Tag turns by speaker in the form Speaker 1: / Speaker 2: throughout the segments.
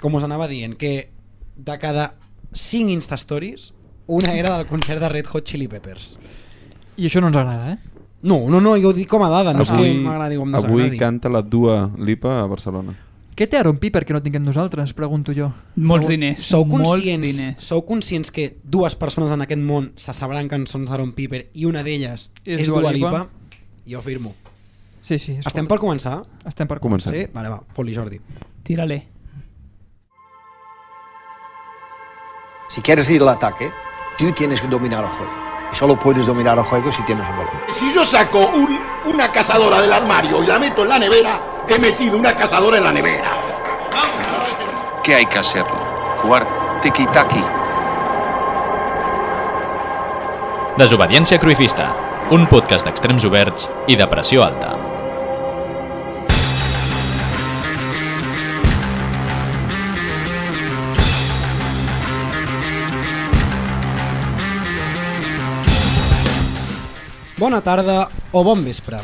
Speaker 1: com us anava dient, que de cada 5 Instastories, una era del concert de Red Hot Chili Peppers.
Speaker 2: I això no ens agrada, eh?
Speaker 1: No, no, no, jo ho dic com a dada, Ah, no és
Speaker 2: Avui-
Speaker 1: que m'agradi o em
Speaker 3: Avui
Speaker 1: desagradi.
Speaker 3: canta la Dua Lipa a Barcelona.
Speaker 2: Què té Aaron Piper que no tinguem nosaltres, pregunto jo?
Speaker 4: Molts diners.
Speaker 1: Sou
Speaker 4: Molts
Speaker 1: conscients,
Speaker 4: diners.
Speaker 1: sou conscients que dues persones en aquest món se sabran cançons d'Aaron Piper i una d'elles és,
Speaker 2: És
Speaker 1: és Dua
Speaker 2: Dua Lipa?
Speaker 1: Lipa? Jo afirmo.
Speaker 2: Sí, sí. és
Speaker 1: Estem
Speaker 2: fort.
Speaker 1: per començar?
Speaker 2: Estem per
Speaker 3: Comencem.
Speaker 1: Sí? Vale, va, fot-li Jordi.
Speaker 4: Tírale.
Speaker 5: Si quieres ir al ataque, tú tienes que dominar el juego. Y solo puedes dominar el juego si tienes el balón.
Speaker 6: Si yo saco un- una cazadora del armario y la meto en la nevera, he metido una cazadora en la nevera.
Speaker 7: ¿Qué hay que hacerlo? Jugar tiki-taki.
Speaker 8: Desobediència Cruifista, un podcast d'extrems oberts i de pressió alta.
Speaker 1: Bona tarda o bon vespre.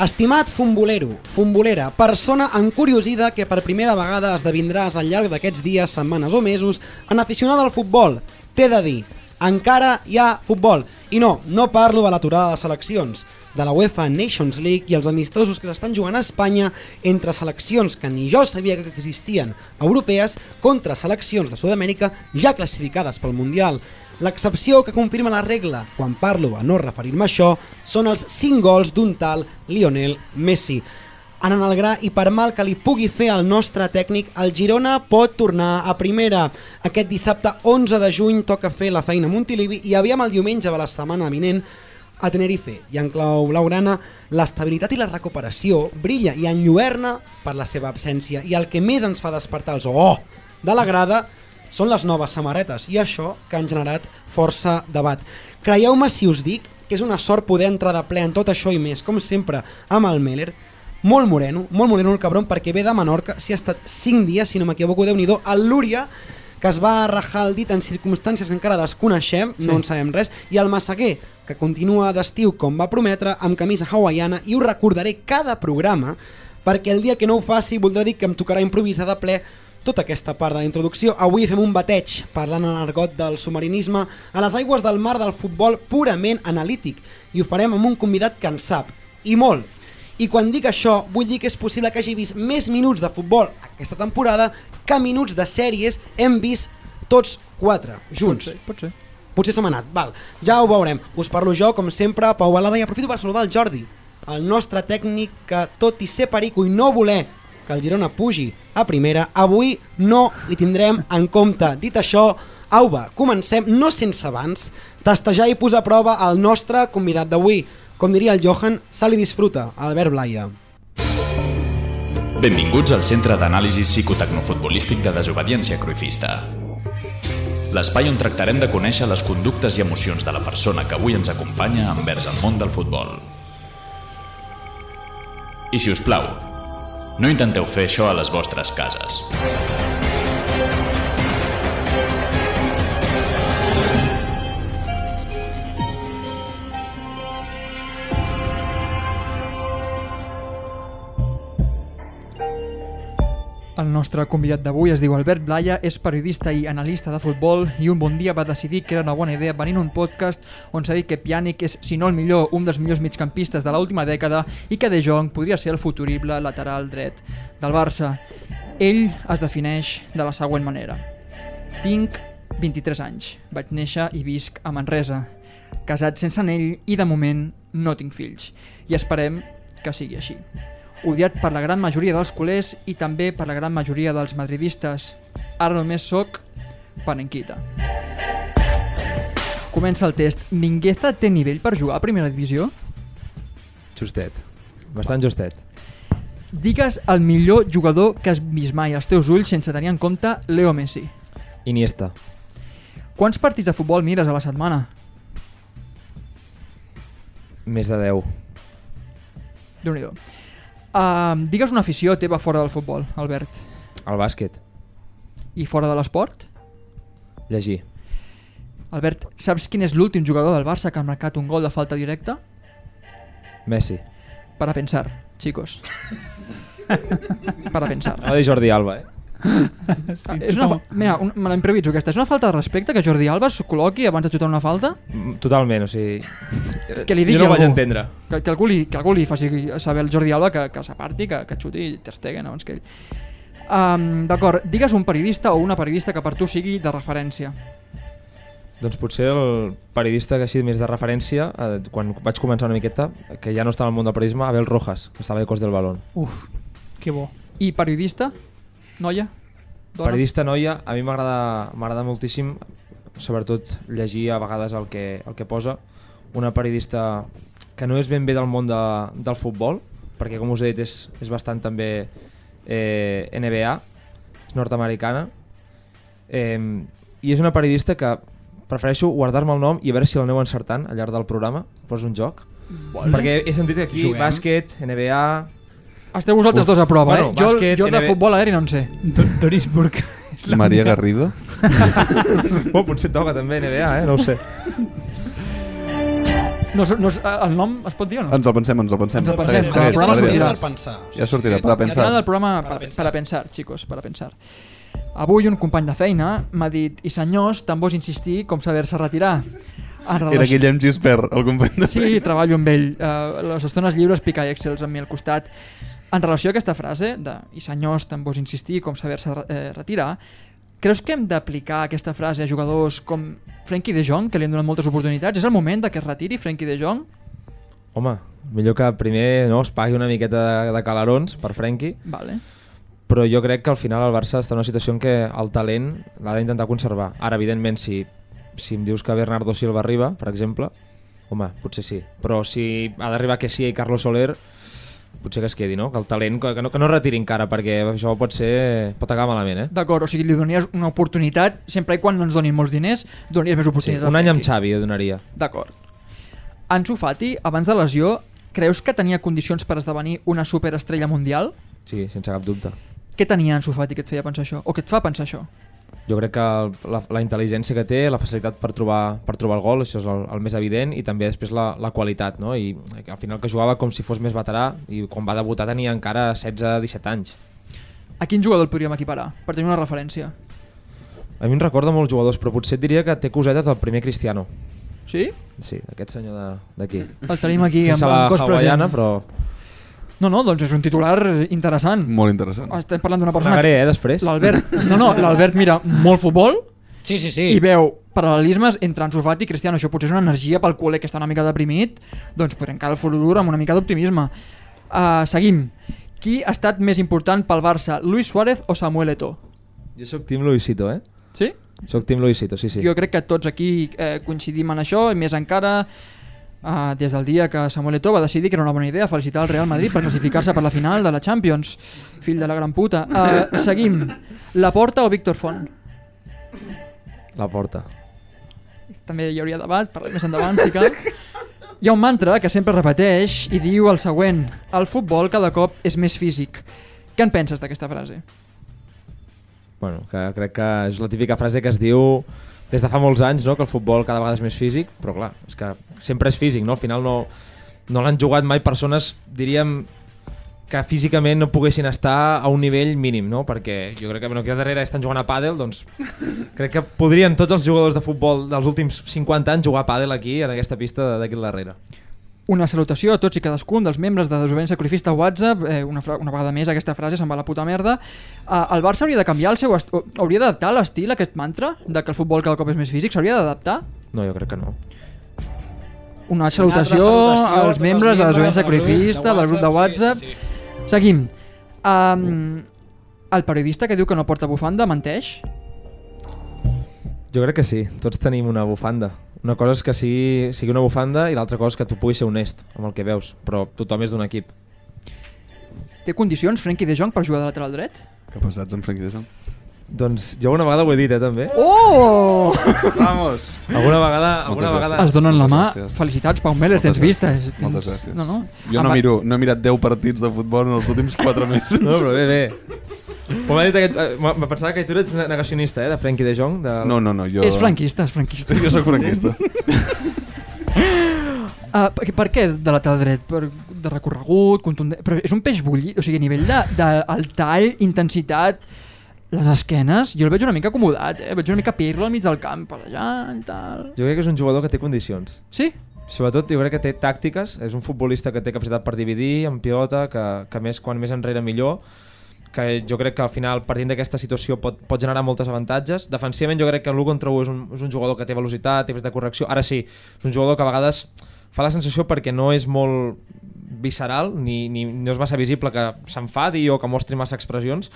Speaker 1: Estimat fumbolero, fumbolera, persona encuriosida que per primera vegada esdevindràs al llarg d'aquests dies, setmanes o mesos en aficionada al futbol, t'he de dir, encara hi ha futbol. I no, no parlo de l'aturada de seleccions, de la UEFA Nations League i els amistosos que s'estan jugant a Espanya entre seleccions que ni jo sabia que existien europees contra seleccions de Sud-amèrica ja classificades pel Mundial. L'excepció que confirma la regla, quan parlo a no referir-me a això, són els 5 gols d'un tal Lionel Messi. En el gra i per mal que li pugui fer al nostre tècnic, el Girona pot tornar a primera. Aquest dissabte 11 de juny toca fer la feina a Montilivi i aviam el diumenge de la setmana vinent a Tenerife. I en clau blaugrana, l'estabilitat i la recuperació brilla i enlluerna per la seva absència. I el que més ens fa despertar els oh de la grada són les noves samarretes i això que han generat força debat. Creieu-me si us dic que és una sort poder entrar de ple en tot això i més, com sempre, amb el Meller, molt moreno, molt moreno el cabron, perquè ve de Menorca, s'hi ha estat 5 dies, si no m'equivoco, déu nhi al Lúria, que es va rajar el dit en circumstàncies que encara desconeixem, sí. no en sabem res, i el Massaguer, que continua d'estiu com va prometre, amb camisa hawaiana, i us recordaré cada programa, perquè el dia que no ho faci voldrà dir que em tocarà improvisar de ple tota aquesta part de la introducció. Avui fem un bateig parlant en argot del submarinisme a les aigües del mar del futbol purament analític i ho farem amb un convidat que en sap, i molt. I quan dic això, vull dir que és possible que hagi vist més minuts de futbol aquesta temporada que minuts de sèries hem vist tots quatre, junts.
Speaker 2: Pot ser, pot ser.
Speaker 1: Potser se m'ha anat, val. Ja ho veurem. Us parlo jo, com sempre, Pau Alada, i aprofito per saludar el Jordi, el nostre tècnic que, tot i ser perico i no voler que el Girona pugi a primera, avui no hi tindrem en compte. Dit això, au va, comencem, no sense abans, testejar i posar a prova el nostre convidat d'avui. Com diria el Johan, se li disfruta, Albert Blaia.
Speaker 8: Benvinguts al Centre d'Anàlisi Psicotecnofutbolístic de Desobediència Cruifista. L'espai on tractarem de conèixer les conductes i emocions de la persona que avui ens acompanya envers el món del futbol. I si us plau, no intenteu fer això a les vostres cases.
Speaker 2: El nostre convidat d'avui es diu Albert Blaya, és periodista i analista de futbol i un bon dia va decidir que era una bona idea venir a un podcast on s'ha dit que Pjanic és, si no el millor, un dels millors migcampistes de l'última dècada i que De Jong podria ser el futurible lateral dret del Barça. Ell es defineix de la següent manera. Tinc 23 anys, vaig néixer i visc a Manresa, casat sense anell i de moment no tinc fills, i esperem que sigui així. Odiat per la gran majoria dels culers i també per la gran majoria dels madridistes, ara només sóc panenquita. Comença el test. Mingueza té nivell per jugar a primera divisió?
Speaker 9: Justet. Bastant justet.
Speaker 2: Digues el millor jugador que has vist mai als teus ulls sense tenir en compte Leo Messi.
Speaker 9: Iniesta.
Speaker 2: Quants partits de futbol mires a la setmana?
Speaker 9: Més de 10.
Speaker 2: déu nhi uh, Digues una afició teva fora del futbol, Albert.
Speaker 9: El bàsquet.
Speaker 2: I fora de l'esport?
Speaker 9: Llegir.
Speaker 2: Albert, saps quin és l'últim jugador del Barça que ha marcat un gol de falta directa?
Speaker 9: Messi.
Speaker 2: Para pensar, chicos. Para pensar.
Speaker 9: No de Jordi Alba, eh?
Speaker 2: Ah, és una, fa- mira, un, me l'improviso aquesta. És una falta de respecte que Jordi Alba es col·loqui abans de xutar una falta?
Speaker 9: Mm, Totalment, o sigui...
Speaker 2: Que li digui
Speaker 9: Eh, jo no ho vaig
Speaker 2: algú.
Speaker 9: entendre.
Speaker 2: Que, que, algú li, que algú li faci saber al Jordi Alba que, que s'aparti, que, que xuti Ter Stegen abans que ell. Um, D'acord, digues un periodista o una periodista que per tu sigui de referència.
Speaker 9: Doncs potser el periodista que així més de referència, eh, quan vaig començar una miqueta, que ja no estava al món del periodisme, Abel Rojas, que estava a Ecos del Balón.
Speaker 4: Uf, que bo.
Speaker 2: I periodista? Noia? Dona?
Speaker 9: Periodista noia, a mi m'agrada m'agrada moltíssim, sobretot llegir a vegades el que, el que posa. Una periodista que no és ben bé del món de, del futbol, perquè com us he dit és, és bastant també eh, NBA, és nord-americana, eh, i és una periodista que prefereixo guardar-me el nom i a veure si l'aneu encertant al llarg del programa, posa un joc. Vale. Perquè he sentit que aquí
Speaker 1: Juguem.
Speaker 9: bàsquet, NBA...
Speaker 2: Esteu vosaltres dos a prova,
Speaker 9: Bueno,
Speaker 2: eh? Jo,
Speaker 9: bàsquet,
Speaker 2: jo de
Speaker 9: NB.
Speaker 2: futbol aeri no en sé.
Speaker 4: Do Doris Burke és la
Speaker 3: Maria
Speaker 4: única-
Speaker 3: Garrido.
Speaker 9: Oh, potser toca també NBA, eh? No ho sé.
Speaker 2: No, s- no, s- el nom es pot dir o no?
Speaker 3: Ens el pensem, ens el pensem.
Speaker 2: Ens el pensem,
Speaker 3: Segueix,
Speaker 2: el
Speaker 3: segueix,
Speaker 2: programa
Speaker 3: Adrià.
Speaker 2: sortirà.
Speaker 1: per pensar. o sigui,
Speaker 3: Ja sortirà, per a
Speaker 2: La
Speaker 3: pensar.
Speaker 2: entrada del programa
Speaker 1: Para
Speaker 2: para,
Speaker 1: pensar.
Speaker 2: para pensar, chicos, para pensar. Avui un company de feina m'ha dit i senyors, tan vos insistir com saber-se retirar. En
Speaker 3: Era
Speaker 2: relació...
Speaker 3: Guillem Gispert, el company de...
Speaker 2: Sí, treballo amb ell. Uh, les estones lliures pica excels amb mi al costat. En relació a aquesta frase de i senyors, tan vos insistir com saber-se re- eh, retirar, creus que hem d'aplicar aquesta frase a jugadors com Frenkie de Jong, que li hem donat moltes oportunitats? És el moment de que es retiri Frenkie de Jong?
Speaker 9: Home, millor que primer no, es pagui una miqueta de, de calarons per Frenkie,
Speaker 2: Vale.
Speaker 9: però jo crec que al final el Barça està en una situació en què el talent l'ha d'intentar conservar. Ara, evidentment, si, si em dius que Bernardo Silva arriba, per exemple, home, potser sí. Però si ha d'arribar que sí i Carlos Soler, potser que es quedi, no? Que el talent, que que no, que no es retiri encara, perquè això pot ser... pot acabar malament, eh?
Speaker 2: D'acord, o sigui, li donies una oportunitat, sempre i quan no ens donin molts diners, donies més
Speaker 9: Sí,
Speaker 2: oportunitats. al
Speaker 9: un any amb
Speaker 2: Frenkie.
Speaker 9: Xavi jo donaria.
Speaker 2: D'acord. Ansu Fati, abans de lesió, creus que tenia condicions per esdevenir una superestrella mundial?
Speaker 9: Sí, sense cap dubte.
Speaker 2: Què tenia Ansu Fati que et feia pensar això? O que et fa pensar això?
Speaker 9: Jo crec que el- la, la intel·ligència que té, la facilitat per trobar, per trobar el gol, això és el, el més evident, i també després la, la qualitat, no? I eh, al final que jugava com si fos més veterà, i quan va debutar tenia encara 16-17 anys.
Speaker 2: A quin jugador el podríem equiparar? Per tenir una referència.
Speaker 9: A mi em recorda molts jugadors, però potser et diria que té cosetes del primer Cristiano.
Speaker 2: Sí?
Speaker 9: Sí, aquest senyor de- d'aquí.
Speaker 2: El tenim aquí amb,
Speaker 9: Sense la
Speaker 2: amb cos present.
Speaker 9: hawaiana, però...
Speaker 2: No, no, doncs és un titular interessant.
Speaker 3: Molt interessant.
Speaker 2: Estem parlant d'una persona...
Speaker 9: Regaré, eh, després.
Speaker 2: L'Albert... No, no, l'Albert mira molt futbol,
Speaker 1: Sí, sí, sí.
Speaker 2: i veu paral·lelismes entre Ansu Fati i Cristiano. Això potser és una energia pel culer que està una mica deprimit, doncs podrem encara el futur amb una mica d'optimisme. Uh, seguim. Qui ha estat més important pel Barça, Luis Suárez o Samuel Eto'o?
Speaker 9: Jo sóc Tim Luisito, eh?
Speaker 2: Sí?
Speaker 9: Sóc Tim Luisito, sí, sí.
Speaker 2: sí? Jo crec que tots aquí eh, coincidim en això, i més encara uh, des del dia que Samuel Eto'o va decidir que era una bona idea felicitar el Real Madrid per classificar-se per la final de la Champions. Fill de la gran puta. Uh, seguim. La Porta o Víctor Font?
Speaker 9: La porta.
Speaker 2: també hi hauria debat, parlem més endavant, sí que... Hi ha un mantra que sempre repeteix i diu el següent. El futbol cada cop és més físic. Què en penses d'aquesta frase?
Speaker 9: Bueno, que crec que és la típica frase que es diu des de fa molts anys, no? que el futbol cada vegada és més físic, però clar, és que sempre és físic, no? Al final no, no l'han jugat mai persones, diríem, que físicament no poguessin estar a un nivell mínim, no? Perquè jo crec que, bueno, aquí darrere estan jugant a pàdel, doncs crec que podrien tots els jugadors de futbol dels últims 50 anys jugar a pàdel aquí, en aquesta pista d'aquí al darrere.
Speaker 2: Una salutació a tots i cadascun dels membres de Desobedient Sacrifista a WhatsApp. Eh, una, fra- una vegada més aquesta frase se'n va a la puta merda. Uh, el Barça hauria de canviar el seu... est- o- Hauria d'adaptar l'estil a aquest mantra de que el futbol cada cop és més físic? S'hauria d'adaptar?
Speaker 9: No, jo crec que no.
Speaker 2: Una
Speaker 1: Una altra
Speaker 2: salutació,
Speaker 1: salutació a tots
Speaker 2: als
Speaker 1: els
Speaker 2: membres de Desobedient
Speaker 1: del grup de
Speaker 2: Sacrifista, del grup de WhatsApp.
Speaker 1: sí, sí, sí.
Speaker 2: Seguim. Um, el periodista que diu que no porta bufanda menteix?
Speaker 9: Jo crec que sí, tots tenim una bufanda. Una cosa és que sigui, sigui una bufanda i l'altra cosa és que tu puguis ser honest amb el que veus, però tothom és d'un equip.
Speaker 2: Té condicions Frenkie de Jong per jugar de lateral dret?
Speaker 3: Que pesats en Frenkie de Jong.
Speaker 9: Doncs jo una vegada ho he dit, eh, també.
Speaker 2: Oh!
Speaker 3: Vamos!
Speaker 9: Alguna vegada... Alguna
Speaker 3: Moltes
Speaker 9: vegada...
Speaker 2: Es donen la mà.
Speaker 3: gràcies.
Speaker 2: Felicitats, Pau Meller,
Speaker 3: Moltes
Speaker 2: tens vista.
Speaker 3: gràcies,
Speaker 2: Tens...
Speaker 3: moltes gràcies.
Speaker 2: No, no.
Speaker 3: Jo no miro, no he mirat 10 partits de futbol en els últims 4 mesos.
Speaker 9: No, però bé, bé. M'ha dit aquest... eh, m'ha- Em pensava que tu ets ne- negacionista, eh, de Frenkie de Jong. De...
Speaker 3: No, no, no, jo...
Speaker 2: És franquista, és franquista.
Speaker 3: Jo sóc franquista.
Speaker 2: Uh, per, per què de lateral dret? Per, de recorregut, contundent... Però és un peix bullit, o sigui, a nivell de, de el tall, intensitat... les esquenes, jo el veig una mica acomodat, eh? veig una mica pirlo al mig del camp, per allà i tal.
Speaker 9: Jo crec que és un jugador que té condicions.
Speaker 2: Sí?
Speaker 9: Sobretot jo crec que té tàctiques, és un futbolista que té capacitat per dividir, en pilota, que, que més quan més enrere millor, que jo crec que al final partint d'aquesta situació pot, pot generar moltes avantatges. Defensivament jo crec que l'1 contra 1 és un, és un jugador que té velocitat, té capacitat de correcció. Ara sí, és un jugador que a vegades fa la sensació perquè no és molt visceral, ni, ni no és massa visible que s'enfadi o que mostri massa expressions,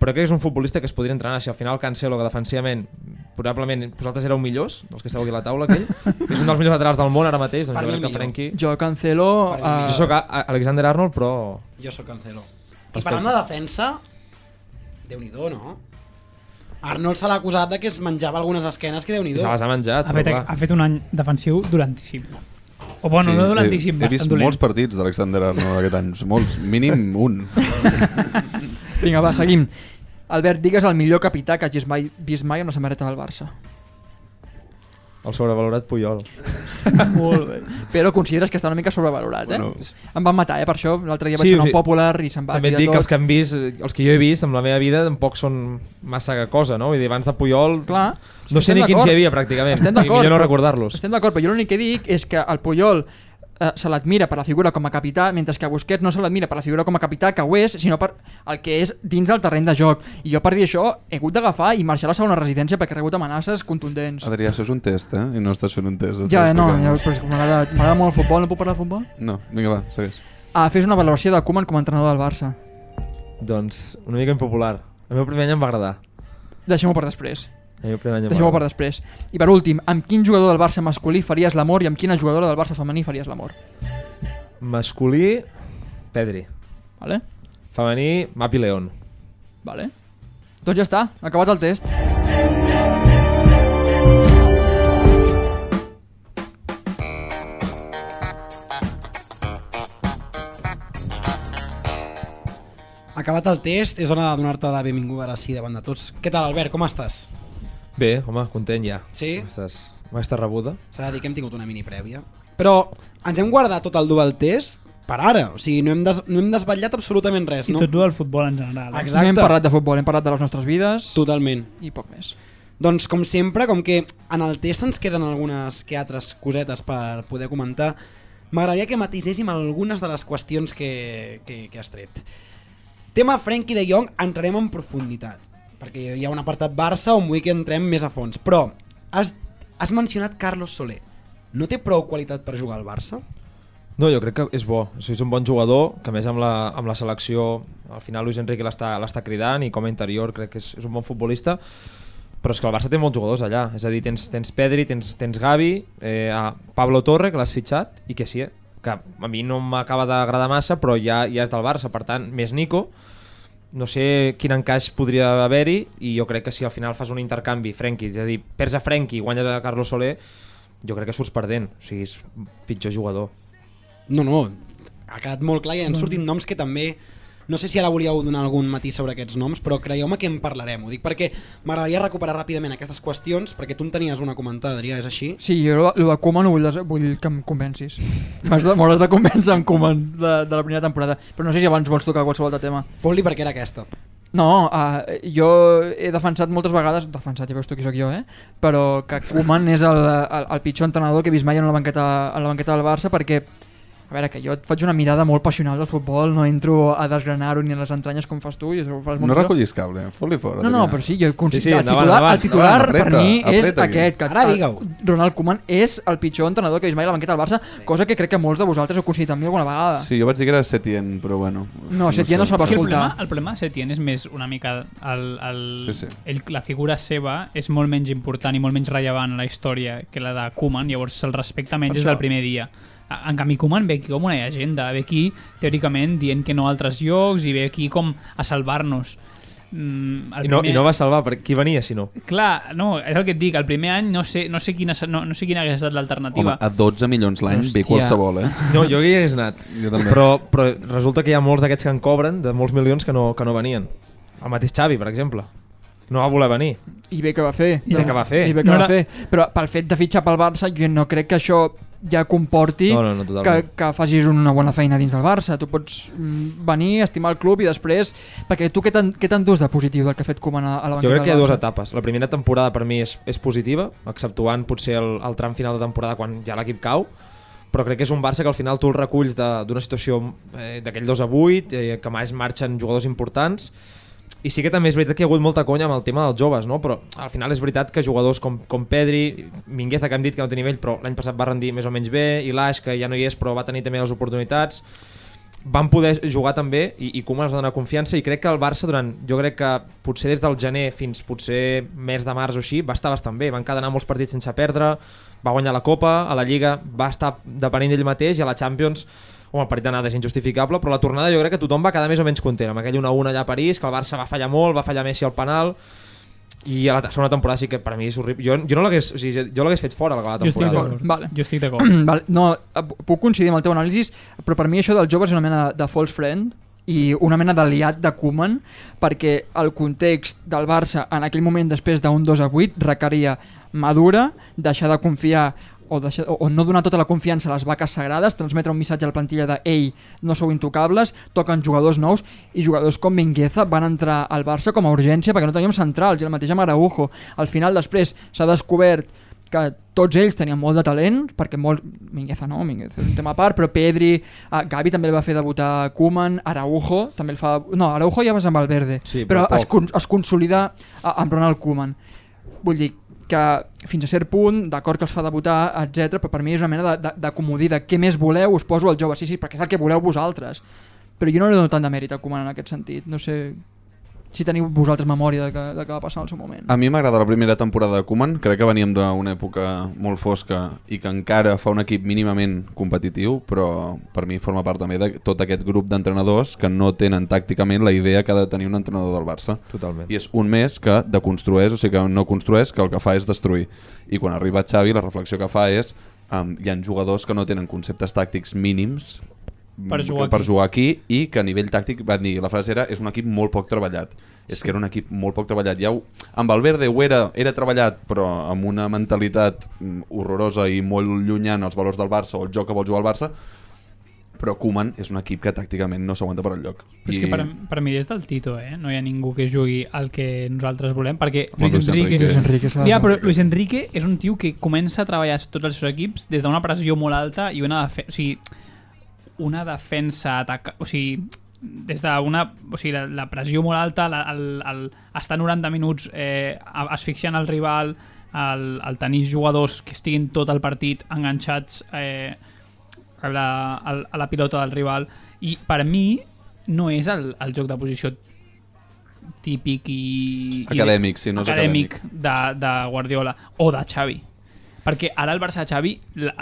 Speaker 9: però crec que és un futbolista que es podria entrenar. Si al final Cancelo, que defensivament probablement vosaltres éreu millors, els que esteu aquí a la taula, aquell, és un dels millors laterals del món ara mateix, doncs
Speaker 1: Per mi
Speaker 9: jo crec que
Speaker 1: millor.
Speaker 9: Frenkie... Jo,
Speaker 2: Jo cancelo...
Speaker 1: Per
Speaker 2: Uh,
Speaker 1: mi.
Speaker 9: soc a- a- Alexander Arnold, però...
Speaker 1: Jo sóc Cancelo. I
Speaker 9: Respecte.
Speaker 1: parlant de defensa, déu nhi no? Arnold se l'ha acusat de que es menjava algunes esquenes que déu nhi
Speaker 9: I se les ha menjat,
Speaker 4: Ha
Speaker 9: però
Speaker 4: fet,
Speaker 9: clar.
Speaker 4: ha fet un any defensiu durantíssim. O bueno, sí, no durantíssim,
Speaker 3: he, he vist
Speaker 4: bastant dolent.
Speaker 3: molts partits d'Alexander Arnold aquest any, molts, mínim un.
Speaker 2: vinga, va, seguim. Albert, digues el millor capità que hagis mai vist mai amb la samarreta del Barça.
Speaker 9: El sobrevalorat Puyol.
Speaker 4: Molt bé.
Speaker 2: Però consideres que està una mica sobrevalorat, eh?
Speaker 3: Bueno,
Speaker 2: Em van matar, eh, per això. L'altre dia
Speaker 9: Sí,
Speaker 2: vaig fer
Speaker 9: o
Speaker 2: un
Speaker 9: sigui,
Speaker 2: popular i se'm va
Speaker 9: També et
Speaker 2: tirar
Speaker 9: dic que els
Speaker 2: tot.
Speaker 9: que hem vist, eh, els que jo he vist amb la meva vida tampoc són massa cosa, no? Vull dir, abans de Puyol...
Speaker 2: Clar.
Speaker 9: No sé
Speaker 2: Estem
Speaker 9: ni quins
Speaker 2: d'acord.
Speaker 9: hi havia, pràcticament.
Speaker 2: Estem
Speaker 9: I
Speaker 2: d'acord.
Speaker 9: millor no
Speaker 2: però-
Speaker 9: recordar-los.
Speaker 2: Estem d'acord, però jo l'únic que dic és que el Puyol eh, se l'admira per la figura com a capità, mentre que Busquets no se l'admira per la figura com a capità, que ho és, sinó per el que és dins del terreny de joc. I jo per dir això he hagut d'agafar i marxar a la segona residència perquè he rebut amenaces contundents.
Speaker 3: Adrià, això és un test, eh? I no estàs fent un test. estàs
Speaker 2: Ja, eh, no,
Speaker 3: explicant.
Speaker 2: ja, però és que m'agrada m'agrada molt el futbol, no puc parlar de futbol?
Speaker 3: No, vinga, va, segueix.
Speaker 2: Ah, fes una valoració de Koeman com a entrenador del Barça.
Speaker 9: Doncs una mica impopular. El meu primer any em va agradar.
Speaker 2: Deixem-ho per després.
Speaker 9: El meu primer any em va
Speaker 2: Deixem-ho per
Speaker 9: agradar.
Speaker 2: després. I per últim, amb quin jugador del Barça masculí faries l'amor i amb quina jugadora del Barça femení faries l'amor?
Speaker 9: Masculí, Pedri.
Speaker 2: Vale?
Speaker 9: Femení, Mapi León.
Speaker 2: Vale. Doncs ja està, acabat el test.
Speaker 1: Acabat el test, és hora de donar-te la benvinguda ara sí davant de tots. Què tal, Albert, com estàs?
Speaker 9: Bé, home, content ja.
Speaker 1: Sí?
Speaker 9: Estàs... M'estàs rebuda.
Speaker 1: S'ha de dir que hem tingut una mini prèvia. Però ens hem guardat tot el dur al test per ara, o sigui, no hem, des no hem desvetllat absolutament res,
Speaker 4: I
Speaker 1: no?
Speaker 4: tot el del futbol en general. eh?
Speaker 1: Exacte.
Speaker 2: No hem parlat de futbol, hem parlat de les nostres vides
Speaker 1: Totalment.
Speaker 2: i poc més.
Speaker 1: Doncs com sempre, com que en el test ens queden algunes que altres cosetes per poder comentar, m'agradaria que matiséssim algunes de les qüestions que, que, que has tret. Tema Frenkie de Jong, entrarem en profunditat, perquè hi ha un apartat Barça on vull que entrem més a fons, però has, has mencionat Carlos Soler. No té prou qualitat per jugar al Barça?
Speaker 9: No, jo crec que és bo. O sigui, és un bon jugador, que a més amb la, amb la selecció, al final Luis Enrique l'està l'està cridant i com a interior crec que és, és un bon futbolista. Però és que el Barça té molts jugadors allà. És a dir, tens, tens Pedri, tens, tens Gavi, eh, a Pablo Torre, que l'has fitxat, i que sí, eh, que a mi no m'acaba d'agradar massa, però ja, ja és del Barça. Per tant, més Nico, no sé quin encaix podria haver-hi i jo crec que si al final fas un intercanvi Frenkie, és a dir, perds a Frenkie i guanyes a Carlos Soler, jo crec que surts perdent o sigui, és un pitjor jugador
Speaker 1: No, no, ha quedat molt clar i han sortit noms que també... No sé si ara volíeu donar algun matí sobre aquests noms, però creieu-me que en parlarem. Ho dic perquè m'agradaria recuperar ràpidament aquestes qüestions, perquè tu en tenies una comentada, Adrià, és així?
Speaker 2: Sí, jo el de Koeman ho vull, des- vull que em convencis. M'has de, m'hauràs de convèncer amb Koeman de, de la primera temporada. Però no sé si abans vols tocar qualsevol altre tema.
Speaker 1: Fot-li perquè era aquesta.
Speaker 2: No, uh, jo he defensat moltes vegades, defensat, ja veus tu qui sóc jo, eh? Però que Koeman és el, el, el pitjor entrenador que he vist mai en la banqueta, en la banqueta del Barça perquè a veure, que jo et faig una mirada molt passional del futbol, no entro a desgranar-ho ni a les entranyes com fas tu i ho fas molt
Speaker 3: No
Speaker 2: millor.
Speaker 3: recullis cable, eh? fot-li
Speaker 2: No,
Speaker 3: fora.
Speaker 2: no,
Speaker 3: Adrià.
Speaker 2: però sí, jo considero
Speaker 9: Sí, sí,
Speaker 2: sí, sí, el titular,
Speaker 9: endavant, endavant,
Speaker 2: el titular
Speaker 3: endavant,
Speaker 2: per mi
Speaker 3: apreta,
Speaker 2: és
Speaker 3: apreta aquí.
Speaker 2: aquest. Que
Speaker 1: Ara
Speaker 2: el-
Speaker 1: digue-ho.
Speaker 2: Ronald Koeman és el pitjor entrenador que he vist mai a la banqueta del Barça, cosa que crec que molts de vosaltres heu coincidit amb mi alguna vegada.
Speaker 3: Sí, jo vaig dir que era Setien, però bueno.
Speaker 2: No, Setien no se'l va
Speaker 4: És que el
Speaker 2: escoltar.
Speaker 4: problema, el problema se tiene és més una mica el, el,
Speaker 3: Sí, sí.
Speaker 4: El, la figura seva és molt menys important i molt menys rellevant a la història que la de Koeman, llavors se'l respecta menys des del primer dia. A- En canvi, Koeman ve aquí com una llegenda, ve aquí teòricament dient que no a altres llocs i ve aquí com a salvar-nos. Mm, el
Speaker 9: I no, i
Speaker 4: primer-
Speaker 9: no va salvar, per qui venia si no?
Speaker 4: Clar, no, és el que et dic, el primer any no sé, no sé, quina, se- no, no sé quina hagués estat
Speaker 3: Home,
Speaker 4: l'alternativa.
Speaker 3: a 12 milions l'any ve
Speaker 4: Hòstia.
Speaker 3: qualsevol, eh?
Speaker 9: No, jo hi hagués anat
Speaker 3: Jo també.
Speaker 9: però, però resulta que hi ha molts d'aquests que en cobren de molts milions que no, que no venien el mateix Xavi, per exemple no va voler venir
Speaker 2: I bé que va fer.
Speaker 9: I bé que va fer.
Speaker 2: I bé que
Speaker 4: No
Speaker 2: va
Speaker 4: era-
Speaker 2: fer. Però pel fet de fitxar pel Barça, jo no crec que això ja comporti
Speaker 9: No, no, no,
Speaker 2: que,
Speaker 9: totalment.
Speaker 2: que facis una bona feina dins del Barça. Tu pots mm, venir, estimar el club i després... Perquè tu què t'en- què t'endús de positiu del que ha fet Koeman a, a la
Speaker 9: Jo
Speaker 2: banqueta
Speaker 9: crec que hi ha
Speaker 2: del
Speaker 9: dues
Speaker 2: Barça?
Speaker 9: etapes. La primera temporada per mi és, és positiva, exceptuant potser el, el tram final de temporada quan ja l'equip cau, però crec que és un Barça que al final tu el reculls de- d'una situació eh, d'aquell 2 a 8, eh, que mai es marxen jugadors importants, i sí que també és veritat que hi ha hagut molta conya amb el tema dels joves, no? però al final és veritat que jugadors com, com Pedri, Mingueza, que hem dit que no té nivell, però l'any passat va rendir més o menys bé, i l'Aix, que ja no hi és, però va tenir també les oportunitats, van poder jugar també i, i Koeman els va donar confiança i crec que el Barça durant, jo crec que potser des del gener fins potser mes de març o així va estar bastant bé, van cadenar molts partits sense perdre va guanyar la Copa, a la Lliga va estar depenent d'ell mateix i a la Champions home, el partit d'anada és injustificable però la tornada jo crec que tothom va quedar més o menys content amb aquell 1-1 allà a París, que el Barça va fallar molt va fallar Messi al penal i a la te- segona temporada sí que per mi és horrible jo, jo no l'hagués o sigui, jo- jo l'hagués fet fora a la
Speaker 4: Jo estic
Speaker 9: temporada
Speaker 4: d'acord.
Speaker 2: Vale.
Speaker 4: Jo estic d'acord.
Speaker 2: Val, no, eh, puc coincidir amb el teu anàlisi, però per mi això del jove és una mena de false friend i una mena d'aliat de Koeman perquè el context del Barça en aquell moment després d'un 2 a 8 requeria madura, deixar de confiar o, deixar, o, o no donar tota la confiança a les vaques sagrades, transmetre un missatge a la plantilla de ei, no sou intocables, toquen jugadors nous i jugadors com Mingueza van entrar al Barça com a urgència perquè no teníem centrals i el mateix amb Araujo. Al final després s'ha descobert que tots ells tenien molt de talent, perquè molt... Mingueza no, Mingueza és un tema a part, però Pedri, uh, Gavi també el va fer debutar Koeman, Araujo també el fa... No, Araujo ja vas amb Valverde,
Speaker 9: Sí,
Speaker 2: però,
Speaker 9: però
Speaker 2: es,
Speaker 9: poc.
Speaker 2: con es consolida uh, amb Ronald Koeman. Vull dir que fins a cert punt, d'acord que els fa debutar, etc però per mi és una mena de, de, de comodí de què més voleu, us poso al jove, sí, sí, perquè és el que voleu vosaltres. Però jo no li dono tant de mèrit a Koeman en aquest sentit, no sé si teniu vosaltres memòria de que, de que va passar en el seu moment.
Speaker 3: A mi m'agrada la primera temporada de Koeman, crec que veníem d'una època molt fosca i que encara fa un equip mínimament competitiu, però per mi forma part també de tot aquest grup d'entrenadors que no tenen tàcticament la idea que ha de tenir un entrenador del Barça.
Speaker 9: Totalment.
Speaker 3: I és un més que deconstrueix, o sigui que no construeix, que el que fa és destruir. I quan arriba Xavi, la reflexió que fa és um, hi ha jugadors que no tenen conceptes tàctics mínims
Speaker 4: Per jugar
Speaker 3: Mm, per
Speaker 4: aquí.
Speaker 3: jugar aquí i que a nivell tàctic van dir, la frase era, és un equip molt poc treballat. Sí. És que era un equip molt poc treballat. Ja ho, amb el Verde ho era, era treballat, però amb una mentalitat mm, horrorosa i molt llunyant als valors del Barça o el joc que vol jugar el Barça, però Koeman és un equip que tàcticament no s'aguanta per enlloc.
Speaker 4: Però és que per, per mi és del Tito, eh? No hi ha ningú que jugui al que nosaltres volem, perquè
Speaker 3: Home,
Speaker 4: Luis
Speaker 3: Luis
Speaker 4: Enrique...
Speaker 3: Enrique. Luis
Speaker 2: Enrique s'ha de
Speaker 4: ja, però
Speaker 2: fer.
Speaker 4: Luis Enrique és un tio que comença a treballar tots els seus equips des d'una pressió molt alta i una defensa... O sigui, una defensa ataca... O sigui, des d'una... O sigui, la, la pressió molt alta, la, el, el, estar 90 minuts eh, a- asfixiant el rival, el, el tenir jugadors que estiguin tot el partit enganxats... Eh, a la, a, a la pilota del rival i per mi no és el, el joc de posició típic i...
Speaker 3: Acadèmic,
Speaker 4: i,
Speaker 3: sí, no és
Speaker 4: acadèmic. De, de Guardiola o de Xavi perquè ara el Barça de Xavi la,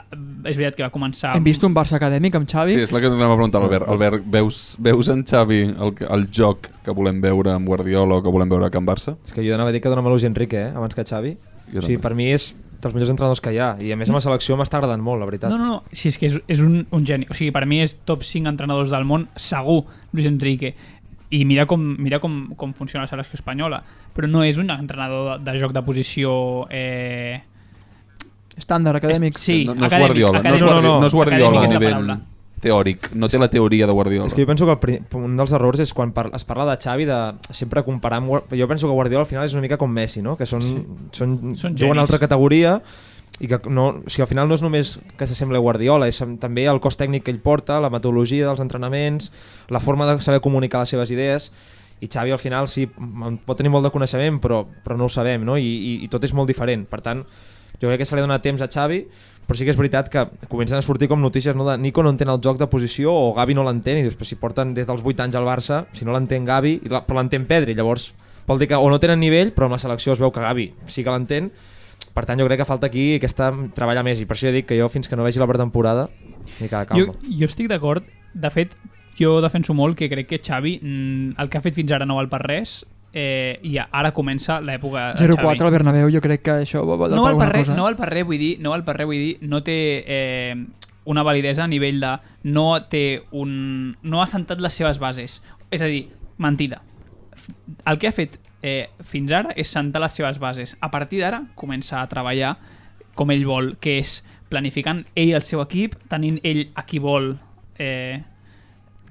Speaker 4: és veritat que va començar
Speaker 2: Hem vist un Barça acadèmic amb Xavi?
Speaker 3: Sí, és la que t'anava a preguntar, Albert. Albert, veus, veus en Xavi el, que- el joc que volem veure amb Guardiola o que volem veure a Can Barça?
Speaker 9: És que jo anava a dir que dona Malus Enrique, eh? abans que Xavi.
Speaker 3: Jo
Speaker 9: o sigui,
Speaker 3: també.
Speaker 9: per mi és dels millors entrenadors que hi ha. I a més amb la selecció m'està agradant molt, la veritat.
Speaker 4: No, no, no, sí, és que és, és un, un geni. O sigui, per mi és top 5 entrenadors del món, segur, Luis Enrique. I mira com, mira com, com funciona la selecció espanyola. Però no és un entrenador de, de joc de posició... Eh...
Speaker 2: estàndard acadèmic.
Speaker 4: Sí,
Speaker 3: no, no és
Speaker 4: acadèmic,
Speaker 3: Guardiola,
Speaker 4: acadèmic.
Speaker 3: no, és Guardiola, no, és Guardiola a
Speaker 4: Acadèmic és la
Speaker 3: nivell
Speaker 4: paraula.
Speaker 3: teòric, no té la teoria de Guardiola.
Speaker 9: És que jo penso que el, pri- un dels errors és quan par es parla de Xavi de sempre comparar amb... Guar- Jo penso que Guardiola al final és una mica com Messi, no? Que són, sí. són,
Speaker 4: Són
Speaker 9: juguen
Speaker 4: genis.
Speaker 9: a altra categoria i que no, o sigui, al final no és només que s'assembla a Guardiola, és am- també el cos tècnic que ell porta, la metodologia dels entrenaments, la forma de saber comunicar les seves idees i Xavi al final sí, m- pot tenir molt de coneixement però, però no ho sabem no? I, i, i tot és molt diferent, per tant jo crec que se li dona temps a Xavi però sí que és veritat que comencen a sortir com notícies no? de Nico no entén el joc de posició o Gavi no l'entén i dius, però si porten des dels 8 anys al Barça si no l'entén Gavi, i la, però l'entén Pedri llavors vol dir que o no tenen nivell però amb la selecció es veu que Gavi sí que l'entén per tant jo crec que falta aquí aquesta treballar més i per això ja dic que jo fins que no vegi la pretemporada ni cada calma
Speaker 4: Jo, jo estic d'acord. De fet, jo defenso molt que crec que Xavi, mm, el que ha fet fins ara no val per res, eh, i ara comença l'època de
Speaker 2: 0-4
Speaker 4: eh, Xavi.
Speaker 2: al Bernabéu, jo crec que això va valer
Speaker 4: no val per
Speaker 2: alguna
Speaker 4: res,
Speaker 2: cosa.
Speaker 4: no val per res, vull dir, no val per res, vull dir, no té eh, una validesa a nivell de no té un no ha sentat les seves bases. És a dir, mentida. F- El que ha fet eh, fins ara és sentar les seves bases. A partir d'ara comença a treballar com ell vol, que és planificant ell el seu equip, tenint ell a qui vol eh,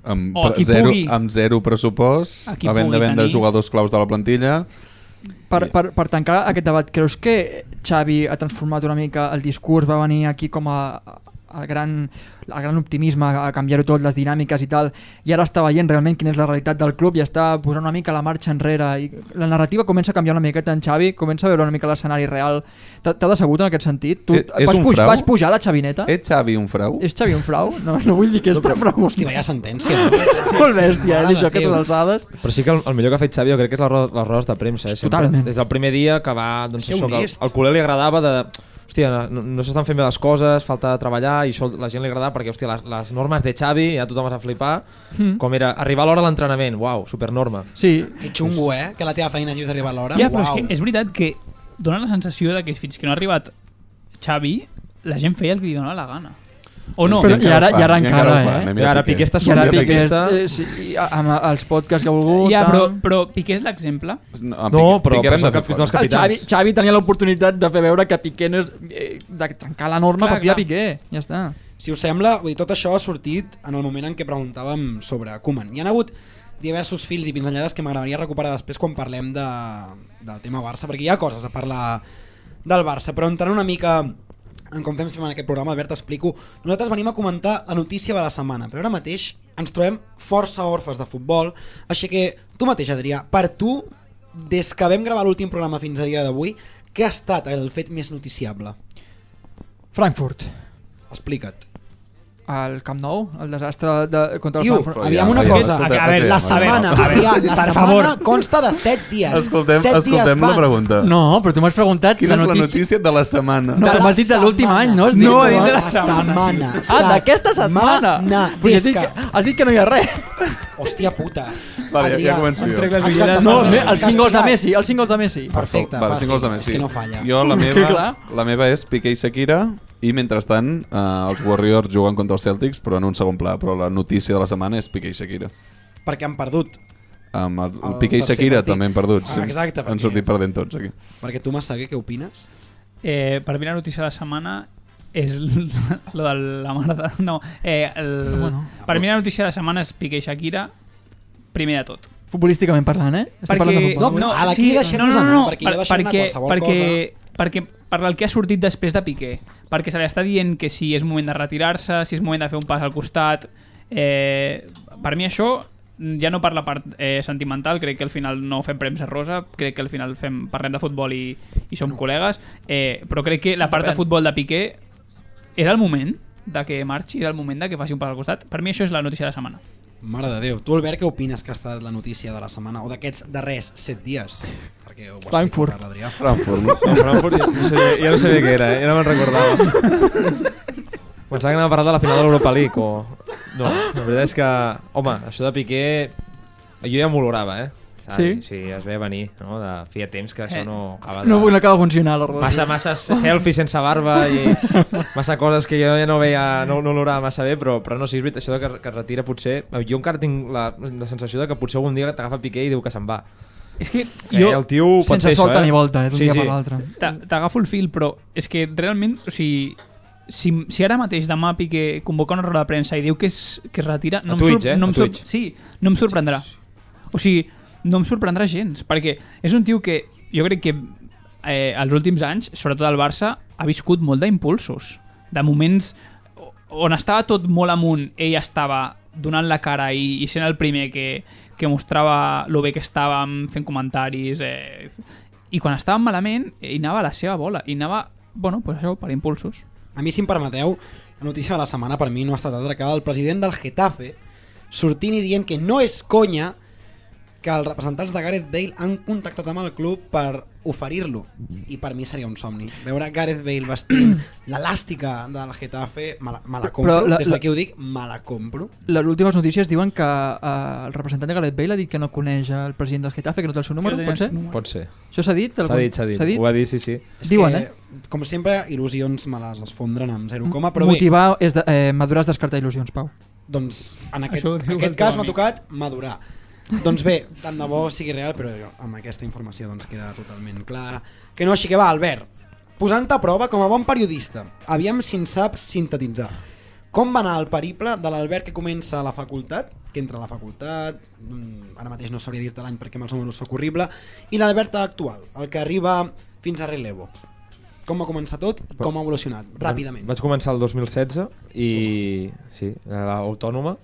Speaker 3: Amb,
Speaker 4: O
Speaker 3: pre-
Speaker 4: qui
Speaker 3: zero,
Speaker 4: pugui.
Speaker 3: amb zero pressupost,
Speaker 4: A qui
Speaker 3: havent de
Speaker 4: pugui
Speaker 3: vendre
Speaker 4: tenir.
Speaker 3: jugadors claus de la plantilla,
Speaker 2: Per, per, per tancar aquest debat, creus que Xavi ha transformat una mica el discurs, va venir aquí com a, a el gran, el gran optimisme, a canviar-ho tot, les dinàmiques i tal, i ara està veient realment quina és la realitat del club i està posant una mica la marxa enrere i la narrativa comença a canviar una miqueta en Xavi, comença a veure una mica l'escenari real. T'ha t'ha decebut en aquest sentit? Tu
Speaker 3: Eh, és
Speaker 2: vas,
Speaker 3: un
Speaker 2: puj,
Speaker 3: frau? Eh,
Speaker 2: vas pujar la
Speaker 1: Eh?
Speaker 2: Xavineta?
Speaker 3: ets Xavi un frau?
Speaker 2: És Xavi un frau? No, no vull dir que és tan frau.
Speaker 1: Hòstia, vaya sentència. no?
Speaker 2: Molt bèstia, eh,
Speaker 1: Mare de
Speaker 2: d'això, aquestes
Speaker 1: Déu.
Speaker 2: alçades.
Speaker 9: Però sí que el, el millor que ha fet Xavi jo crec que és la roda, les rodes de premsa. Eh? Sempre,
Speaker 2: Totalment.
Speaker 9: Des del primer dia que va... Doncs,
Speaker 1: Ser
Speaker 9: això, que
Speaker 1: honest.
Speaker 9: al culer li agradava de... Hòstia, no, no s'estan fent bé les coses, falta de treballar i això la gent li agradava perquè hòstia, les, les normes de Xavi ja tothom es va flipar.
Speaker 1: Hmm.
Speaker 9: Mm. Com era arribar a l'hora a l'entrenament, uau, supernorma.
Speaker 2: Sí,
Speaker 1: Que xungo, eh? Que la teva feina hagis d'arribar a l'hora.
Speaker 4: Ja,
Speaker 1: Uau.
Speaker 4: però és, que és veritat que dona la sensació de que fins que no ha arribat Xavi, la gent feia el que li donava la gana. O no?
Speaker 2: Però-
Speaker 4: Però,
Speaker 2: i ara- i ara encara, eh?
Speaker 9: I ara Piqué està
Speaker 2: I ara
Speaker 9: sortint
Speaker 2: Piqué,
Speaker 9: d'aquesta...
Speaker 2: eh, sí, i a- amb els podcasts que ha volgut...
Speaker 4: ja, però,
Speaker 2: tant.
Speaker 4: però Piqué és l'exemple.
Speaker 9: No,
Speaker 3: No,
Speaker 9: però- però
Speaker 3: Piqué l'hem
Speaker 9: són
Speaker 3: de fer
Speaker 9: cap- dels
Speaker 3: fora.
Speaker 2: El Xavi,
Speaker 9: capitans.
Speaker 2: Xavi tenia l'oportunitat de fer veure que Piqué no és... eh, de trencar la norma
Speaker 4: Clar,
Speaker 2: per tirar
Speaker 4: clar.
Speaker 2: Piqué. Ja està.
Speaker 1: Si us sembla, vull dir, tot això ha sortit en el moment en què preguntàvem sobre Koeman. Hi ha hagut diversos fils i pinzellades que m'agradaria recuperar després quan parlem de, del tema Barça, perquè hi ha coses a parlar del Barça, però entrant una mica en com fem sempre en aquest programa, Albert, t'explico. Nosaltres venim a comentar la notícia de la setmana, però ara mateix ens trobem força orfes de futbol, així que tu mateix, Adrià, per tu, des que vam gravar l'últim programa fins a dia d'avui, què ha estat el fet més noticiable?
Speaker 2: Frankfurt.
Speaker 1: Explica't.
Speaker 2: El Camp Nou, el desastre de, contra el
Speaker 1: Tio,
Speaker 2: Frankfurt.
Speaker 3: Però
Speaker 1: aviam
Speaker 3: ja,
Speaker 1: una
Speaker 3: ja,
Speaker 1: cosa.
Speaker 3: escolta,
Speaker 4: A veure,
Speaker 1: La
Speaker 4: A
Speaker 1: setmana,
Speaker 4: veure, a veure,
Speaker 1: Adrià, la
Speaker 4: per
Speaker 1: setmana
Speaker 4: favor.
Speaker 1: consta de 7 dies.
Speaker 3: Escoltem,
Speaker 1: set dies
Speaker 3: escoltem la
Speaker 1: van.
Speaker 3: pregunta.
Speaker 2: No, però tu m'has preguntat
Speaker 3: Quina és la notícia de la setmana?
Speaker 2: No,
Speaker 1: la
Speaker 2: m'has dit de l'últim
Speaker 1: setmana.
Speaker 2: any, no? Has dit,
Speaker 4: No,
Speaker 2: no?
Speaker 4: he dit de la
Speaker 1: La setmana.
Speaker 2: Ah, d'aquesta setmana! Però
Speaker 1: Des
Speaker 2: has, dit
Speaker 1: que...
Speaker 2: que, has dit que no hi ha res.
Speaker 1: Hòstia puta.
Speaker 3: Vale, ja,
Speaker 1: Adrià,
Speaker 3: ja començo jo.
Speaker 4: Entrega-
Speaker 1: exacte,
Speaker 2: No,
Speaker 1: perdó,
Speaker 2: no els 5 gols de
Speaker 1: castigat.
Speaker 2: Messi, els 5 gols de Messi.
Speaker 1: Perfecte,
Speaker 3: Vale,
Speaker 1: fàcil.
Speaker 3: cinc gols de Messi.
Speaker 1: És que no falla.
Speaker 3: Jo la
Speaker 2: Que
Speaker 3: meva,
Speaker 2: clar.
Speaker 3: la meva és Piqué i Shakira i mentrestant eh, els Warriors juguen contra els Celtics però en un segon pla, però la notícia de la setmana és Piqué i Shakira.
Speaker 1: Perquè han perdut.
Speaker 3: Amb el, el
Speaker 1: El
Speaker 3: Piqué i
Speaker 1: tercer
Speaker 3: Shakira
Speaker 1: partit.
Speaker 3: també hem perdut. Sí.
Speaker 1: Ah, exacte,
Speaker 3: Han
Speaker 1: perquè-
Speaker 3: sortit perdent tots eh? aquí.
Speaker 1: Perquè tu, Massaguer, què opines?
Speaker 4: Eh, per mi la notícia de la setmana és l- lo de la merda. No, eh, el, bueno, per mi la notícia de la setmana és Piqué i Shakira, primer de tot.
Speaker 2: Futbolísticament parlant, eh? Estem parlant de
Speaker 4: Perquè...
Speaker 2: futbol.
Speaker 1: No, cal, aquí deixem-nos anar, perquè jo deixo anar qualsevol
Speaker 4: perquè,
Speaker 1: cosa.
Speaker 4: Perquè per el que ha sortit després de Piqué, perquè se li està dient que si és moment de retirar-se, si és moment de fer un pas al costat, eh, per mi això ja no per la part eh, sentimental, crec que al final no fem premsa rosa, crec que al final fem, parlem de futbol i, i som col·legues, eh, però crec que la part de futbol de Piqué era el moment de que marxi, era el moment de que faci un pas al costat. Per mi això és la notícia de la setmana.
Speaker 1: Mare de Déu. Tu, Albert, què opines que ha estat la notícia de la setmana? O d'aquests darrers 7 dies? Perquè ho
Speaker 2: Frankfurt.
Speaker 1: explico, Adrià.
Speaker 3: Frankfurt, no?
Speaker 9: No, Frankfurt, ja, no sabia, ja no sabia què era, eh? ja no me'n recordava. Pensava que anava a parlar de la final de l'Europa League o... No, la veritat és que... Home, això de Piqué... Jo ja m'ho olorava, eh?
Speaker 2: Sí?
Speaker 9: Sí, es veia venir, no? De feia temps que això no acaba de...
Speaker 2: No, no acaba de funcionar la roda.
Speaker 9: Massa, massa selfies sense barba i massa coses que jo ja no veia, no, no l'olorava massa bé, però, però no, sí, és veritat, això de que, que es retira potser... Jo encara tinc la, la sensació de que potser algun dia t'agafa Piqué i diu que se'n va.
Speaker 4: És que
Speaker 9: Eh, el tio pot
Speaker 2: Sense
Speaker 9: fer això,
Speaker 2: solta
Speaker 9: eh?
Speaker 2: ni volta, eh, d'un
Speaker 9: Sí,
Speaker 2: dia
Speaker 9: sí.
Speaker 2: per l'altre.
Speaker 4: T'a- T'agafo el fil, però és que realment, o sigui, si, si ara mateix demà Piqué convoca una roda de premsa i diu que es, que es retira,
Speaker 9: A
Speaker 4: no, em,
Speaker 9: Twitch,
Speaker 4: sor-
Speaker 9: eh?
Speaker 4: no,
Speaker 9: A
Speaker 4: em sor
Speaker 9: Twitch.
Speaker 4: sí, no em sorprendrà. O sigui, no em sorprendrà gens, perquè és un tio que jo crec que eh, els últims anys, sobretot al Barça, ha viscut molt d'impulsos, de moments o- on estava tot molt amunt, ell estava donant la cara i, i sent el primer que, que mostrava lo bé que estàvem, fent comentaris, eh, i quan estàvem malament, ell anava a la seva bola, i anava, bueno, pues això, per impulsos.
Speaker 1: A mi, si em permeteu, la notícia de la setmana per mi no ha estat altra que el president del Getafe sortint i dient que no és conya que els representants de Gareth Bale han contactat amb el club per oferir-lo. I per mi seria un somni. Veure Gareth Bale vestint l'elàstica del Getafe, me la, me la compro.
Speaker 2: Però la-
Speaker 1: Des
Speaker 2: la-
Speaker 1: d'aquí ho dic, me la compro.
Speaker 2: Les últimes notícies diuen que eh, el representant de Gareth Bale ha dit que no coneix el president del Getafe, que no té el seu número, pot ser?
Speaker 9: Pot ser.
Speaker 2: Això s'ha dit?
Speaker 9: S'ha dit, s'ha dit. Ho va dir, sí, sí.
Speaker 1: És
Speaker 2: Diuen,
Speaker 1: que,
Speaker 2: eh?
Speaker 1: Com sempre, il·lusions me les esfondren amb zero coma, però
Speaker 2: Però Motivar és de, eh, madurar és descartar il·lusions, Pau.
Speaker 1: bé, doncs en aquest,
Speaker 4: Això ho
Speaker 1: en
Speaker 4: diu el
Speaker 1: aquest
Speaker 4: teu
Speaker 1: cas m'ha
Speaker 4: amic.
Speaker 1: tocat madurar. doncs bé, tant de bo sigui real, però jo, amb aquesta informació doncs queda totalment clar que no, així que va, Albert, posant a prova com a bon periodista. Aviam si en saps sintetitzar. Com va anar el periple de l'Albert que comença a la facultat, que entra a la facultat, mm, ara mateix no sabria dir-te l'any perquè amb els números sóc horrible, i l'Albert actual, el que arriba fins a relevo. Com va començar tot i com ha evolucionat, ràpidament.
Speaker 9: Vaig començar el 2016 i sí, a l'autònoma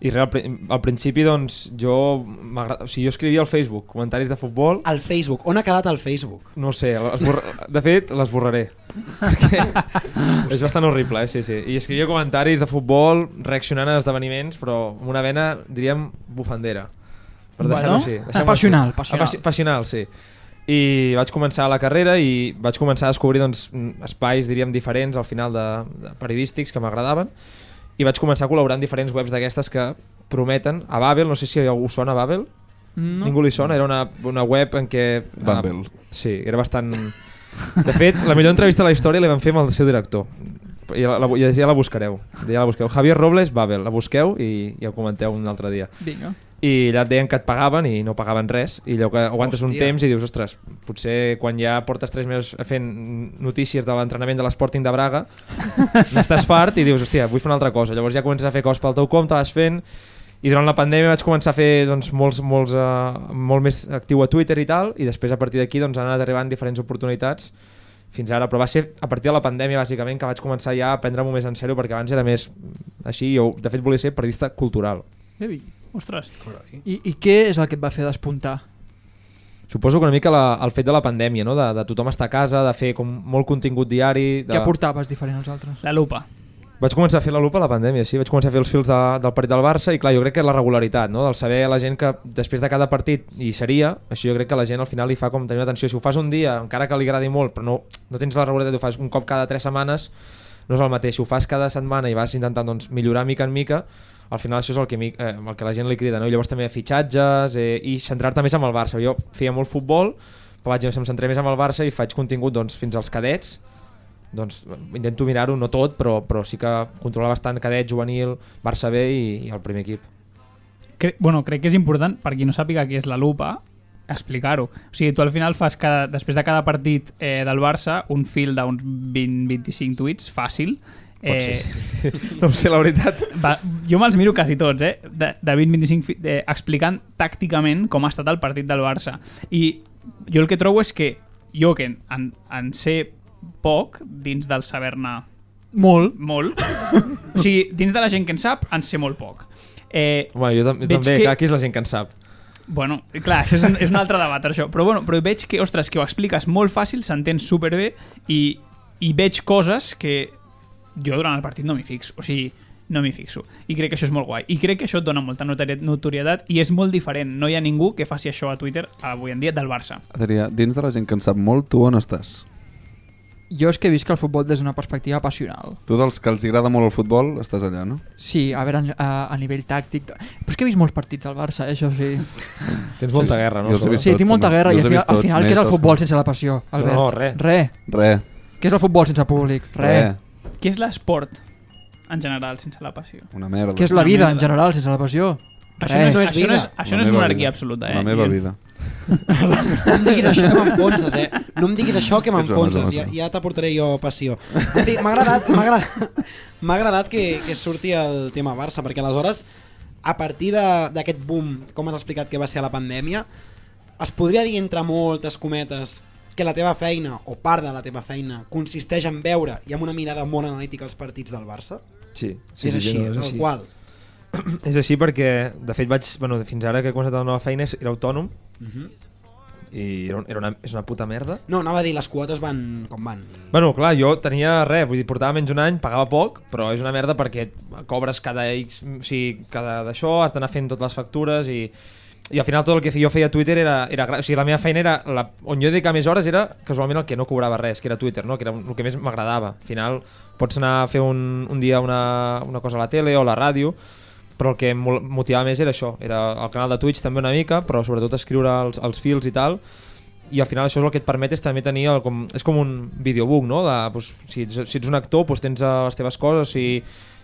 Speaker 9: i re, al, pri- al principi doncs jo m'agrada- o sigui, jo escrivia al Facebook comentaris de futbol
Speaker 1: Al Facebook, on ha quedat el Facebook?
Speaker 9: no ho sé, l'esborra- de fet l'esborraré perquè és bastant horrible, eh? sí, sí. i escrivia comentaris de futbol reaccionant a esdeveniments però amb una vena, diríem, bufandera per
Speaker 2: Bueno,
Speaker 9: deixar-ho així deixem-ho
Speaker 2: passional,
Speaker 9: així.
Speaker 2: passional.
Speaker 9: Apassi- passional, sí i vaig començar la carrera i vaig començar a descobrir doncs, mm, espais, diríem, diferents al final de, de periodístics que m'agradaven i vaig començar a col·laborar en diferents webs d'aquestes que prometen a Babel, no sé si a algú sona Babel no. ningú li sona, era una, una web en què ah,
Speaker 3: Babel.
Speaker 9: sí, era bastant de fet, la millor entrevista de la història la vam fer amb el seu director ja la, ja, ja la buscareu ja la busqueu. Javier Robles, Babel, la busqueu i, i el comenteu un altre dia
Speaker 2: Vinga.
Speaker 9: i allà et deien que et pagaven i no pagaven res i allò que aguantes Hòstia. un
Speaker 1: Hòstia.
Speaker 9: temps i dius, ostres, potser quan ja portes 3 mesos fent notícies de l'entrenament de l'Sporting de Braga n'estàs fart i dius, hòstia, vull fer una altra cosa llavors ja comences a fer cos pel teu compte, vas fent i durant la pandèmia vaig començar a fer doncs, molts, molts, uh, molt més actiu a Twitter i tal i després a partir d'aquí doncs, han anat arribant diferents oportunitats fins ara, però va ser a partir de la pandèmia bàsicament que vaig començar ja a prendre-m'ho més en sèrio perquè abans era més així, jo de fet volia ser periodista cultural
Speaker 2: Baby.
Speaker 4: Ostres,
Speaker 2: I, I què és el que et va fer despuntar?
Speaker 9: Suposo que una mica la, el fet de la pandèmia, no? de, de tothom estar a casa, de fer com molt contingut diari...
Speaker 2: De...
Speaker 9: De...
Speaker 2: Què portaves diferent als altres?
Speaker 4: la lupa.
Speaker 9: Vaig començar a fer la lupa a la pandèmia, sí. Vaig començar a fer els fils de, del partit del Barça i clar, jo crec que la regularitat, no? del saber la gent que després de cada partit hi seria, això jo crec que la gent al final li fa com tenir una atenció. Si ho fas un dia, encara que li agradi molt, però no, no tens la regularitat, ho fas un cop cada tres setmanes, no és el mateix. Si ho fas cada setmana i vas intentant doncs, millorar mica en mica, al final això és el que, mi- eh, el que la gent li crida. No? I llavors també fitxatges eh, i centrar-te més amb el Barça. Jo feia molt futbol, però vaig, em centré més amb el Barça i faig contingut doncs, fins als cadets, doncs intento mirar-ho, no tot, però, però sí que controla bastant cadet, juvenil, Barça B i, i el primer equip.
Speaker 4: Cre bueno, crec que és important, per qui no sàpiga què és la lupa, explicar-ho. O sigui, tu al final fas, cada, després de cada partit eh, del Barça, un fil d'uns 20-25 tuits, fàcil. Eh,
Speaker 9: Pot ser, sí. no ho sé, la veritat.
Speaker 4: va, jo me'ls miro quasi tots, eh? De, de 20-25 fi- eh, explicant tàcticament com ha estat el partit del Barça. I jo el que trobo és que jo, que en, en, en sé poc dins del saber-ne
Speaker 2: Molt.
Speaker 4: molt, o sigui, dins de la gent que en sap, en sé molt poc. Eh,
Speaker 9: Home, jo tam
Speaker 4: Veig
Speaker 9: també,
Speaker 4: que-
Speaker 9: que... clar, aquí és la gent que en sap.
Speaker 4: Bueno, clar, això és un, és un altre debat, això. Però, bueno, però veig que, ostres, que ho expliques molt fàcil, s'entén superbé i, i veig coses que jo durant el partit no m'hi fixo. O sigui, no m'hi fixo. I crec que això és molt guai. I crec que això et dona molta notori- notorietat i és molt diferent. No hi ha ningú que faci això a Twitter avui en dia del Barça.
Speaker 3: Adrià, dins de la gent que en sap molt, tu on estàs?
Speaker 2: Jo és que visc el futbol des d'una perspectiva passional.
Speaker 3: Tu dels que els agrada molt el futbol, estàs allà, no?
Speaker 2: Sí, a veure, a, a nivell tàctic... Però és que he vist molts partits al Barça, eh, això sí.
Speaker 9: Tens molta guerra, no?
Speaker 3: Jo els he
Speaker 9: sobre?
Speaker 3: vist
Speaker 2: Sí,
Speaker 3: Tots,
Speaker 2: tinc molta
Speaker 3: home.
Speaker 2: guerra i
Speaker 3: Jo els
Speaker 2: al final,
Speaker 3: he
Speaker 2: al
Speaker 3: vist tots,
Speaker 2: final
Speaker 3: més
Speaker 2: què és el
Speaker 3: tots,
Speaker 2: futbol
Speaker 3: no.
Speaker 2: sense la passió, Albert?
Speaker 9: No, res.
Speaker 2: Re.
Speaker 3: Re,
Speaker 2: Què és el futbol sense públic? Re.
Speaker 3: re,
Speaker 4: Què és l'esport en general, sense la passió?
Speaker 3: una merda.
Speaker 2: Què és la
Speaker 4: Una
Speaker 2: vida en
Speaker 4: merda.
Speaker 2: general sense la passió?
Speaker 4: Això no és,
Speaker 1: No és
Speaker 4: això no és,
Speaker 1: vida.
Speaker 4: això
Speaker 3: La
Speaker 4: no és
Speaker 3: meva
Speaker 4: monarquia
Speaker 3: vida.
Speaker 4: absoluta, eh?
Speaker 3: La meva
Speaker 4: Guillem?
Speaker 3: vida.
Speaker 1: No em diguis això que m'enfonses, eh? No em diguis això que
Speaker 3: broma, és
Speaker 1: m'enfonses,
Speaker 3: broma, és
Speaker 1: ja,
Speaker 3: broma.
Speaker 1: ja t'aportaré jo passió. En fi, m'ha agradat, m'ha agradat, m'ha agradat que, que surti el tema Barça, perquè aleshores, a partir de- d'aquest boom, com has explicat que va ser a la pandèmia, es podria dir entre moltes cometes que la teva feina, o part de la teva feina, consisteix en veure i amb una mirada molt analítica els partits del Barça?
Speaker 9: Sí,
Speaker 1: és així,
Speaker 9: no,
Speaker 1: tal qual.
Speaker 9: És així perquè, de fet, vaig, bueno, fins ara que he començat la nova feina és- era autònom i era, un- era una, és una puta merda.
Speaker 1: No, anava a dir, les quotes van com van.
Speaker 9: Bueno, clar, jo tenia res, vull dir, portava menys un any, pagava poc, però és una merda perquè cobres cada X, mm, o sigui, cada d'això, has d'anar fent totes les factures i, i al final tot el que jo feia a Twitter era, era gra- o sigui, la meva feina era, la, on jo dedicava més hores era casualment el que no cobrava res, que era Twitter, no? que era el que més m'agradava. Al final pots anar a fer un, un dia una, una cosa a la tele o a la ràdio, però el que em mol- motivava més era això, era el canal de Twitch també una mica, però sobretot escriure els, els fils i tal, i al final això és el que et permet és també tenir el, com, és com un videobook no? de, doncs, si, ets, si ets un actor doncs, tens eh, les teves coses si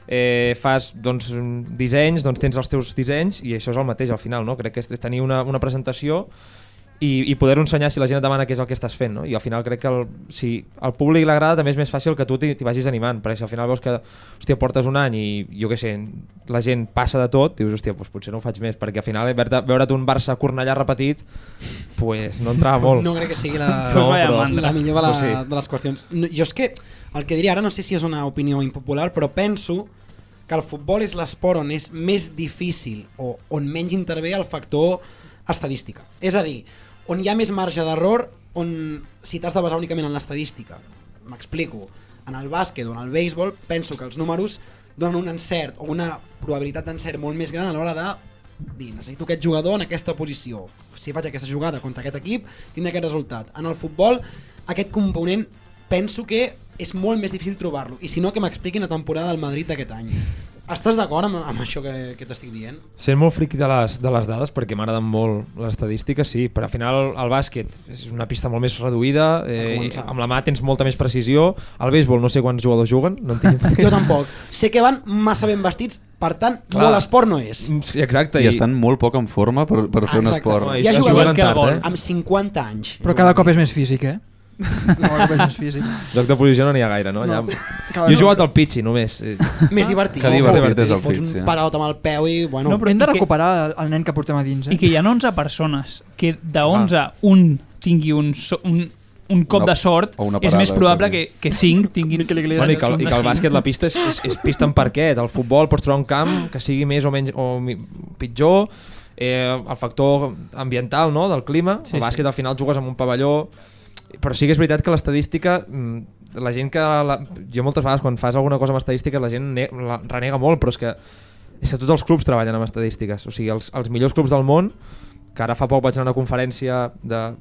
Speaker 9: eh, fas doncs, dissenys doncs, tens els teus dissenys i això és el mateix al final no? crec que és, és tenir una, una presentació i, i poder-ho ensenyar si la gent et demana què és el que estàs fent. No? I al final crec que el, si al públic l'agrada també és més fàcil que tu t'hi t'hi vagis animant, perquè si al final veus que hòstia, portes un any i jo què sé, la gent passa de tot, dius hòstia, doncs potser no ho faig més, perquè al final veure't, veure't un Barça-Cornellà repetit pues, no entrava molt.
Speaker 1: No crec que sigui la,
Speaker 9: No, però-
Speaker 1: la millor de, la,
Speaker 9: Pues sí.
Speaker 1: de les qüestions. No, jo és que el que diria ara no sé si és una opinió impopular, però penso que el futbol és l'esport on és més difícil o on menys intervé el factor estadística. És a dir, on hi ha més marge d'error on si t'has de basar únicament en l'estadística. M'explico. En el bàsquet o en el béisbol penso que els números donen un encert o una probabilitat d'encert molt més gran a l'hora de dir, necessito aquest jugador en aquesta posició. Si faig aquesta jugada contra aquest equip, tindré aquest resultat. En el futbol, aquest component penso que és molt més difícil trobar-lo. I si no, que m'expliquin la temporada del Madrid d'aquest any. Estàs d'acord amb, amb això que, que t'estic dient?
Speaker 9: Sent molt friqui de les, de les dades perquè m'agraden molt les estadístiques, sí, però al final el bàsquet és una pista molt més reduïda,
Speaker 1: Per
Speaker 9: eh,
Speaker 1: començar.
Speaker 9: amb la mà tens molta més precisió, al béisbol no sé quants jugadors juguen, no en tinc...
Speaker 1: Jo tampoc. Sé que van massa ben vestits, per tant,
Speaker 9: Clar.
Speaker 1: molt esport no és.
Speaker 9: Sí, Exacte,
Speaker 3: I estan molt poc en forma per, Mm, per fer un
Speaker 1: Exacte.
Speaker 3: esport.
Speaker 9: No,
Speaker 1: Hi ha
Speaker 9: juguen
Speaker 1: jugadors
Speaker 9: tard,
Speaker 1: que
Speaker 9: eh?
Speaker 1: amb 50 anys.
Speaker 2: Però cada cop és més físic, eh? Cada cop és més físic.
Speaker 9: Joc de posició no n'hi ha gaire, no? Allà...
Speaker 2: Cada
Speaker 9: Jo he
Speaker 2: cop-
Speaker 9: jugat al pitxi, només. eh.
Speaker 1: Més divertit.
Speaker 3: Que divertit és el
Speaker 1: Fots
Speaker 3: fit, sí.
Speaker 1: un parot amb el peu i... Bueno,
Speaker 4: No,
Speaker 2: Però hem
Speaker 4: I
Speaker 2: de
Speaker 4: que-
Speaker 2: recuperar el- el nen que portem a dins, eh?
Speaker 4: I que hi ha 11 persones que de 11 ah. un tingui un, so, un, un cop
Speaker 3: Una-
Speaker 4: de sort
Speaker 3: o una
Speaker 4: és
Speaker 3: parada,
Speaker 4: més probable que,
Speaker 3: també.
Speaker 4: que 5 tinguin...
Speaker 9: Bueno, i, que, el- I que el bàsquet, la pista és, és, és pista en parquet. El futbol pots trobar un camp que sigui més o menys o mi- pitjor, eh, el factor ambiental, no?, del clima.
Speaker 4: Sí,
Speaker 9: Sí, el bàsquet
Speaker 4: sí.
Speaker 9: al final jugues amb un pavelló... Però sí que és veritat que l'estadística... mm, La gent que... La, jo moltes vegades quan fas alguna cosa amb estadístiques la gent ne, la renega molt, però és que és que tots els clubs treballen amb estadístiques. O sigui, els, els millors clubs del món, que ara fa poc vaig anar a una conferència de-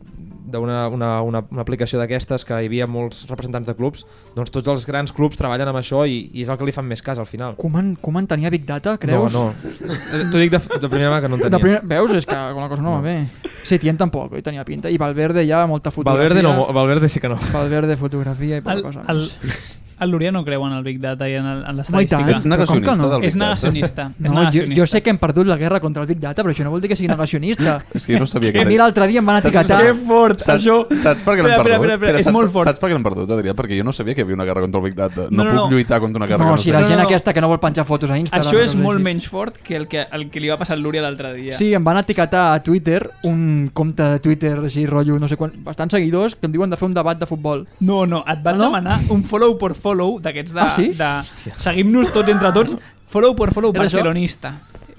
Speaker 9: d'una una, una, una aplicació d'aquestes que hi havia molts representants de clubs, doncs tots els grans clubs treballen amb això i, i és el que li fan més cas al final.
Speaker 2: Koeman, Koeman tenia Big Data, creus?
Speaker 9: No, no. Eh, T'ho dic de, de primera mà que no en
Speaker 2: De
Speaker 9: tenia.
Speaker 2: primer, veus? És que alguna cosa no va bé. Setien tampoc, oi? Tenia pinta. I Valverde ja, molta fotografia.
Speaker 9: Valverde, no, Valverde sí que no.
Speaker 2: Valverde, fotografia i poca
Speaker 4: El,
Speaker 2: cosa
Speaker 4: el,
Speaker 2: més.
Speaker 4: el Lurià no creu en el Big Data i en, el, en
Speaker 2: Home, i tant.
Speaker 4: l'estadística.
Speaker 3: Ets
Speaker 2: Però com que
Speaker 3: negacionista
Speaker 2: no?
Speaker 3: del
Speaker 4: És
Speaker 3: Big Data?
Speaker 4: negacionista. És
Speaker 2: No, jo,
Speaker 4: negacionista.
Speaker 2: jo sé que hem perdut la guerra contra el Big Data, però això no vol dir que sigui negacionista.
Speaker 3: És que jo no sabia
Speaker 2: a
Speaker 3: que...
Speaker 2: mi Eh, l'altre dia em van
Speaker 3: Saps-
Speaker 2: etiquetar...
Speaker 3: saps-
Speaker 4: fort,
Speaker 3: Saps, saps per què l'han
Speaker 4: Espera,
Speaker 3: perdut?
Speaker 4: espera, espera, és
Speaker 3: saps,
Speaker 4: molt fort.
Speaker 3: Saps per què l'han perdut, Adrià? Perquè jo no sabia que hi havia una guerra contra el Big Data. No,
Speaker 4: No, no,
Speaker 3: puc
Speaker 4: no.
Speaker 3: lluitar contra una guerra
Speaker 2: No,
Speaker 3: que no
Speaker 2: si la
Speaker 3: sé.
Speaker 2: gent
Speaker 4: no.
Speaker 2: aquesta que no vol penjar fotos a Instagram...
Speaker 4: Això és
Speaker 2: no
Speaker 4: molt
Speaker 2: sé.
Speaker 4: menys fort que el que, el que li va passar al Lurià l'altre dia.
Speaker 2: Sí, em van etiquetar a Twitter un compte de Twitter així, rotllo, no sé quan, bastants seguidors, que em diuen de fer un debat de futbol.
Speaker 4: No, no, et van
Speaker 2: No?
Speaker 4: no? demanar un follow por follow d'aquests de...
Speaker 2: Ah, sí?
Speaker 4: de Seguim-nos tots entre tots, follow por follow
Speaker 2: Era això?
Speaker 4: barcelonista.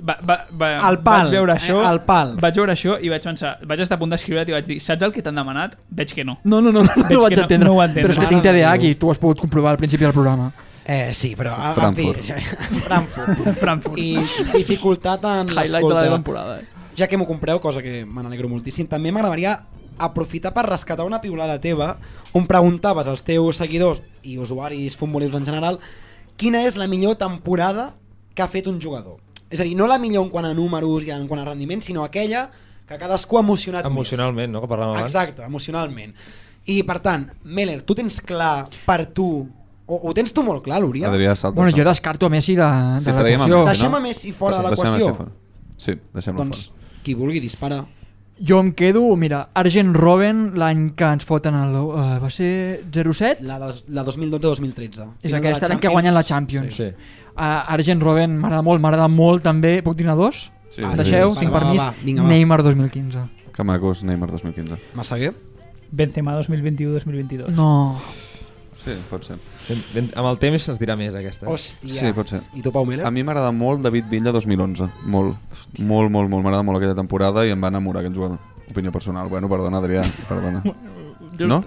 Speaker 4: Va, va, va,
Speaker 1: Al pal,
Speaker 4: vaig veure això,
Speaker 1: eh, al pal.
Speaker 4: Vaig veure això i vaig pensar, vaig estar a punt d'escriure i vaig dir, saps el que t'han demanat? Veig que no.
Speaker 2: No, no, no, no, no
Speaker 4: Veig
Speaker 2: ho vaig
Speaker 4: que no-
Speaker 2: entendre.
Speaker 4: no ho entenc.
Speaker 2: Però és que
Speaker 1: Mare
Speaker 2: tinc
Speaker 1: de
Speaker 2: TDAH
Speaker 1: Déu.
Speaker 2: i tu ho has pogut comprovar al principi del programa.
Speaker 1: Eh, sí, però... a-
Speaker 3: Frankfurt.
Speaker 1: En fi, Frankfurt.
Speaker 4: Frankfurt.
Speaker 1: I dificultat en
Speaker 2: Highlight de la
Speaker 1: l'escolta.
Speaker 2: temporada. Eh?
Speaker 1: ja que m'ho compreu, cosa que me n'alegro moltíssim, també m'agradaria aprofitar per rescatar una piulada teva on preguntaves als teus seguidors i usuaris futbolers en general quina és la millor temporada que ha fet un jugador. És a dir, no la millor en quant a números i en quant a rendiment, sinó aquella que cadascú ha emocionat més.
Speaker 9: Emocionalment, no?, que parlàvem abans.
Speaker 1: Exacte, emocionalment. I per tant, Meller, tu tens clar per tu, o ho tens tu molt clar, l'Oriol?
Speaker 3: Adrià, salta.
Speaker 2: Bueno, jo descarto a Messi de, de
Speaker 3: Sí, traiem a
Speaker 2: l'equació.
Speaker 3: Messi,
Speaker 1: Deixem
Speaker 3: no?
Speaker 1: a Messi fora de
Speaker 3: Deixem- deixem
Speaker 1: l'equació.
Speaker 3: Messi fora. Sí, deixem-lo
Speaker 1: Doncs
Speaker 3: fora.
Speaker 1: qui vulgui dispara.
Speaker 2: Jo em quedo, mira, Argent Robben, l'any que ens foten el... Uh, va ser 07?
Speaker 1: La, dos, la 2012-2013.
Speaker 2: És aquesta l'any que guanyen la Champions. Sí. Uh, Argent Robben m'agrada molt, m'agrada molt també. Puc dir-ne dos?
Speaker 3: Sí,
Speaker 1: Ah,
Speaker 3: sí,
Speaker 2: Deixeu,
Speaker 1: va,
Speaker 3: sí.
Speaker 2: tinc
Speaker 1: va,
Speaker 2: permís.
Speaker 1: va, vinga, va.
Speaker 2: Neymar 2015.
Speaker 3: Que macos, Neymar 2015.
Speaker 1: Massaguer?
Speaker 4: Benzema 2021-2022.
Speaker 2: No.
Speaker 3: Sí, pot ser.
Speaker 9: Ben, ben, amb el temps es dirà més, aquesta.
Speaker 1: Hòstia.
Speaker 3: Sí, pot ser.
Speaker 1: I tu, Pau Miller?
Speaker 3: A mi m'agrada molt David Villa 2011. Molt, molt, molt, molt. M'agrada molt aquella temporada i em va enamorar aquest jugador. Opinió personal. Bueno, perdona, Adrià. Perdona. No?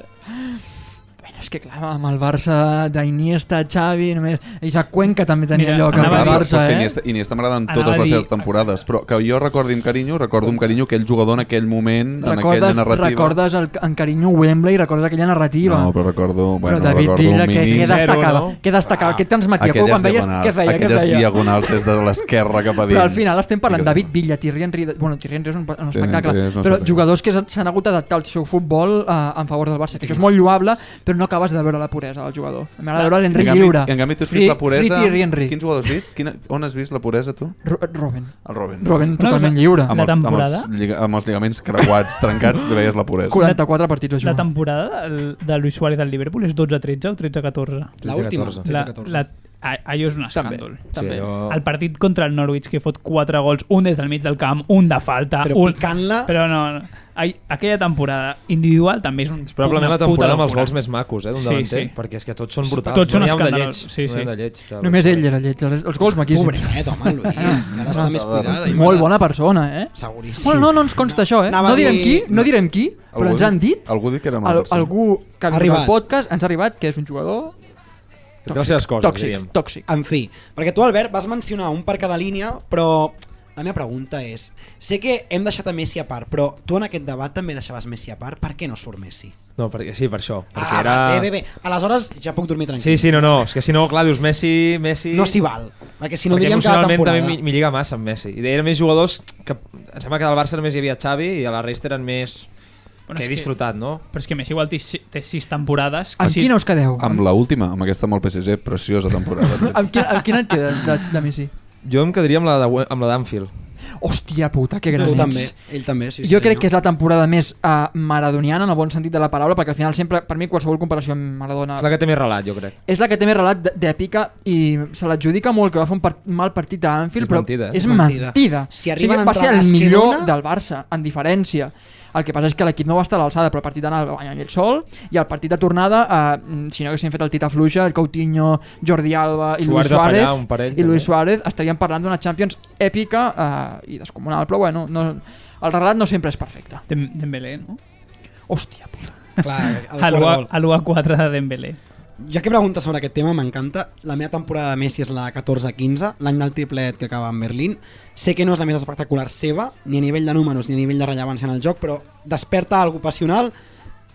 Speaker 2: Bueno, és que clar, amb el Barça d'Iniesta, Xavi, només... Isaac Cuenca també tenia
Speaker 4: Mira,
Speaker 2: Mira, lloc
Speaker 4: anava
Speaker 2: al
Speaker 4: a dir-
Speaker 2: Barça,
Speaker 3: Però és que
Speaker 2: eh?
Speaker 3: Iniesta, Iniesta m'agrada en
Speaker 4: Anava
Speaker 3: totes
Speaker 4: a
Speaker 3: les
Speaker 4: dir-
Speaker 3: seves temporades, però que jo recordi amb carinyo, recordo amb carinyo aquell jugador en aquell moment, en aquella
Speaker 2: Recordes,
Speaker 3: narrativa.
Speaker 2: recordes el, en carinyo Wembley, recordes aquella narrativa.
Speaker 3: No, però recordo... Bueno,
Speaker 2: Però David
Speaker 3: recordo
Speaker 2: Villa,
Speaker 3: un
Speaker 2: que,
Speaker 3: mínim.
Speaker 2: que destacava,
Speaker 9: Zero, no?
Speaker 2: que destacava, que transmetia, que
Speaker 3: aquelles
Speaker 2: quan veies
Speaker 3: diagonals,
Speaker 2: què feia, què
Speaker 3: aquelles
Speaker 2: feia.
Speaker 3: diagonals des de l'esquerra cap a dins.
Speaker 2: Però al final estem parlant de
Speaker 3: Digues-me.
Speaker 2: David Villa, Thierry Henry... de- Bueno, Thierry Henry és un, un
Speaker 3: Thierry
Speaker 2: espectacle,
Speaker 3: Henry és un
Speaker 2: però
Speaker 3: espectacle.
Speaker 2: jugadors que s'han s'han hagut d'adaptar al seu futbol eh, en favor del Barça, que això és molt lloable, però no acabes de veure la puresa del jugador. M'agrada veure l'Enric
Speaker 3: canvi-
Speaker 2: Lliure.
Speaker 3: En canvi, tu has
Speaker 2: Free-
Speaker 3: vist la puresa...
Speaker 2: Free Thierry Henry.
Speaker 3: Quins jugadors has vist? Quina, on has vist la puresa, tu?
Speaker 2: Ro- Robin.
Speaker 3: El Robin.
Speaker 2: Robin
Speaker 4: Una
Speaker 2: totalment
Speaker 4: cosa-
Speaker 2: lliure.
Speaker 4: Amb La temporada?
Speaker 3: Amb els, lliga, amb els lligaments creuats, trencats, veies la puresa.
Speaker 2: 44 partits a
Speaker 4: La
Speaker 2: jugar.
Speaker 4: temporada del- de Luis Suárez al Liverpool és 12-13 o 13-14?
Speaker 1: La última,
Speaker 9: 13-14.
Speaker 1: 13-14.
Speaker 4: La, la, a- allò és un escàndol.
Speaker 9: També. Sí, allò-
Speaker 4: El partit contra el Norwich que fot 4 gols, un des del mig del camp, un de falta...
Speaker 1: Però
Speaker 4: un...
Speaker 1: picant-la...
Speaker 4: Però no, no. Ai, aquella temporada individual també és un...
Speaker 9: Probablement la
Speaker 4: una
Speaker 9: temporada
Speaker 4: puta
Speaker 9: amb els
Speaker 4: locura.
Speaker 9: gols més macos, eh, d'un
Speaker 4: Sí,
Speaker 9: sí, davanter,
Speaker 4: sí.
Speaker 9: sí. perquè és que tots són
Speaker 4: Sí,
Speaker 9: brutals.
Speaker 4: tots són
Speaker 9: no hi ha un de
Speaker 4: escàndols,
Speaker 9: lleig,
Speaker 4: sí,
Speaker 9: no hi ha
Speaker 4: sí.
Speaker 9: un de lleig, de-
Speaker 2: Només ell era lleig. Els, els gols maquíssims. Ah.
Speaker 1: Pobret, home, el eh, Luis, que ara està més cuidada. i
Speaker 2: Molt
Speaker 1: m'agrada.
Speaker 2: bona persona, eh?
Speaker 1: Seguríssim.
Speaker 2: Bueno, no, no ens consta això, eh?
Speaker 1: Anava
Speaker 2: No
Speaker 1: a
Speaker 2: direm
Speaker 1: dir-
Speaker 2: qui, no direm qui, però
Speaker 3: Algú
Speaker 2: ens han dit,
Speaker 3: Algú dit que era mal
Speaker 2: al, algú que ha vingut
Speaker 1: Arribat.
Speaker 2: al podcast, ens ha arribat que és un jugador
Speaker 9: Que té les seves coses,
Speaker 2: tòxic,
Speaker 9: diríem.
Speaker 2: tòxic.
Speaker 1: En fi, perquè tu, Albert, vas mencionar un per cada línia, però la meva pregunta és, sé que hem deixat a Messi a part, però tu en aquest debat també deixaves Messi a part, per què no surt Messi?
Speaker 9: No, perquè, sí, per això. Perquè
Speaker 1: ah,
Speaker 9: era...
Speaker 1: Bé, bé, bé, aleshores ja puc dormir tranquil.
Speaker 9: Sí, sí, no, no, és que si no, clar, dius Messi, Messi...
Speaker 1: No s'hi val, perquè si no
Speaker 9: perquè
Speaker 1: diríem que la
Speaker 9: emocionalment
Speaker 1: temporada...
Speaker 9: també m'hi- m'hi lliga massa amb Messi. I era més jugadors que... Em sembla que del Barça només hi havia Xavi i a la resta eren més...
Speaker 4: Bueno,
Speaker 9: que
Speaker 4: és
Speaker 9: he
Speaker 4: que-
Speaker 9: disfrutat, no?
Speaker 4: Però és que Messi igual té, si- té sis temporades... que
Speaker 1: Ah,
Speaker 2: Amb
Speaker 4: si-
Speaker 2: quina us quedeu?
Speaker 3: Amb la última, amb aquesta amb el PSG, preciosa temporada.
Speaker 2: Amb, qui, amb quina et quedes de, de Messi?
Speaker 9: Jo em quedaria amb la de- amb la d'Anfield.
Speaker 2: Hòstia puta, que gran
Speaker 1: Tu
Speaker 2: ets.
Speaker 1: també, ell també, sí,
Speaker 2: Jo
Speaker 1: sí,
Speaker 2: crec
Speaker 1: no?
Speaker 2: que és la temporada més uh, maradoniana en el bon sentit de la paraula, perquè al final sempre, per mi qualsevol comparació amb Maradona
Speaker 9: És la que té més relat, jo crec.
Speaker 2: és la que té més relat d- d'èpica i se l'adjudica molt que va fer un part mal partit a Anfield,
Speaker 9: És
Speaker 2: però
Speaker 9: mentida, eh?
Speaker 2: és
Speaker 1: És mentida.
Speaker 2: mentida.
Speaker 1: Si arriben a
Speaker 2: va ser
Speaker 1: entrar
Speaker 2: el
Speaker 1: Esquerona-
Speaker 2: millor del Barça, en diferència. El que passa és que l'equip no va estar a l'alçada, però el partit d'anar el guanyar ell sol i el partit de tornada, eh, mm, si no haguessin fet el tita fluixa, el Coutinho, Jordi Alba i
Speaker 9: Suárez
Speaker 2: Luis
Speaker 9: va
Speaker 2: Suárez,
Speaker 9: fallar un parell,
Speaker 2: i Luis
Speaker 9: també.
Speaker 2: Suárez estaríem parlant d'una Champions èpica eh, i descomunal, però bueno, no, el relat no sempre és perfecte.
Speaker 4: Dem- Dembélé, no?
Speaker 2: Hòstia puta.
Speaker 1: Clar, el
Speaker 4: A
Speaker 1: quart gol.
Speaker 4: l'1-4 de Dembélé.
Speaker 1: Ja que preguntes sobre aquest tema, m'encanta. La meva temporada de Messi és la 14-15, l'any del triplet que acaba en Berlín. Sé que no és la més espectacular seva, ni a nivell de números ni a nivell de rellevància en el joc, però desperta algo passional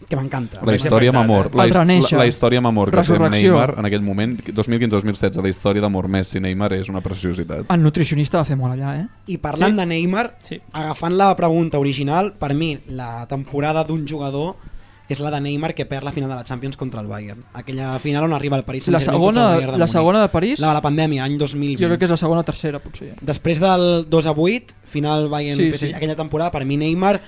Speaker 1: que m'encanta.
Speaker 3: La història amb amor. La,
Speaker 2: El
Speaker 3: his-
Speaker 2: Renéixer.
Speaker 3: la, la història amb amor que té amb
Speaker 2: Resurrecció.
Speaker 3: Neymar en aquell moment, 2015-2016, la història d'amor Messi-Neymar és una preciositat.
Speaker 2: El nutricionista va fer molt allà, eh?
Speaker 1: I parlant sí. de Neymar,
Speaker 4: Sí.
Speaker 1: sí. agafant la pregunta original, per mi la temporada d'un jugador és la de Neymar que perd la final de la Champions contra el Bayern. Aquella final on arriba el Paris
Speaker 2: La
Speaker 1: Saint-Germain contra el
Speaker 2: segona,
Speaker 1: Bayern tota de
Speaker 2: la
Speaker 1: Múnich.
Speaker 2: segona de París,
Speaker 1: La de la pandèmia, any 2020.
Speaker 2: jo crec que és la segona o tercera, potser. Ja.
Speaker 1: Després del 2 a 8, final Bayern
Speaker 2: Sí,
Speaker 1: sí, PSG,
Speaker 2: sí.
Speaker 1: sí. aquella temporada, per mi Neymar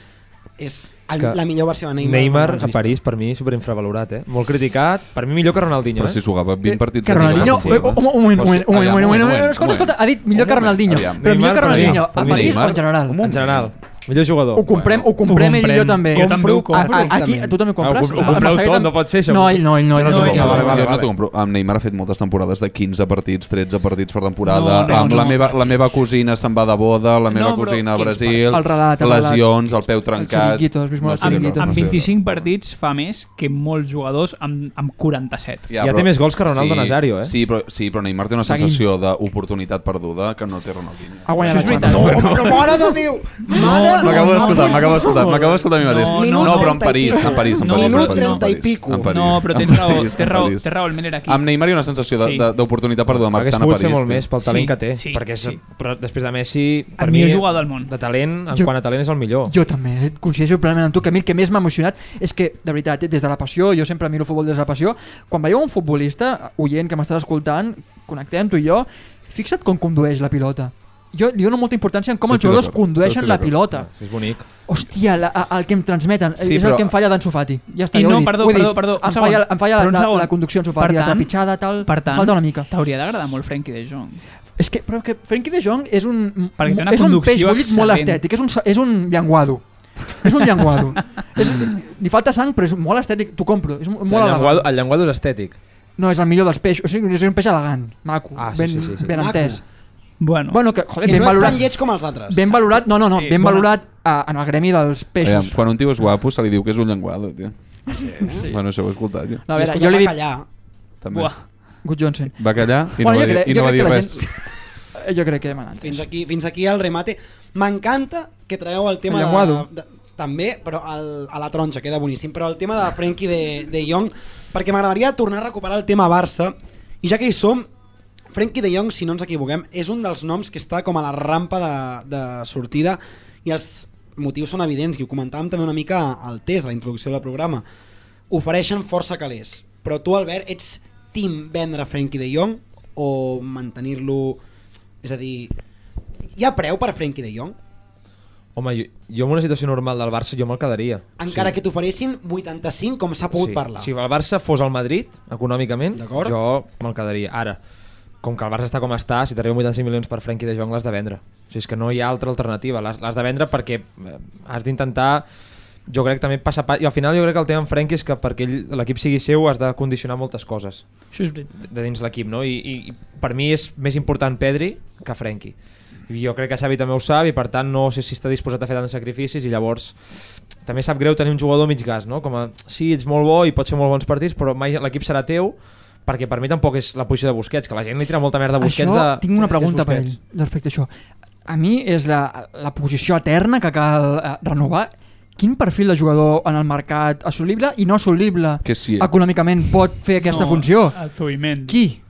Speaker 1: és el,
Speaker 9: que
Speaker 1: la millor versió de Neymar.
Speaker 9: Neymar
Speaker 1: que
Speaker 9: a
Speaker 1: hem vist.
Speaker 9: París, per mi, superinfravalorat, eh? Molt criticat, per mi millor que Ronaldinho,
Speaker 3: Però si
Speaker 9: eh?
Speaker 3: jugava 20 partits...
Speaker 2: que Ronaldinho...
Speaker 3: de
Speaker 2: eh,
Speaker 3: Lliga,
Speaker 2: oh, Un moment, un moment, un moment, un moment, un moment, un moment. Escolta,
Speaker 3: Aviam, eh? un moment.
Speaker 2: escolta, ha dit millor que Ronaldinho.
Speaker 3: Aviam.
Speaker 2: Però millor que
Speaker 9: Neymar,
Speaker 2: Ronaldinho,
Speaker 9: Neymar,
Speaker 2: a París o
Speaker 3: Neymar.
Speaker 2: en general?
Speaker 3: Un moment.
Speaker 9: En general, millor jugador.
Speaker 2: Ho comprem, ho comprem ell i jo
Speaker 4: comprem.
Speaker 2: també.
Speaker 4: Jo també ho
Speaker 2: A- a-
Speaker 1: compro.
Speaker 2: Aquí, tu també
Speaker 9: Ah, ho
Speaker 2: compres?
Speaker 9: comp- ho compreu tot, no pot ser això.
Speaker 2: No, ell no, ell no. ell
Speaker 9: Jo no t'ho
Speaker 2: ell
Speaker 9: compro.
Speaker 3: vale, vale,
Speaker 9: vale,
Speaker 3: jo no
Speaker 9: vale.
Speaker 3: t'ho compro. Amb Neymar ha fet moltes temporades de 15 partits, 13 partits per temporada.
Speaker 4: No, no,
Speaker 3: amb
Speaker 4: no.
Speaker 3: la, meva, la meva cosina se'n va de boda, la meva
Speaker 4: No, però
Speaker 3: cosina a
Speaker 1: 15
Speaker 3: Brasil,
Speaker 2: partits. El relat, el relat.
Speaker 3: lesions, el peu trencat...
Speaker 2: xiringuito, has vist molt
Speaker 3: sé
Speaker 2: el
Speaker 3: què,
Speaker 2: xiringuito.
Speaker 3: no
Speaker 4: Amb
Speaker 3: sé què.
Speaker 4: 25 partits fa més que molts jugadors amb, amb 47.
Speaker 9: Ja té més gols que Ronaldo Nazario, eh?
Speaker 3: Sí però, sí, però Neymar té una
Speaker 2: Seguim.
Speaker 3: sensació d'oportunitat perduda que no té Ronaldinho.
Speaker 2: Ha guanyat la
Speaker 4: veritat.
Speaker 2: Champions.
Speaker 1: No, Oh, però mare de Déu! Mare de
Speaker 3: M'acabo
Speaker 1: Déu!
Speaker 3: d'escoltar, m'acabo d'escoltar, m'acabo d'escoltar a mi mateix.
Speaker 1: Minut
Speaker 3: no, però en
Speaker 1: 30 i
Speaker 3: París,
Speaker 1: pico.
Speaker 3: en París, en
Speaker 4: No,
Speaker 3: París. en
Speaker 4: minut
Speaker 3: París, en
Speaker 1: 30 i
Speaker 3: París,
Speaker 1: pico.
Speaker 3: en París,
Speaker 4: No, però
Speaker 3: en
Speaker 4: tens raó,
Speaker 3: París,
Speaker 4: té
Speaker 3: en
Speaker 4: raó,
Speaker 3: París.
Speaker 4: té raó el Mener aquí.
Speaker 3: Amb Neymar hi ha una sensació de-
Speaker 4: Sí.
Speaker 3: de- d'oportunitat perduda
Speaker 9: Hagués
Speaker 3: marxant a
Speaker 9: pogut fer
Speaker 3: París.
Speaker 9: molt més pel talent
Speaker 4: Sí,
Speaker 9: que té,
Speaker 4: sí,
Speaker 9: perquè és,
Speaker 4: sí.
Speaker 9: però després de Messi, per
Speaker 4: El
Speaker 9: mi,
Speaker 4: millor jugador del món.
Speaker 9: de talent, en
Speaker 2: Jo-
Speaker 9: quant a talent és el
Speaker 3: Oh.
Speaker 9: millor.
Speaker 2: Jo també, eh, coincideixo plenament amb tu, que a mi el que més m'ha emocionat és que, de veritat, eh, des de la passió, jo sempre miro el futbol des de la passió, quan veieu un futbolista, oient que m'estàs escoltant, connectem tu i jo, fixa't com condueix la pilota. Jo li dono molta importància en com
Speaker 3: Sí,
Speaker 2: els
Speaker 3: estic
Speaker 2: jugadors
Speaker 3: d'acord.
Speaker 2: condueixen
Speaker 3: Sí, estic
Speaker 2: la
Speaker 3: d'acord.
Speaker 2: pilota.
Speaker 9: És bonic.
Speaker 2: Hòstia, la, a- el que em transmeten
Speaker 3: Ah. Sí,
Speaker 2: sí, és
Speaker 3: però-
Speaker 2: el que em falla d'en Sofati. Ja està,
Speaker 4: I
Speaker 2: ja
Speaker 4: no,
Speaker 2: ho he dit,
Speaker 4: perdó,
Speaker 2: ho he dit.
Speaker 4: perdó, perdó, un
Speaker 2: Em
Speaker 4: segon.
Speaker 2: falla, em falla
Speaker 4: Però un
Speaker 2: la, la,
Speaker 4: segon.
Speaker 2: la conducció en
Speaker 4: Per
Speaker 2: Sofati, la
Speaker 4: tant-
Speaker 2: trepitjada, tal...
Speaker 4: Per tant,
Speaker 2: falta una mica.
Speaker 4: t'hauria d'agradar molt Frenkie de Jong.
Speaker 2: És que, però que Frenkie de Jong és un,
Speaker 4: Perquè té una
Speaker 2: és un
Speaker 4: conducció
Speaker 2: peix bullit molt
Speaker 4: excel·lent.
Speaker 2: estètic, és un, és un llenguado. És un llenguado. és, li falta sang, però és molt estètic, t'ho compro. És molt
Speaker 9: O sigui, el, llenguado,
Speaker 2: elegant.
Speaker 9: el llenguado és estètic.
Speaker 2: No, és el millor dels peixos. O sigui, és un peix elegant, maco,
Speaker 9: Ah, sí,
Speaker 2: ben,
Speaker 9: sí, sí, sí.
Speaker 2: ben
Speaker 1: Maco.
Speaker 2: entès.
Speaker 4: Bueno,
Speaker 2: Bueno, que, joder,
Speaker 1: Que
Speaker 2: ben
Speaker 1: no és tan
Speaker 2: valorat,
Speaker 1: lleig com els altres.
Speaker 2: ben valorat, no, no, no,
Speaker 4: Sí,
Speaker 2: ben
Speaker 4: bona-
Speaker 2: valorat a, en el gremi dels
Speaker 3: Aviam,
Speaker 2: peixos.
Speaker 3: quan un tio és guapo se li diu que és un llenguado, tio. Bueno, això ho he escoltat, jo.
Speaker 2: No, a veure,
Speaker 1: I
Speaker 2: jo
Speaker 1: escolta,
Speaker 2: li dic...
Speaker 1: va callar.
Speaker 3: També.
Speaker 4: buah,
Speaker 2: Good Johnson.
Speaker 3: Va callar i no
Speaker 2: Bueno,
Speaker 3: va
Speaker 2: jo
Speaker 3: dir-
Speaker 2: crec-
Speaker 3: i
Speaker 2: jo
Speaker 3: no va
Speaker 2: crec
Speaker 3: dir
Speaker 2: que la
Speaker 3: res.
Speaker 2: gent- Eh, Jo crec que m'han entès.
Speaker 1: Fins aquí, fins aquí el remate. M'encanta que traieu el tema
Speaker 2: El llenguado.
Speaker 1: de, de, també, però el, a la tronxa queda boníssim, però el tema de Frenkie de, de Jong, perquè m'agradaria tornar a recuperar el tema Barça, i ja que hi som, Frenkie de Jong, si no ens equivoquem, és un dels noms que està com a la rampa de, de sortida i els motius són E evidents, i ho comentàvem també una mica al test, la introducció del programa. Ofereixen força calés. Però tu, Albert, ets team vendre Frenkie de Jong o mantenir-lo... És a dir, hi ha preu per Frenkie de Jong?
Speaker 9: Home, jo, jo en una situació normal del Barça jo me'l quedaria.
Speaker 1: Encara sí. que t'oferessin 85 com s'ha pogut
Speaker 9: sí.
Speaker 1: parlar.
Speaker 9: Si el Barça fos el Madrid, econòmicament,
Speaker 1: D'acord.
Speaker 9: jo me'l quedaria. Ara, com que el Barça està com està, si t'arriben 85 milions per Frenkie de Jong l'has de vendre. O sigui, és que no hi ha altra alternativa. L'has l'has de vendre perquè eh, has d'intentar jo crec també passa pas, i al final jo crec que el tema amb Frenkie és que perquè ell- l'equip sigui seu has de condicionar moltes coses
Speaker 4: Això és veritat.
Speaker 9: de dins l'equip, no? I, i, i per mi és més important Pedri que Frenkie. I jo crec que Xavi també ho sap i per tant no sé si està disposat a fer tants sacrificis i llavors també sap greu tenir un jugador mig gas, no? Com a, sí, ets molt bo i pots fer molt bons partits, però mai l'equip serà teu perquè per mi tampoc és la posició de Busquets, que la gent li tira molta merda a Busquets.
Speaker 2: això,
Speaker 9: de,
Speaker 2: tinc una
Speaker 9: és
Speaker 2: pregunta per ell
Speaker 9: Busquets.
Speaker 2: respecte a això. A mi és la, la posició eterna que cal eh, renovar. Quin perfil de jugador en el mercat assolible i no assolible
Speaker 3: Que sí, eh?
Speaker 2: econòmicament pot fer aquesta
Speaker 4: No,
Speaker 2: funció?
Speaker 4: El Zubimendi.
Speaker 2: Qui?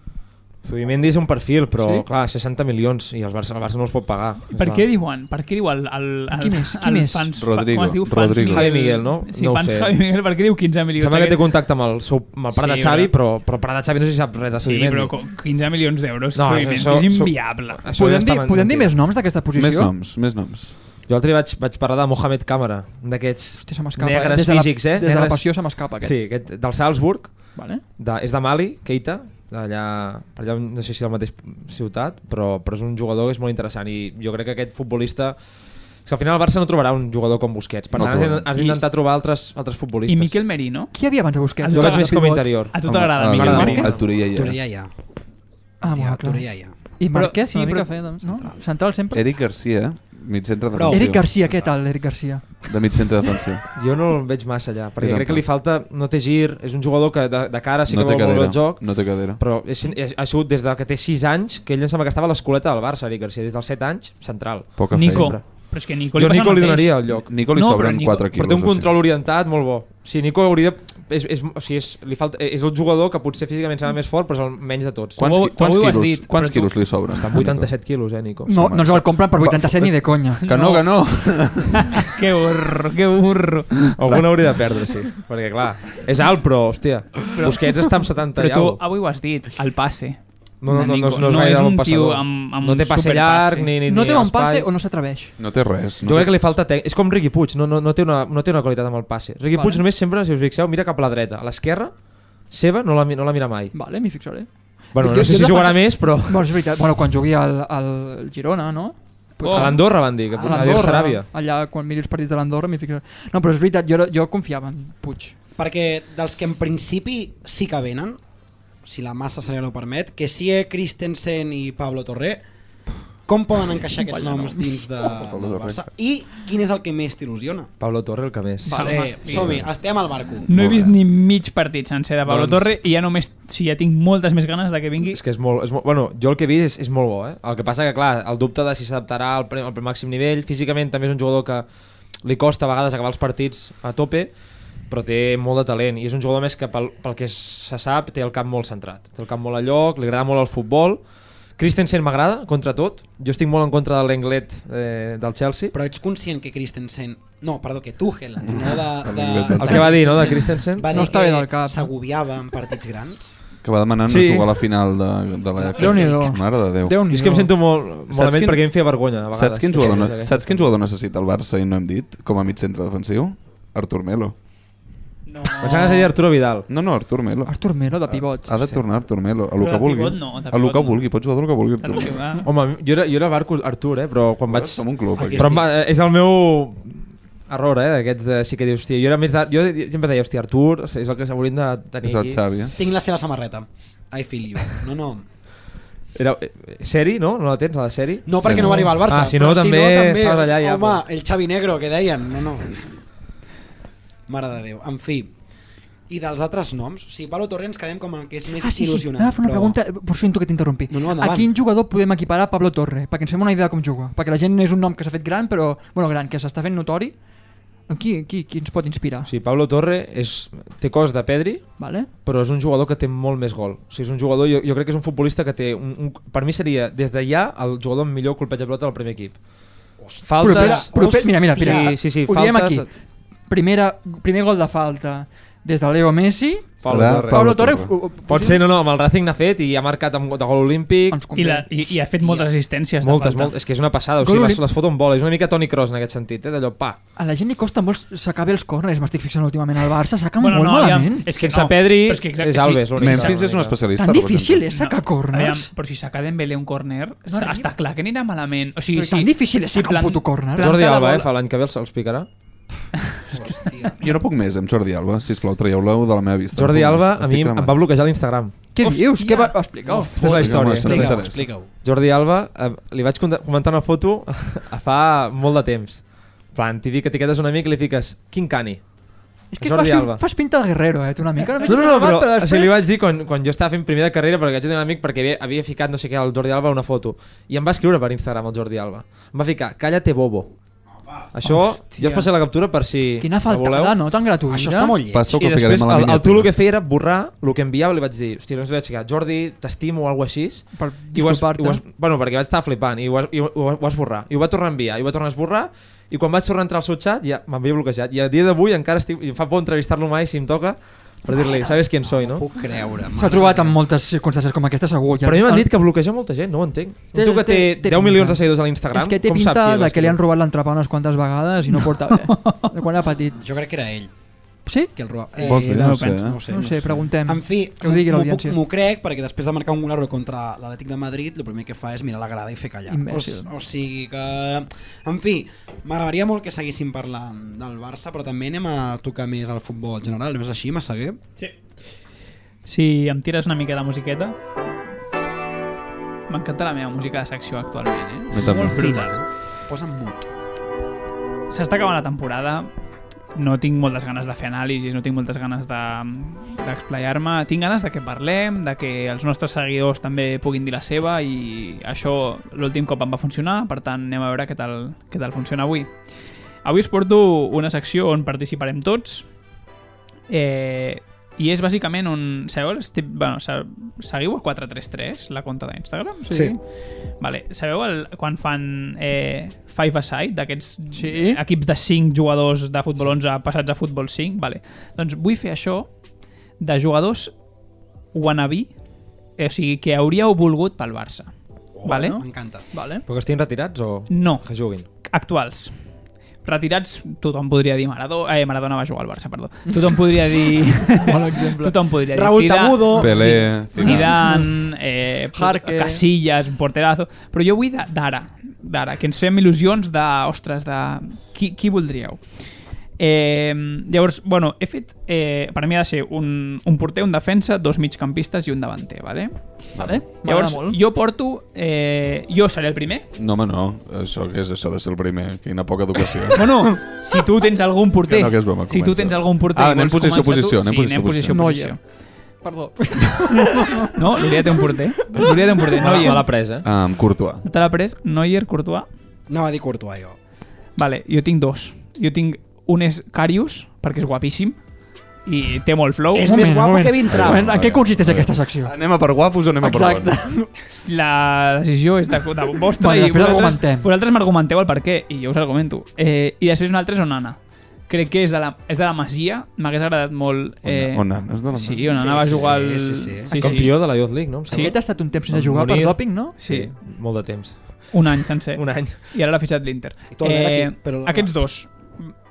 Speaker 9: Zubimendi és un perfil, però
Speaker 2: Sí?
Speaker 9: sí? clar, 60 milions i el Barça, el Barça no els pot pagar. És
Speaker 4: Per
Speaker 9: la-
Speaker 4: què diuen? Per què diu el, el, el,
Speaker 2: Qui més? Qui
Speaker 4: el
Speaker 2: més?
Speaker 4: Fans,
Speaker 3: Rodrigo,
Speaker 4: Com es diu?
Speaker 3: Rodrigo.
Speaker 4: Fans
Speaker 9: Javi Miguel, no?
Speaker 4: Sí,
Speaker 9: No ho
Speaker 4: fans
Speaker 9: sé.
Speaker 4: Javi Miguel, per què diu 15 milions?
Speaker 9: Sembla que té
Speaker 4: Aquest-
Speaker 9: contacte amb el, seu, amb el pare
Speaker 4: Sí,
Speaker 9: de Xavi, però,
Speaker 4: però-
Speaker 9: però el pare de Xavi no sé si sap res de
Speaker 4: Sí,
Speaker 9: Zubimendi.
Speaker 4: però co- 15 milions d'euros
Speaker 9: No,
Speaker 4: no,
Speaker 9: això-
Speaker 4: és
Speaker 9: això-
Speaker 4: inviable.
Speaker 9: això ja
Speaker 2: Podem
Speaker 9: està
Speaker 2: dir,
Speaker 9: men-
Speaker 2: podem dir
Speaker 9: mentida.
Speaker 2: més noms d'aquesta posició?
Speaker 3: Més noms, més noms.
Speaker 9: Jo l'altre dia vaig, vaig parlar de Mohamed Camara, un d'aquests
Speaker 2: Hòstia, se m'escapa. eh?
Speaker 9: negres
Speaker 2: Des de la-
Speaker 9: físics, eh?
Speaker 2: Des de la
Speaker 9: Negres-
Speaker 2: passió se m'escapa aquest.
Speaker 9: Sí, aquest, del Salzburg,
Speaker 2: Vale.
Speaker 9: de, és de Mali, Keita, d'allà, per allà, no sé si de la mateixa ciutat, però, però és un jugador que és molt interessant i jo crec que aquest futbolista... És que al final el Barça no trobarà un jugador com Busquets, per
Speaker 3: No
Speaker 9: tant has
Speaker 3: trobarà.
Speaker 9: d'in- has d'intentar trobar altres, altres futbolistes.
Speaker 4: I Miquel Merino?
Speaker 2: Qui hi havia abans de Busquets?
Speaker 4: El
Speaker 9: Jo
Speaker 4: Torà
Speaker 9: veig
Speaker 4: de
Speaker 9: més com a
Speaker 4: pivot.
Speaker 9: interior.
Speaker 4: A tu t'agrada,
Speaker 3: Amb-
Speaker 4: Miquel
Speaker 9: m'agrada
Speaker 4: Merino?
Speaker 3: A Torella
Speaker 1: Tu
Speaker 3: ja.
Speaker 1: ja, ja. ja,
Speaker 2: Ah, eh? molt clar.
Speaker 1: Torella ja.
Speaker 2: I Marquès,
Speaker 4: Però-
Speaker 2: una
Speaker 4: sí,
Speaker 2: mica
Speaker 4: però-
Speaker 2: feia, doncs, no? Central sempre?
Speaker 3: Eric Garcia, mig centre
Speaker 1: Prou.
Speaker 3: defensiu.
Speaker 2: Eric Garcia, què tal, Eric Garcia?
Speaker 3: De mig centre defensiu.
Speaker 9: Jo no el veig massa allà, perquè
Speaker 3: Jo
Speaker 9: crec que li falta... No té gir, és un jugador que de, de cara sí que
Speaker 3: no té
Speaker 9: vol molt
Speaker 3: cadera.
Speaker 9: el joc,
Speaker 3: No té cadera.
Speaker 9: però és, és, ha sigut des de que té 6 anys que ell em sembla que estava a l'escoleta del Barça, Eric Garcia, des dels 7 anys, central.
Speaker 3: Poca
Speaker 4: Nico.
Speaker 3: feina.
Speaker 4: Però és que Nico li
Speaker 9: Jo a
Speaker 4: passa
Speaker 9: Nico
Speaker 4: el
Speaker 9: li
Speaker 4: mateix.
Speaker 9: donaria el lloc.
Speaker 3: Nico li
Speaker 4: No, però
Speaker 3: sobren
Speaker 4: Nico-
Speaker 3: 4
Speaker 9: Però
Speaker 3: quilos.
Speaker 9: té un
Speaker 3: o sigui.
Speaker 9: control orientat molt bo. Si Nico hauria... És, és, o sigui, és, li falta, és el jugador que potser físicament serà més fort, però és el menys de tots.
Speaker 3: Quants,
Speaker 4: Tu ho-
Speaker 3: qui-
Speaker 4: tu
Speaker 3: quants,
Speaker 4: ho has
Speaker 3: quilos,
Speaker 4: dit,
Speaker 3: quants
Speaker 4: però tu-
Speaker 3: quilos li sobren?
Speaker 9: Està amb 87 quilos, eh, Nico?
Speaker 2: No, no ens el compren per 87 ni de conya.
Speaker 3: Que no, que no.
Speaker 4: Que burro, que burro.
Speaker 9: Algun hauria de perdre, sí. Perquè, clar, és alt, però, hòstia, Busquets està amb 70
Speaker 4: Però
Speaker 9: i
Speaker 4: tu
Speaker 9: alguna cosa.
Speaker 4: avui ho has dit, el passe.
Speaker 9: No, no, no, no, és- no,
Speaker 4: no
Speaker 9: gaire
Speaker 4: és
Speaker 9: bon
Speaker 4: un tio
Speaker 9: passador.
Speaker 4: amb, amb
Speaker 9: no
Speaker 4: un
Speaker 9: té passe
Speaker 4: superpasse.
Speaker 9: llarg, ni, ni,
Speaker 2: No
Speaker 9: ni
Speaker 2: té bon passe
Speaker 9: espai.
Speaker 2: o no s'atreveix?
Speaker 3: No té res.
Speaker 9: Jo
Speaker 3: No
Speaker 9: crec
Speaker 3: té...
Speaker 9: que li falta tec... És com Riqui Puig, no, no, no, té una, no té una qualitat amb el passe. Riqui
Speaker 2: Vale.
Speaker 9: Puig només sempre, si us fixeu, mira cap a la dreta. A l'esquerra, seva, no la, mi- no la mira mai.
Speaker 2: Vale, m'hi fixaré.
Speaker 9: Bueno,
Speaker 2: Jo-
Speaker 9: no sé
Speaker 2: jo
Speaker 9: si jugarà
Speaker 2: defensa-
Speaker 9: més, però...
Speaker 2: Bueno, és veritat. Bueno, quan jugui al, al Girona, no?
Speaker 3: Oh,
Speaker 9: A l'Andorra van dir, que
Speaker 2: Oh. A
Speaker 9: a dir Saràbia.
Speaker 2: Allà, quan miri els partits de l'Andorra, m'hi fixaré. No, però és veritat, jo, jo confiava en Puig.
Speaker 1: Perquè dels que en principi sí que venen, si la massa salarial ho permet, que sí Christensen i Pablo Torré, com poden encaixar aquests noms dins de, del Barça? I quin és el que més t'il·lusiona?
Speaker 9: Pablo Torre, el que més.
Speaker 4: Va. Home,
Speaker 1: Eh, Som-hi, estem al barco.
Speaker 4: No he
Speaker 3: Molt
Speaker 4: vist
Speaker 3: bé.
Speaker 4: ni mig partit sencer de Pablo
Speaker 9: Doncs-
Speaker 4: Torre i ja només, si ja tinc moltes més ganes de que vingui,
Speaker 9: És que és molt, és molt... Bueno, jo el que he vist és, és molt bo, eh? El que passa que, clar, el dubte de si s'adaptarà al, pre- al màxim nivell, físicament també és un jugador que li costa a vegades acabar els partits a tope, però té molt de talent i és un jugador més que pel, pel que se sap té el cap molt centrat, té el cap molt a lloc, li agrada molt el futbol, Christensen m'agrada, contra tot. Jo estic molt en contra de l'englet eh, del Chelsea.
Speaker 1: Però ets conscient que Christensen... No, perdó, que Tuchel, no de... de
Speaker 9: El que va dir, no?, de Christensen.
Speaker 1: Va
Speaker 2: No
Speaker 1: dir
Speaker 2: està
Speaker 1: que
Speaker 2: bé del cap.
Speaker 1: S'agobiava en partits grans.
Speaker 3: Que va demanant
Speaker 9: Sí.
Speaker 3: sí. jugar a la final de, de la FA.
Speaker 2: Déu-n'hi-do.
Speaker 3: Mare de Déu.
Speaker 2: déu
Speaker 9: Jo és que em sento molt
Speaker 3: Saps
Speaker 9: malament
Speaker 3: quin-
Speaker 9: perquè em feia vergonya a vegades.
Speaker 3: Saps quin, jugador, no-
Speaker 9: Aquestes
Speaker 3: saps quin jugador necessita el Barça i no hem dit com a mig centre defensiu? Artur Melo.
Speaker 4: no.
Speaker 9: Pensava que seria Arturo Vidal.
Speaker 3: No, no, Artur Melo.
Speaker 2: Artur Melo, de pivot.
Speaker 3: Ah, Ha de tornar Artur Melo, a lo
Speaker 4: Però
Speaker 3: que
Speaker 4: de
Speaker 3: vulgui.
Speaker 4: pivot no, de
Speaker 3: a lo
Speaker 4: pivot
Speaker 3: que
Speaker 4: no.
Speaker 3: vulgui, pots jugar del que vulgui
Speaker 4: Tant
Speaker 3: Artur
Speaker 4: que
Speaker 3: Melo.
Speaker 4: va.
Speaker 9: Home, jo era, jo era barco Artur, eh? però quan vaig...
Speaker 3: Som un club, aquí.
Speaker 9: Però em va, és el meu error, eh? D'aquests de sí que dius, hòstia, jo era més de... Jo sempre deia, hòstia, Artur és el que s'haurien de tenir
Speaker 3: És el
Speaker 9: aquí.
Speaker 3: Xavi. eh?
Speaker 1: Tinc la seva samarreta. I feel you. No, no.
Speaker 9: Era, eh, eh, seri, no? No la tens, la de seri?
Speaker 1: No
Speaker 3: Sí,
Speaker 1: perquè no
Speaker 3: no.
Speaker 1: va arribar al Barça.
Speaker 9: Ah, si no,
Speaker 1: però
Speaker 9: també fas allà ja,
Speaker 1: Home,
Speaker 9: però-
Speaker 1: el Xavi Negro, que deien. No, no. Mare de Déu. En fi. I dels altres noms? O sigui, Pablo Torre ens quedem com el que és més
Speaker 2: Ah, sí, sí.
Speaker 1: il·lusionant.
Speaker 2: Ah, fer una
Speaker 1: però-
Speaker 2: pregunta, por sento que t'interrompi.
Speaker 1: No, no, endavant.
Speaker 2: a quin jugador podem equiparar a Pablo Torre? Perquè ens fem una idea de com juga. Perquè la gent és un nom que s'ha fet gran, però... Bueno, gran, que s'està fent notori. Qui, qui, qui ens pot inspirar?
Speaker 9: O sigui, Pablo Torre és, té cos de Pedri,
Speaker 2: Vale?
Speaker 9: però és un jugador que té molt més gol. O sigui, és un jugador, jo, jo crec que és un futbolista que té... Un, un, per mi seria, des de ja, el jugador amb millor colpeig de pelota del primer equip. Faltes...
Speaker 2: Proper, proper, mira, mira, mira.
Speaker 9: Sí, sí, sí,
Speaker 2: Ho diem
Speaker 9: faltes-
Speaker 2: aquí. Primera, primer gol de falta. des de Leo Messi,
Speaker 9: Pablo
Speaker 3: Serà
Speaker 9: Torre.
Speaker 2: Pablo Torre...
Speaker 9: Pot ser, no, no, amb el Ràcing n'ha fet i ha marcat amb go- de gol olímpic.
Speaker 2: Ens
Speaker 4: I, la, i, i ha fet moltes assistències. de
Speaker 9: Moltes,
Speaker 4: falta.
Speaker 9: moltes, és que és una passada, o
Speaker 2: Gol
Speaker 9: sigui, les,
Speaker 2: olímpic.
Speaker 9: les fot on vola, és una mica Toni Kroos en aquest sentit, eh? d'allò, pa.
Speaker 2: A la gent li costa molt sacar bé els corners, m'estic fixant últimament. El Barça saca
Speaker 4: Bueno,
Speaker 2: molt
Speaker 4: no, aviam,
Speaker 2: malament.
Speaker 4: és que
Speaker 9: Sense
Speaker 4: no,
Speaker 9: Pedri,
Speaker 4: però eh? és, que exacte,
Speaker 9: és Alves, l'únic.
Speaker 3: Memphis és un especialista.
Speaker 2: Tan
Speaker 3: en rebaixar.
Speaker 2: difícil és sacar corners.
Speaker 4: Aviam, però si saca Dembélé un córner,
Speaker 2: No arriba.
Speaker 4: està clar que anirà malament. O sigui,
Speaker 2: Però tan difícil és sacar un
Speaker 4: plan-
Speaker 2: puto córner.
Speaker 4: Planta
Speaker 9: Jordi
Speaker 4: la
Speaker 9: Alba, eh?
Speaker 4: bola.
Speaker 9: Fa l'any que ve els, els picarà.
Speaker 3: Jo no puc més amb Jordi Alba, sisplau, traieu-la de la meva vista.
Speaker 9: Jordi
Speaker 3: No puc
Speaker 9: Alba
Speaker 3: més,
Speaker 9: a
Speaker 3: estic
Speaker 9: mi em
Speaker 3: cremat.
Speaker 9: va bloquejar l'Instagram.
Speaker 2: Què
Speaker 1: Hòstia.
Speaker 2: dius? Què va... Explica-ho.
Speaker 9: Aquesta és la història.
Speaker 3: Sense
Speaker 1: Explica-ho,
Speaker 3: interès.
Speaker 1: explica-ho.
Speaker 9: Jordi Alba, eh, li vaig conta- comentar una foto a fa molt de temps. En plan, t'hi dic que etiquetes un amic i li fiques quin cani.
Speaker 2: És que
Speaker 9: Jordi
Speaker 2: fas,
Speaker 9: Alba.
Speaker 2: fas pinta de guerrero, eh, tu una mica.
Speaker 9: No, no, no, però, però després... li vaig dir quan, quan jo estava fent primer de carrera perquè vaig tenir un amic perquè havia, havia ficat no sé què al Jordi Alba una foto i em va escriure per Instagram el Jordi Alba. Em va ficar, cállate bobo. Això, jo us passaré la captura per si
Speaker 2: Quina
Speaker 9: la
Speaker 2: faltada,
Speaker 9: voleu.
Speaker 2: no? Tan gratuïta.
Speaker 1: Això està molt lleig.
Speaker 3: Passo que
Speaker 9: I
Speaker 3: ho ficarem
Speaker 9: després
Speaker 3: a la
Speaker 9: el, el tu el
Speaker 3: miniatura.
Speaker 9: que feia era borrar el que enviava i li vaig dir, hòstia, no sé vaig ficar, Jordi, t'estimo o alguna cosa així.
Speaker 2: Per
Speaker 9: I ho vas,
Speaker 2: disculpar-te.
Speaker 9: ho vas, bueno, perquè vaig estar flipant i ho, vas, i ho, ho vas borrar. I ho va tornar a enviar, i ho va tornar a esborrar i quan vaig tornar a entrar al seu xat ja m'havia bloquejat i a dia d'avui encara estic, i em fa por entrevistar-lo mai si em toca per dir-li, sabes quién soy, no?
Speaker 1: Puc creure.
Speaker 2: S'ha trobat en moltes circumstàncies com aquesta, segur.
Speaker 9: Però a mi m'han dit que bloqueja molta gent, no ho entenc. Té, tu que té, 10 milions de seguidors a l'Instagram,
Speaker 2: És que té
Speaker 9: com sap
Speaker 2: pinta
Speaker 9: qui
Speaker 2: de que li han
Speaker 9: l'escriu?
Speaker 2: robat l'entrepà unes quantes vegades i no porta bé. De quan era petit.
Speaker 1: Jo crec que era ell
Speaker 2: Sí?
Speaker 1: que el roba.
Speaker 3: Pot ser,
Speaker 4: no
Speaker 3: no
Speaker 4: ho
Speaker 3: ho sé,
Speaker 4: penso.
Speaker 3: eh?
Speaker 1: no ho sé.
Speaker 2: No ho sé, preguntem.
Speaker 1: En fi,
Speaker 2: que ho digui
Speaker 1: m'ho
Speaker 2: l'audiència.
Speaker 1: puc- m'ho crec perquè després de marcar un gol contra l'Atlètic de Madrid, el primer que fa és mirar la grada i fer callar. O,
Speaker 2: Imbècil.
Speaker 1: s- o sigui que... En fi, m'agradaria molt que seguíssim parlant del Barça, però també anem a tocar més al futbol general. No és així, Massaguer?
Speaker 4: Sí. Si em tires una mica de musiqueta... M'encanta la meva música de secció actualment, eh?
Speaker 3: Jo també.
Speaker 1: Molt fina. eh? Posa'n mut.
Speaker 4: S'està acabant la temporada, no tinc moltes ganes de fer anàlisis, no tinc moltes ganes de- d'explayar-me, de, tinc ganes de que parlem, de que els nostres seguidors també puguin dir la seva i això l'últim cop em va funcionar, per tant anem a veure què tal, què tal funciona avui. Avui us porto una secció on participarem tots eh, i és bàsicament on... Sabeu, els tip, bueno, se- seguiu a 433, la conta d'Instagram?
Speaker 1: Sí.
Speaker 4: Vale. Sabeu el, quan fan eh, five a side d'aquests eh,
Speaker 2: Sí.
Speaker 4: equips de 5 jugadors de futbol 11 passats a futbol 5? Vale. Doncs vull fer això de jugadors wannabe, eh, o sigui, que hauríeu volgut pel Barça.
Speaker 1: Oh,
Speaker 4: vale?
Speaker 1: M'encanta.
Speaker 4: Vale.
Speaker 9: Però que estiguin retirats o
Speaker 4: No,
Speaker 9: que juguin?
Speaker 4: actuals. Retirats, tothom podria dir Maradona, eh, Maradona va jugar al Barça, perdó. Tothom podria dir... Bon exemple. Tothom podria dir
Speaker 1: Raúl
Speaker 4: Zidane.
Speaker 1: Tabudo.
Speaker 3: Pelé,
Speaker 4: Zidane, eh,
Speaker 2: Jarque.
Speaker 4: Casillas, un porterazo... Però jo vull de- d'ara, d'ara, que ens fem il·lusions de... Ostres, de... Qui, qui voldríeu? Eh, llavors, bueno, he fet... Eh, per mi ha de ser un, un porter, un defensa, dos migcampistes i un davanter, vale?
Speaker 2: Vale. M'agrada
Speaker 4: Llavors,
Speaker 2: molt.
Speaker 4: jo porto... Eh, jo seré el primer,
Speaker 3: No, home, no. Això que és això de ser el primer. Quina poca educació.
Speaker 4: Bueno, si tu tens algun porter,
Speaker 3: Que no, que és broma,
Speaker 4: si tu
Speaker 3: comença.
Speaker 4: tens algun porter...
Speaker 3: Ah,
Speaker 4: i
Speaker 3: anem
Speaker 4: vols
Speaker 3: posició,
Speaker 4: començar
Speaker 3: posició,
Speaker 4: tu,
Speaker 3: anem
Speaker 4: sí, anem
Speaker 3: posició,
Speaker 4: posició,
Speaker 2: posició.
Speaker 4: posició.
Speaker 2: Perdó.
Speaker 4: No, l'Uria té un porter. L'Uria té un porter.
Speaker 9: Mala,
Speaker 4: Neuer.
Speaker 9: mala presa. eh?
Speaker 3: Ah, amb Courtois.
Speaker 4: Te l'ha pres? Neuer, Courtois.
Speaker 1: No, va dir Courtois, jo.
Speaker 4: Vale, jo tinc dos. Jo tinc un és Carius, perquè és guapíssim, i té molt flow.
Speaker 1: És més guapo que Vintrau.
Speaker 2: Moment, En què consisteix
Speaker 3: Vale.
Speaker 2: aquesta secció?
Speaker 3: Anem a per guapos o anem a per bons?
Speaker 4: La decisió és de, de vostra
Speaker 2: Bueno,
Speaker 4: i
Speaker 2: després
Speaker 4: vosaltres,
Speaker 2: argumentem.
Speaker 4: vosaltres m'argumenteu el per què, i jo us argumento. Eh, I després una altra és Onana. Crec que és de la, és de la Masia, m'hagués agradat molt... Eh,
Speaker 3: Onana, és de la
Speaker 4: Sí,
Speaker 3: Masia.
Speaker 4: Onana
Speaker 1: Sí,
Speaker 4: va
Speaker 1: sí,
Speaker 4: jugar
Speaker 1: sí,
Speaker 4: al...
Speaker 1: sí, sí.
Speaker 4: sí.
Speaker 9: Campió de la Youth League, no? Em
Speaker 4: Sí.
Speaker 9: sembla.
Speaker 2: Aquest ha estat un temps sense
Speaker 9: El
Speaker 2: jugar per
Speaker 9: Munir.
Speaker 2: dòping, no?
Speaker 4: Sí, Eh.
Speaker 9: Molt de temps.
Speaker 4: un any sencer.
Speaker 9: Un any.
Speaker 4: I ara l'ha fitxat l'Inter. Eh,
Speaker 1: I tornarà aquí, però la-
Speaker 4: Aquests dos.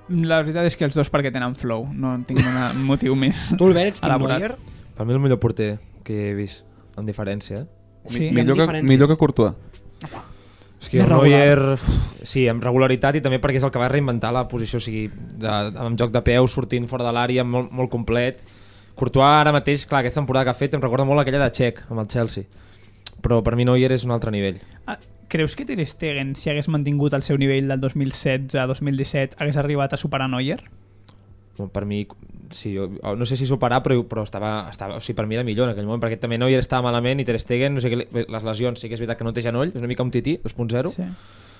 Speaker 4: Mm, La veritat és que els dos perquè tenen flow. No en tinc una- un motiu més.
Speaker 1: Tu el veig, Tim
Speaker 4: elaborat.
Speaker 1: Neuer?
Speaker 9: Per mi el millor porter que he vist, amb diferència. Eh?
Speaker 4: Sí.
Speaker 1: Mi-
Speaker 3: Millor que,
Speaker 1: Diferència.
Speaker 3: millor que Courtois.
Speaker 9: És que el
Speaker 2: regular.
Speaker 9: Neuer, uf, sí, amb regularitat i també perquè és el que va reinventar la posició, o sigui, de, amb joc de peu, sortint fora de l'àrea, molt, molt complet. Courtois ara mateix, clar, aquesta temporada que ha fet em recorda molt aquella de Txec, amb el Chelsea. Però per mi Neuer és un altre nivell.
Speaker 4: Ah, creus que Ter Stegen, si hagués mantingut el seu nivell del 2016 a 2017, hagués arribat a superar Neuer?
Speaker 9: Bueno, Per mi, sí, jo, no sé si superar, però, però estava, estava, o sigui, per mi era millor en aquell moment, perquè també Neuer estava malament i Ter Stegen, no sé què, li- bé, les lesions, sí que és veritat que no té genoll, és una mica un tití, 2.0,
Speaker 4: Sí.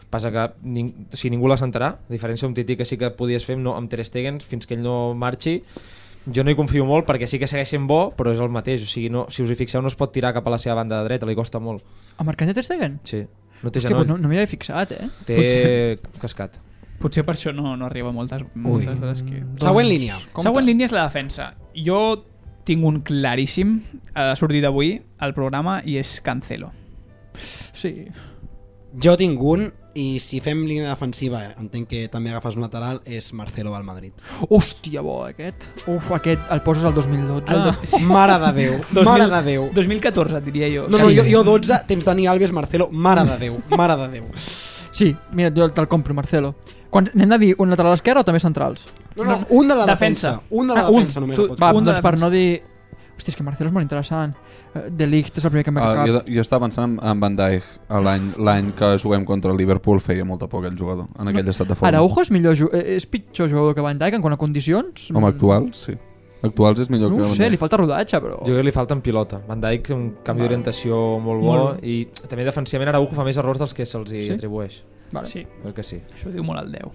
Speaker 9: Passa que ning si ningú la sentarà, a diferència d'un Titi que sí que podies fer amb, no, amb Ter Stegen fins que ell no marxi, jo no hi confio molt perquè sí que segueix sent bo, però és el mateix. O sigui, no, si us hi fixeu, no es pot tirar cap a la seva banda de dreta, li costa molt.
Speaker 2: A Marc Anthony Ter Stegen?
Speaker 9: Sí. No té
Speaker 2: És que pues,
Speaker 9: genoll,
Speaker 2: no, no m'hi havia fixat, eh?
Speaker 9: té cascat.
Speaker 4: Potser per això no, no arriba a moltes, moltes de les que...
Speaker 1: Següent línia.
Speaker 2: Doncs,
Speaker 4: Compte. Mm. Següent línia és la defensa. Jo tinc un claríssim eh, a la sortida d'avui al programa i és Cancelo. Sí.
Speaker 1: Jo tinc un i si fem línia defensiva, eh, entenc que també agafes un lateral, és Marcelo al Madrid.
Speaker 2: Hòstia, bo, aquest. Uf, aquest el poses al 2012.
Speaker 4: El
Speaker 9: Ah.
Speaker 4: do- Ah. sí.
Speaker 1: Mare de Déu, mare de Déu.
Speaker 4: 2014, diria jo.
Speaker 1: No, no, jo, jo 12, temps Dani Alves, Marcelo, mare de Déu, mare de Déu.
Speaker 2: Sí, mira, jo te'l compro, Marcelo. Quan n'hem de dir un lateral esquerre o també centrals?
Speaker 1: No, no, un de la defensa.
Speaker 4: Defensa.
Speaker 1: Un de la
Speaker 4: Ah, un.
Speaker 1: defensa només
Speaker 4: Tu-
Speaker 1: el pots
Speaker 2: Va,
Speaker 1: fer.
Speaker 4: Un de
Speaker 2: doncs per
Speaker 4: defensa.
Speaker 2: no dir... Hòstia, és que Marcelo és molt interessant. Eh, De Ligt és el primer que m'ha
Speaker 3: Ah,
Speaker 2: cap.
Speaker 3: jo, jo estava pensant en- en Van Dijk l'any l'any que juguem contra el Liverpool feia molta por aquell jugador en aquell estat de forma
Speaker 2: Araujo és, millor, ju- eh, és pitjor jugador que Van Dijk en quant a condicions?
Speaker 3: home actual sí actuals és millor
Speaker 2: No
Speaker 3: que
Speaker 2: ho
Speaker 3: Van
Speaker 2: sé,
Speaker 3: Dijk.
Speaker 2: li falta rodatge, però...
Speaker 9: Jo crec que li falta en pilota. Van Dijk té un canvi d'orientació molt bo
Speaker 4: Molt.
Speaker 9: i també defensivament Araujo fa més errors dels que se'ls sí?
Speaker 2: Sí?
Speaker 9: atribueix.
Speaker 2: Vale.
Speaker 4: Sí,
Speaker 9: Crec que sí.
Speaker 4: això ho diu molt el 10.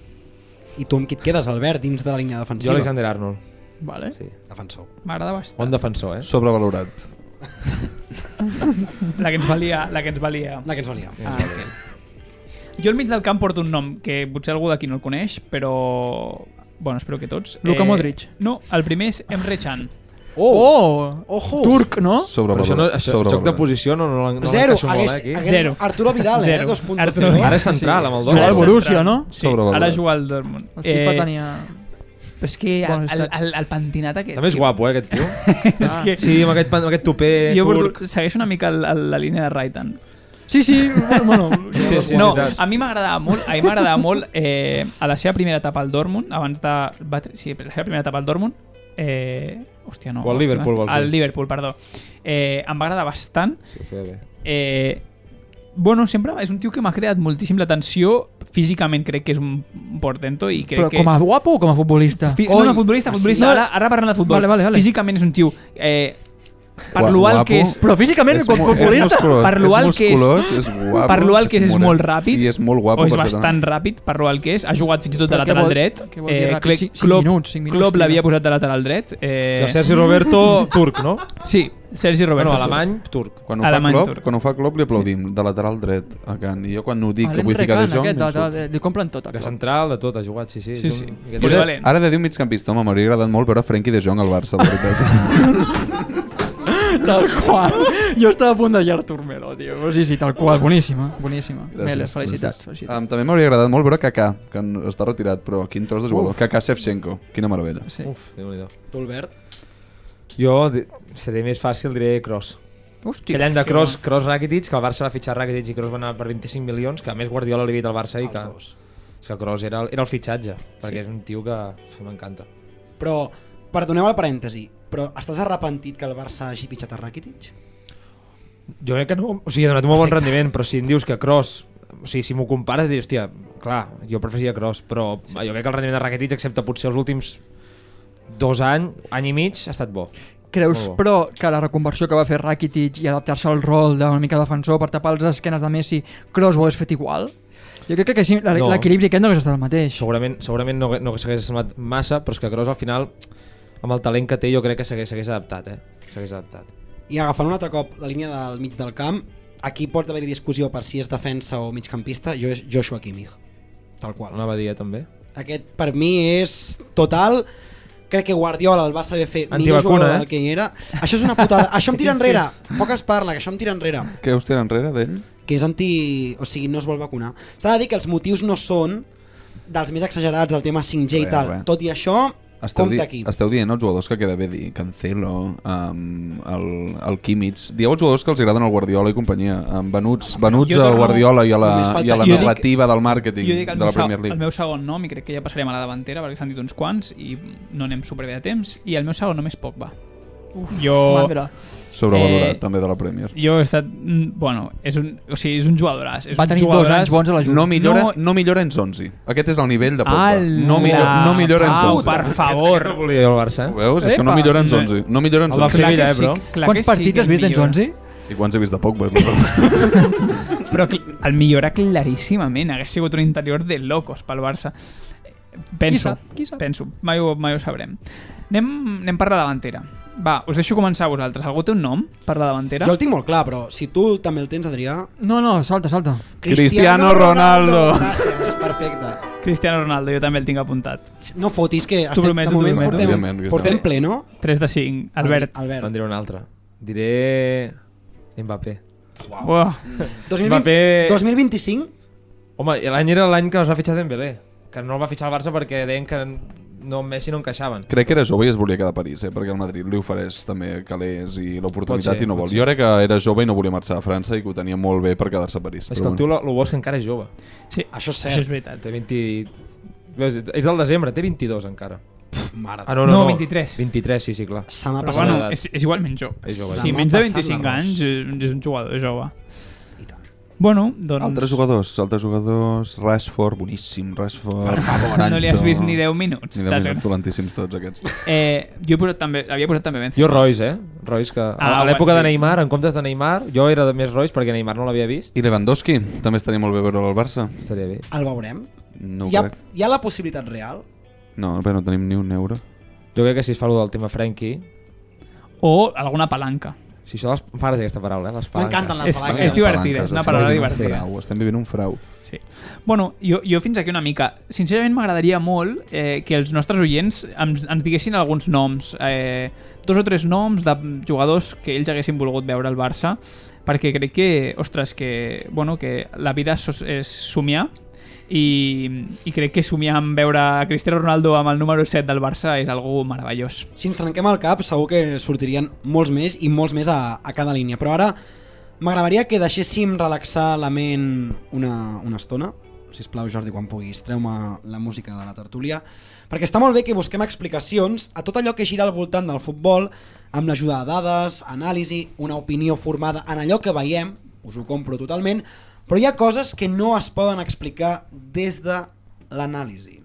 Speaker 1: I tu amb qui et quedes, Albert, dins de la línia
Speaker 9: Jo
Speaker 1: defensiva?
Speaker 9: Alexander Arnold.
Speaker 4: Vale.
Speaker 9: Sí.
Speaker 1: Defensor.
Speaker 4: M'agrada bastant.
Speaker 9: Bon defensor, eh?
Speaker 3: sobrevalorat
Speaker 4: La que ens valia, la que ens valia.
Speaker 1: La que ens valia.
Speaker 4: Ah, ok. Jo al mig del camp porto un nom que potser algú d'aquí no el coneix, però... Bueno, espero que tots. Eh,
Speaker 2: Luka Modric.
Speaker 4: No, el primer és Emre Can.
Speaker 2: Oh!
Speaker 1: Ojo!
Speaker 2: Turc, no?
Speaker 9: Però això, no,
Speaker 3: sobrevalorat
Speaker 9: això joc de posició no, no, l'en- no
Speaker 1: Zero.
Speaker 9: l'encaixo molt, eh,
Speaker 1: Hagués,
Speaker 9: aquí.
Speaker 1: hagués,
Speaker 4: Zero.
Speaker 1: Arturo Vidal, eh?
Speaker 4: Zero.
Speaker 1: 2.0.
Speaker 4: Arturo
Speaker 1: eh?
Speaker 4: Vidal.
Speaker 9: Ara és central, amb el
Speaker 2: Juga al
Speaker 9: Dortmund.
Speaker 2: Borussia, no?
Speaker 4: Sí,
Speaker 3: Sobrevalorat.
Speaker 4: ara juga al Dortmund. Eh,
Speaker 2: El
Speaker 9: Eh,
Speaker 2: FIFA tenia...
Speaker 4: Però és que el,
Speaker 2: Bones
Speaker 4: el,
Speaker 2: stats.
Speaker 4: el, el pentinat aquest...
Speaker 9: També és
Speaker 4: tio,
Speaker 9: guapo, eh, aquest tio.
Speaker 4: És que...
Speaker 9: Sí, amb aquest, pan- amb aquest tupé
Speaker 4: Jo
Speaker 9: turc.
Speaker 4: porto, segueix una mica el, el, la línia de Raitan.
Speaker 2: Sí, sí, bueno...
Speaker 9: Hòstia, sí,
Speaker 4: no,
Speaker 9: és veritat.
Speaker 4: a mi m'agradava molt, a mi m'agradava molt eh, a la seva primera etapa al Dortmund, abans de... Va, tri- sí, la seva primera etapa al Dortmund, eh, hòstia, no.
Speaker 9: O al
Speaker 4: hòstia,
Speaker 9: Liverpool, vols dir?
Speaker 4: Al Liverpool, perdó. Eh, em va agradar bastant.
Speaker 9: Sí, ho feia bé.
Speaker 4: Eh, bueno, sempre és un tio que m'ha creat moltíssim l'atenció. Físicament crec que és un un portento i crec
Speaker 2: Però
Speaker 4: que...
Speaker 2: com a guapo o com a futbolista?
Speaker 4: Fi, no,
Speaker 1: Oi,
Speaker 4: no, futbolista, futbolista.
Speaker 2: sí.
Speaker 4: Ara, ara parlem de futbol.
Speaker 2: Vale, vale, vale.
Speaker 4: Físicament és un tio... Eh, per
Speaker 3: Gua-
Speaker 4: lo alt
Speaker 3: guapo.
Speaker 4: que és...
Speaker 2: Però físicament, com a futbolista...
Speaker 3: musculós,
Speaker 4: per lo
Speaker 3: és
Speaker 4: alt que és-
Speaker 3: musculós, és guapo,
Speaker 4: per lo alt que és, és
Speaker 3: moren.
Speaker 4: molt ràpid
Speaker 3: i és molt guapo
Speaker 4: o és
Speaker 3: per eh? ser tan-
Speaker 4: bastant ràpid per lo alt que és ha jugat fins i tot de
Speaker 2: Però què
Speaker 4: lateral
Speaker 2: vol-
Speaker 4: dret
Speaker 2: què vol dir ràpid?
Speaker 4: Clec-
Speaker 2: Cinc- cinc minuts, cinc minuts,
Speaker 4: Klopp
Speaker 2: tio.
Speaker 4: l'havia posat de lateral dret
Speaker 9: Eh...
Speaker 4: eh,
Speaker 9: Sergi Roberto, turc, no?
Speaker 4: sí, Sergi Roberto
Speaker 9: Bueno, alemany, turc.
Speaker 3: quan ho, fa
Speaker 4: Alemany
Speaker 3: Klopp,
Speaker 4: turc.
Speaker 3: quan ho fa Klopp li aplaudim sí. de lateral dret a Can i jo quan ho
Speaker 4: Ah,
Speaker 3: dic que
Speaker 2: Alem
Speaker 3: vull ficar em de
Speaker 2: Recan,
Speaker 3: joc
Speaker 2: aquest, de-
Speaker 3: m'insult.
Speaker 2: de- de- Li compren tot,
Speaker 9: De
Speaker 2: aquest.
Speaker 9: central, de tot, ha jugat, sí, sí.
Speaker 4: Sí,
Speaker 9: és
Speaker 4: sí.
Speaker 9: un- aquest-
Speaker 4: Però-
Speaker 3: Era-
Speaker 4: Polivalent.
Speaker 3: ara de dir un migcampista home, m'hauria agradat molt veure Frenkie de Jong al Barça la veritat.
Speaker 2: Tal qual. Jo estava a punt de Artur Melo, tio. Però sí, sí, tal qual. Boníssima, boníssima.
Speaker 3: Gràcies,
Speaker 2: Mele, felicitats.
Speaker 3: gràcies.
Speaker 2: felicitats.
Speaker 3: Um, també m'hauria agradat molt veure Kaká que n- està retirat però quin tros de jugador Kaká Shevchenko quina meravella
Speaker 2: Sí.
Speaker 9: Uf, déu
Speaker 1: Tu, Albert?
Speaker 9: Jo di- seré més fàcil, diré Kroos.
Speaker 2: Hòstia.
Speaker 9: Aquell any de Kroos, Kroos Rakitic, que el Barça va fitxar Rakitic i Kroos va anar per 25 milions, que a més Guardiola l'havia dit al Barça i
Speaker 1: Els
Speaker 9: que...
Speaker 1: dos.
Speaker 9: És que Kroos era, el- era el fitxatge, perquè és un tio que uf, m'encanta.
Speaker 1: Però, perdoneu el parèntesi, però estàs arrepentit que el Barça hagi fitxat a Rakitic?
Speaker 9: Jo crec que no... O sigui, ha donat un molt bon rendiment, però si em dius que Kroos... O sigui, si m'ho compares, dius, hòstia, clar, jo preferia Kroos, però sí. jo crec que el rendiment de Rakitic, excepte potser els últims dos anys, any i mig, ha estat bo.
Speaker 2: Creus,
Speaker 9: Molt bo.
Speaker 2: però, que la reconversió que va fer Rakitic i adaptar-se al rol d'una mica defensor per tapar les esquenes de Messi, Kroos ho hagués fet igual? Jo crec que així l'e-
Speaker 9: No.
Speaker 2: l'equilibri aquest no hagués estat el mateix.
Speaker 9: Segurament, segurament no, no s'hagués semblat massa, però és que Kroos al final, amb el talent que té, jo crec que s'hagués s'hagués adaptat, eh? S'hagués adaptat.
Speaker 1: I agafant un altre cop la línia del mig del camp, aquí pot haver-hi discussió per si és defensa o migcampista, jo és Joshua Kimmich, tal qual.
Speaker 9: Anava a dir, eh, també.
Speaker 1: Aquest per mi és total, crec que Guardiola el va saber fer millor
Speaker 9: Antivacuna,
Speaker 1: jugador
Speaker 9: eh?
Speaker 1: del que hi era. Això és una putada, això em tira enrere, poc es parla, que això em tira enrere.
Speaker 3: què us tira enrere d'ell?
Speaker 1: que és anti... o sigui, no es vol vacunar. S'ha de dir que els motius no són dels més exagerats, del tema 5G i
Speaker 3: Res,
Speaker 1: tal.
Speaker 3: res.
Speaker 1: Tot i això,
Speaker 3: Esteu,
Speaker 1: compte
Speaker 3: di
Speaker 1: aquí.
Speaker 3: esteu dient els jugadors que queda bé dir Cancelo, um, el, el Kimmich dieu els jugadors que els agraden al Guardiola i companyia um, venuts, venuts
Speaker 4: Jo
Speaker 3: al
Speaker 4: torno-
Speaker 3: Guardiola i a la,
Speaker 1: Només falta-
Speaker 3: i a la
Speaker 4: Jo dic-
Speaker 3: narrativa del màrqueting
Speaker 4: jo dic
Speaker 3: de
Speaker 4: el,
Speaker 3: la
Speaker 4: meu, se-
Speaker 3: Premier
Speaker 4: el
Speaker 3: League
Speaker 4: meu segon nom i crec que ja passarem a la davantera perquè s'han dit uns quants i no anem superbé de temps i el meu segon nom és Pogba Uf, jo,
Speaker 2: Mandra.
Speaker 3: sobrevalorat
Speaker 4: Eh,
Speaker 3: també de la Premier
Speaker 4: jo he estat mm, bueno, és un, o sigui, és un jugadoràs és
Speaker 2: Va
Speaker 4: un
Speaker 2: tenir dos
Speaker 4: jugadoràs-
Speaker 2: anys bons a la Juve.
Speaker 3: no millora,
Speaker 4: no-
Speaker 3: no, millora en 11 aquest és el nivell de Pogba
Speaker 4: Ala,
Speaker 3: no, millora, no millora en
Speaker 4: Pau,
Speaker 3: 11
Speaker 4: per favor
Speaker 9: No volia jo el Barça,
Speaker 3: Ho
Speaker 9: eh?
Speaker 3: veus? És que
Speaker 2: Epa!
Speaker 3: no millora en
Speaker 4: No.
Speaker 3: 11 no millora en
Speaker 9: El va
Speaker 3: 11
Speaker 9: fer
Speaker 4: Clar que
Speaker 9: Sevilla, eh,
Speaker 4: sí,
Speaker 9: bro?
Speaker 4: clar que
Speaker 2: Quants
Speaker 4: sí que
Speaker 2: partits has vist d'en
Speaker 4: millora.
Speaker 2: Zonzi?
Speaker 3: i quants he vist de Pogba? és la
Speaker 4: Però cl- el millorar claríssimament hagués sigut un interior de locos pel Barça. Eh, Penso,
Speaker 2: sap, qui sap?
Speaker 4: penso. Mai ho, mai ho sabrem. Anem, anem per la davantera. Va, us deixo començar a vosaltres. Algú té un nom per la davantera?
Speaker 1: Jo el tinc molt clar, però si tu també el tens, Adrià...
Speaker 2: No, no, salta, salta.
Speaker 3: Cristiano Ronaldo.
Speaker 1: Gràcies, perfecte.
Speaker 4: Cristiano Ronaldo, jo també el tinc apuntat.
Speaker 1: No fotis que estem,
Speaker 4: prometo,
Speaker 1: de moment
Speaker 4: t'ho prometo.
Speaker 3: Òbviament,
Speaker 1: portem,
Speaker 3: que
Speaker 1: portem
Speaker 3: està.
Speaker 1: ple, no?
Speaker 4: 3 de 5, Albert.
Speaker 1: Albert.
Speaker 9: En diré un altre. Diré... Mbappé.
Speaker 4: Uah,
Speaker 1: 2020,
Speaker 9: Mbappé-
Speaker 1: 2025?
Speaker 9: Home, i l'any era l'any que es va fitxar Dembélé, que no el va fitxar el Barça perquè deien que no, amb Messi no encaixaven.
Speaker 3: Crec que era jove i es volia quedar a París, eh? perquè el Madrid li ofereix també calés i
Speaker 9: Pot
Speaker 3: l'oportunitat
Speaker 9: ser,
Speaker 3: i no
Speaker 9: pot
Speaker 3: vol.
Speaker 9: ser.
Speaker 3: Jo crec que era jove i no volia marxar a França i que ho tenia molt bé per quedar-se a París.
Speaker 9: És que
Speaker 3: però
Speaker 9: el tio, el bo és que encara és jove.
Speaker 4: sí,
Speaker 1: Això és
Speaker 4: això és
Speaker 1: cert.
Speaker 4: veritat.
Speaker 9: Té 20... Veus, és del desembre, té 22 encara.
Speaker 1: Pf, mare de...
Speaker 9: Ah, no,
Speaker 4: No,
Speaker 9: no, no.
Speaker 4: 23.
Speaker 9: 23, sí, sí, clar.
Speaker 1: Se m'ha
Speaker 4: Però
Speaker 1: passat.
Speaker 4: bueno,
Speaker 9: l'edat.
Speaker 4: és, és igualment jove.
Speaker 9: És jove,
Speaker 4: Sí,
Speaker 1: jove.
Speaker 4: menys de
Speaker 1: Passant
Speaker 4: 25
Speaker 1: l'arròs.
Speaker 4: anys eh, és un jugador jove.
Speaker 1: I tant.
Speaker 4: Bueno, doncs...
Speaker 3: Altres jugadors, altres jugadors, Rashford, boníssim, Rashford, per favor,
Speaker 4: No li has vist ni 10 minuts.
Speaker 3: Ni 10
Speaker 4: t'has-
Speaker 3: minuts, dolentíssims tots aquests.
Speaker 4: Eh, jo he posat també, havia posat també Benzema.
Speaker 9: Jo Royce, eh? Royce, que
Speaker 4: Ah,
Speaker 9: ah, a l'època
Speaker 4: ho has
Speaker 9: de
Speaker 4: dit.
Speaker 9: Neymar, en comptes de Neymar, jo era de més Royce perquè Neymar no l'havia vist.
Speaker 3: I Lewandowski, també estaria molt bé veure'l al Barça.
Speaker 9: Estaria bé.
Speaker 1: El veurem?
Speaker 3: No ho
Speaker 1: hi, ha,
Speaker 3: crec.
Speaker 1: hi ha la possibilitat real?
Speaker 3: No, bé, no tenim ni un euro.
Speaker 9: Jo crec que si es fa allò del tema Frenkie,
Speaker 4: O alguna palanca.
Speaker 9: si això de les... M'agrada aquesta paraula, eh? Les palanques.
Speaker 1: M'encanten les
Speaker 4: És-
Speaker 1: palanques.
Speaker 4: Ah, és divertida, és una paraula
Speaker 3: Estem vivint un
Speaker 4: divertida.
Speaker 3: frau, Estem vivint un frau.
Speaker 4: Sí. Bueno, jo, jo fins aquí una mica. Sincerament m'agradaria molt eh, que els nostres oients ens, ens diguessin alguns noms, eh, dos o tres noms de jugadors que ells haguessin volgut veure al Barça, perquè crec que, ostres, que, bueno, que la vida és, és somiar i, i crec que somiar amb veure a Cristiano Ronaldo amb el número 7 del Barça és algo meravellós.
Speaker 1: Si ens trenquem el cap, segur que sortirien molts més i molts més a, a cada línia. Però ara m'agradaria que deixéssim relaxar la ment una, una estona. Si plau Jordi, quan puguis, treu-me la música de la tertúlia. Perquè està molt bé que busquem explicacions a tot allò que gira al voltant del futbol amb l'ajuda de dades, anàlisi, una opinió formada en allò que veiem, us ho compro totalment, però hi ha coses que no es poden explicar des de l'anàlisi.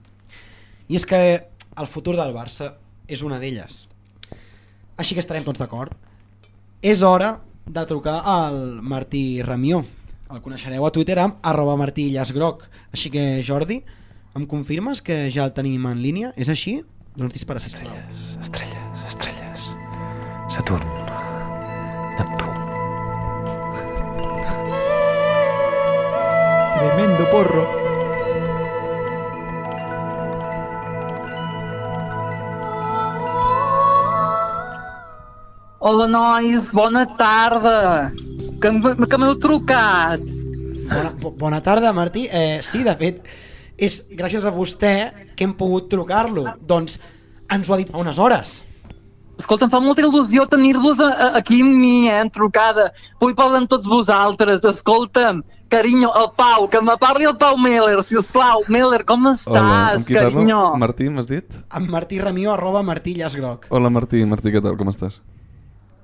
Speaker 1: I és que el futur del Barça és una d'elles. Així que estarem tots d'acord. És hora de trucar al Martí Ramió. El coneixereu a Twitter amb arroba Martí Llàsgroc. Així que Jordi, em confirmes que ja el tenim en línia? És així? Doncs dispara, sisplau.
Speaker 10: Estrelles, estrelles. Saturn. Neptú.
Speaker 4: Tremendo porro.
Speaker 10: Hola, nois, bona tarda. Que, m- que m'heu trucat.
Speaker 1: Bona, bo- bona tarda, Martí. Eh, sí, de fet, és gràcies a vostè que hem pogut trucar-lo. Doncs ens ho ha dit fa unes hores.
Speaker 10: Escolta, em fa molta il·lusió tenir-vos a- a- aquí amb mi, eh, en trucada. Vull parlar amb tots vosaltres, escolta'm. Carinyo, el Pau, que me parli el Pau Meller, si us plau. Meller, com estàs,
Speaker 3: amb qui parlo?
Speaker 10: carinyo?
Speaker 3: Martí, m'has dit?
Speaker 1: Amb Martí Ramió arroba Martí Llàsgroc.
Speaker 3: Hola Martí, Martí, què tal? Com estàs?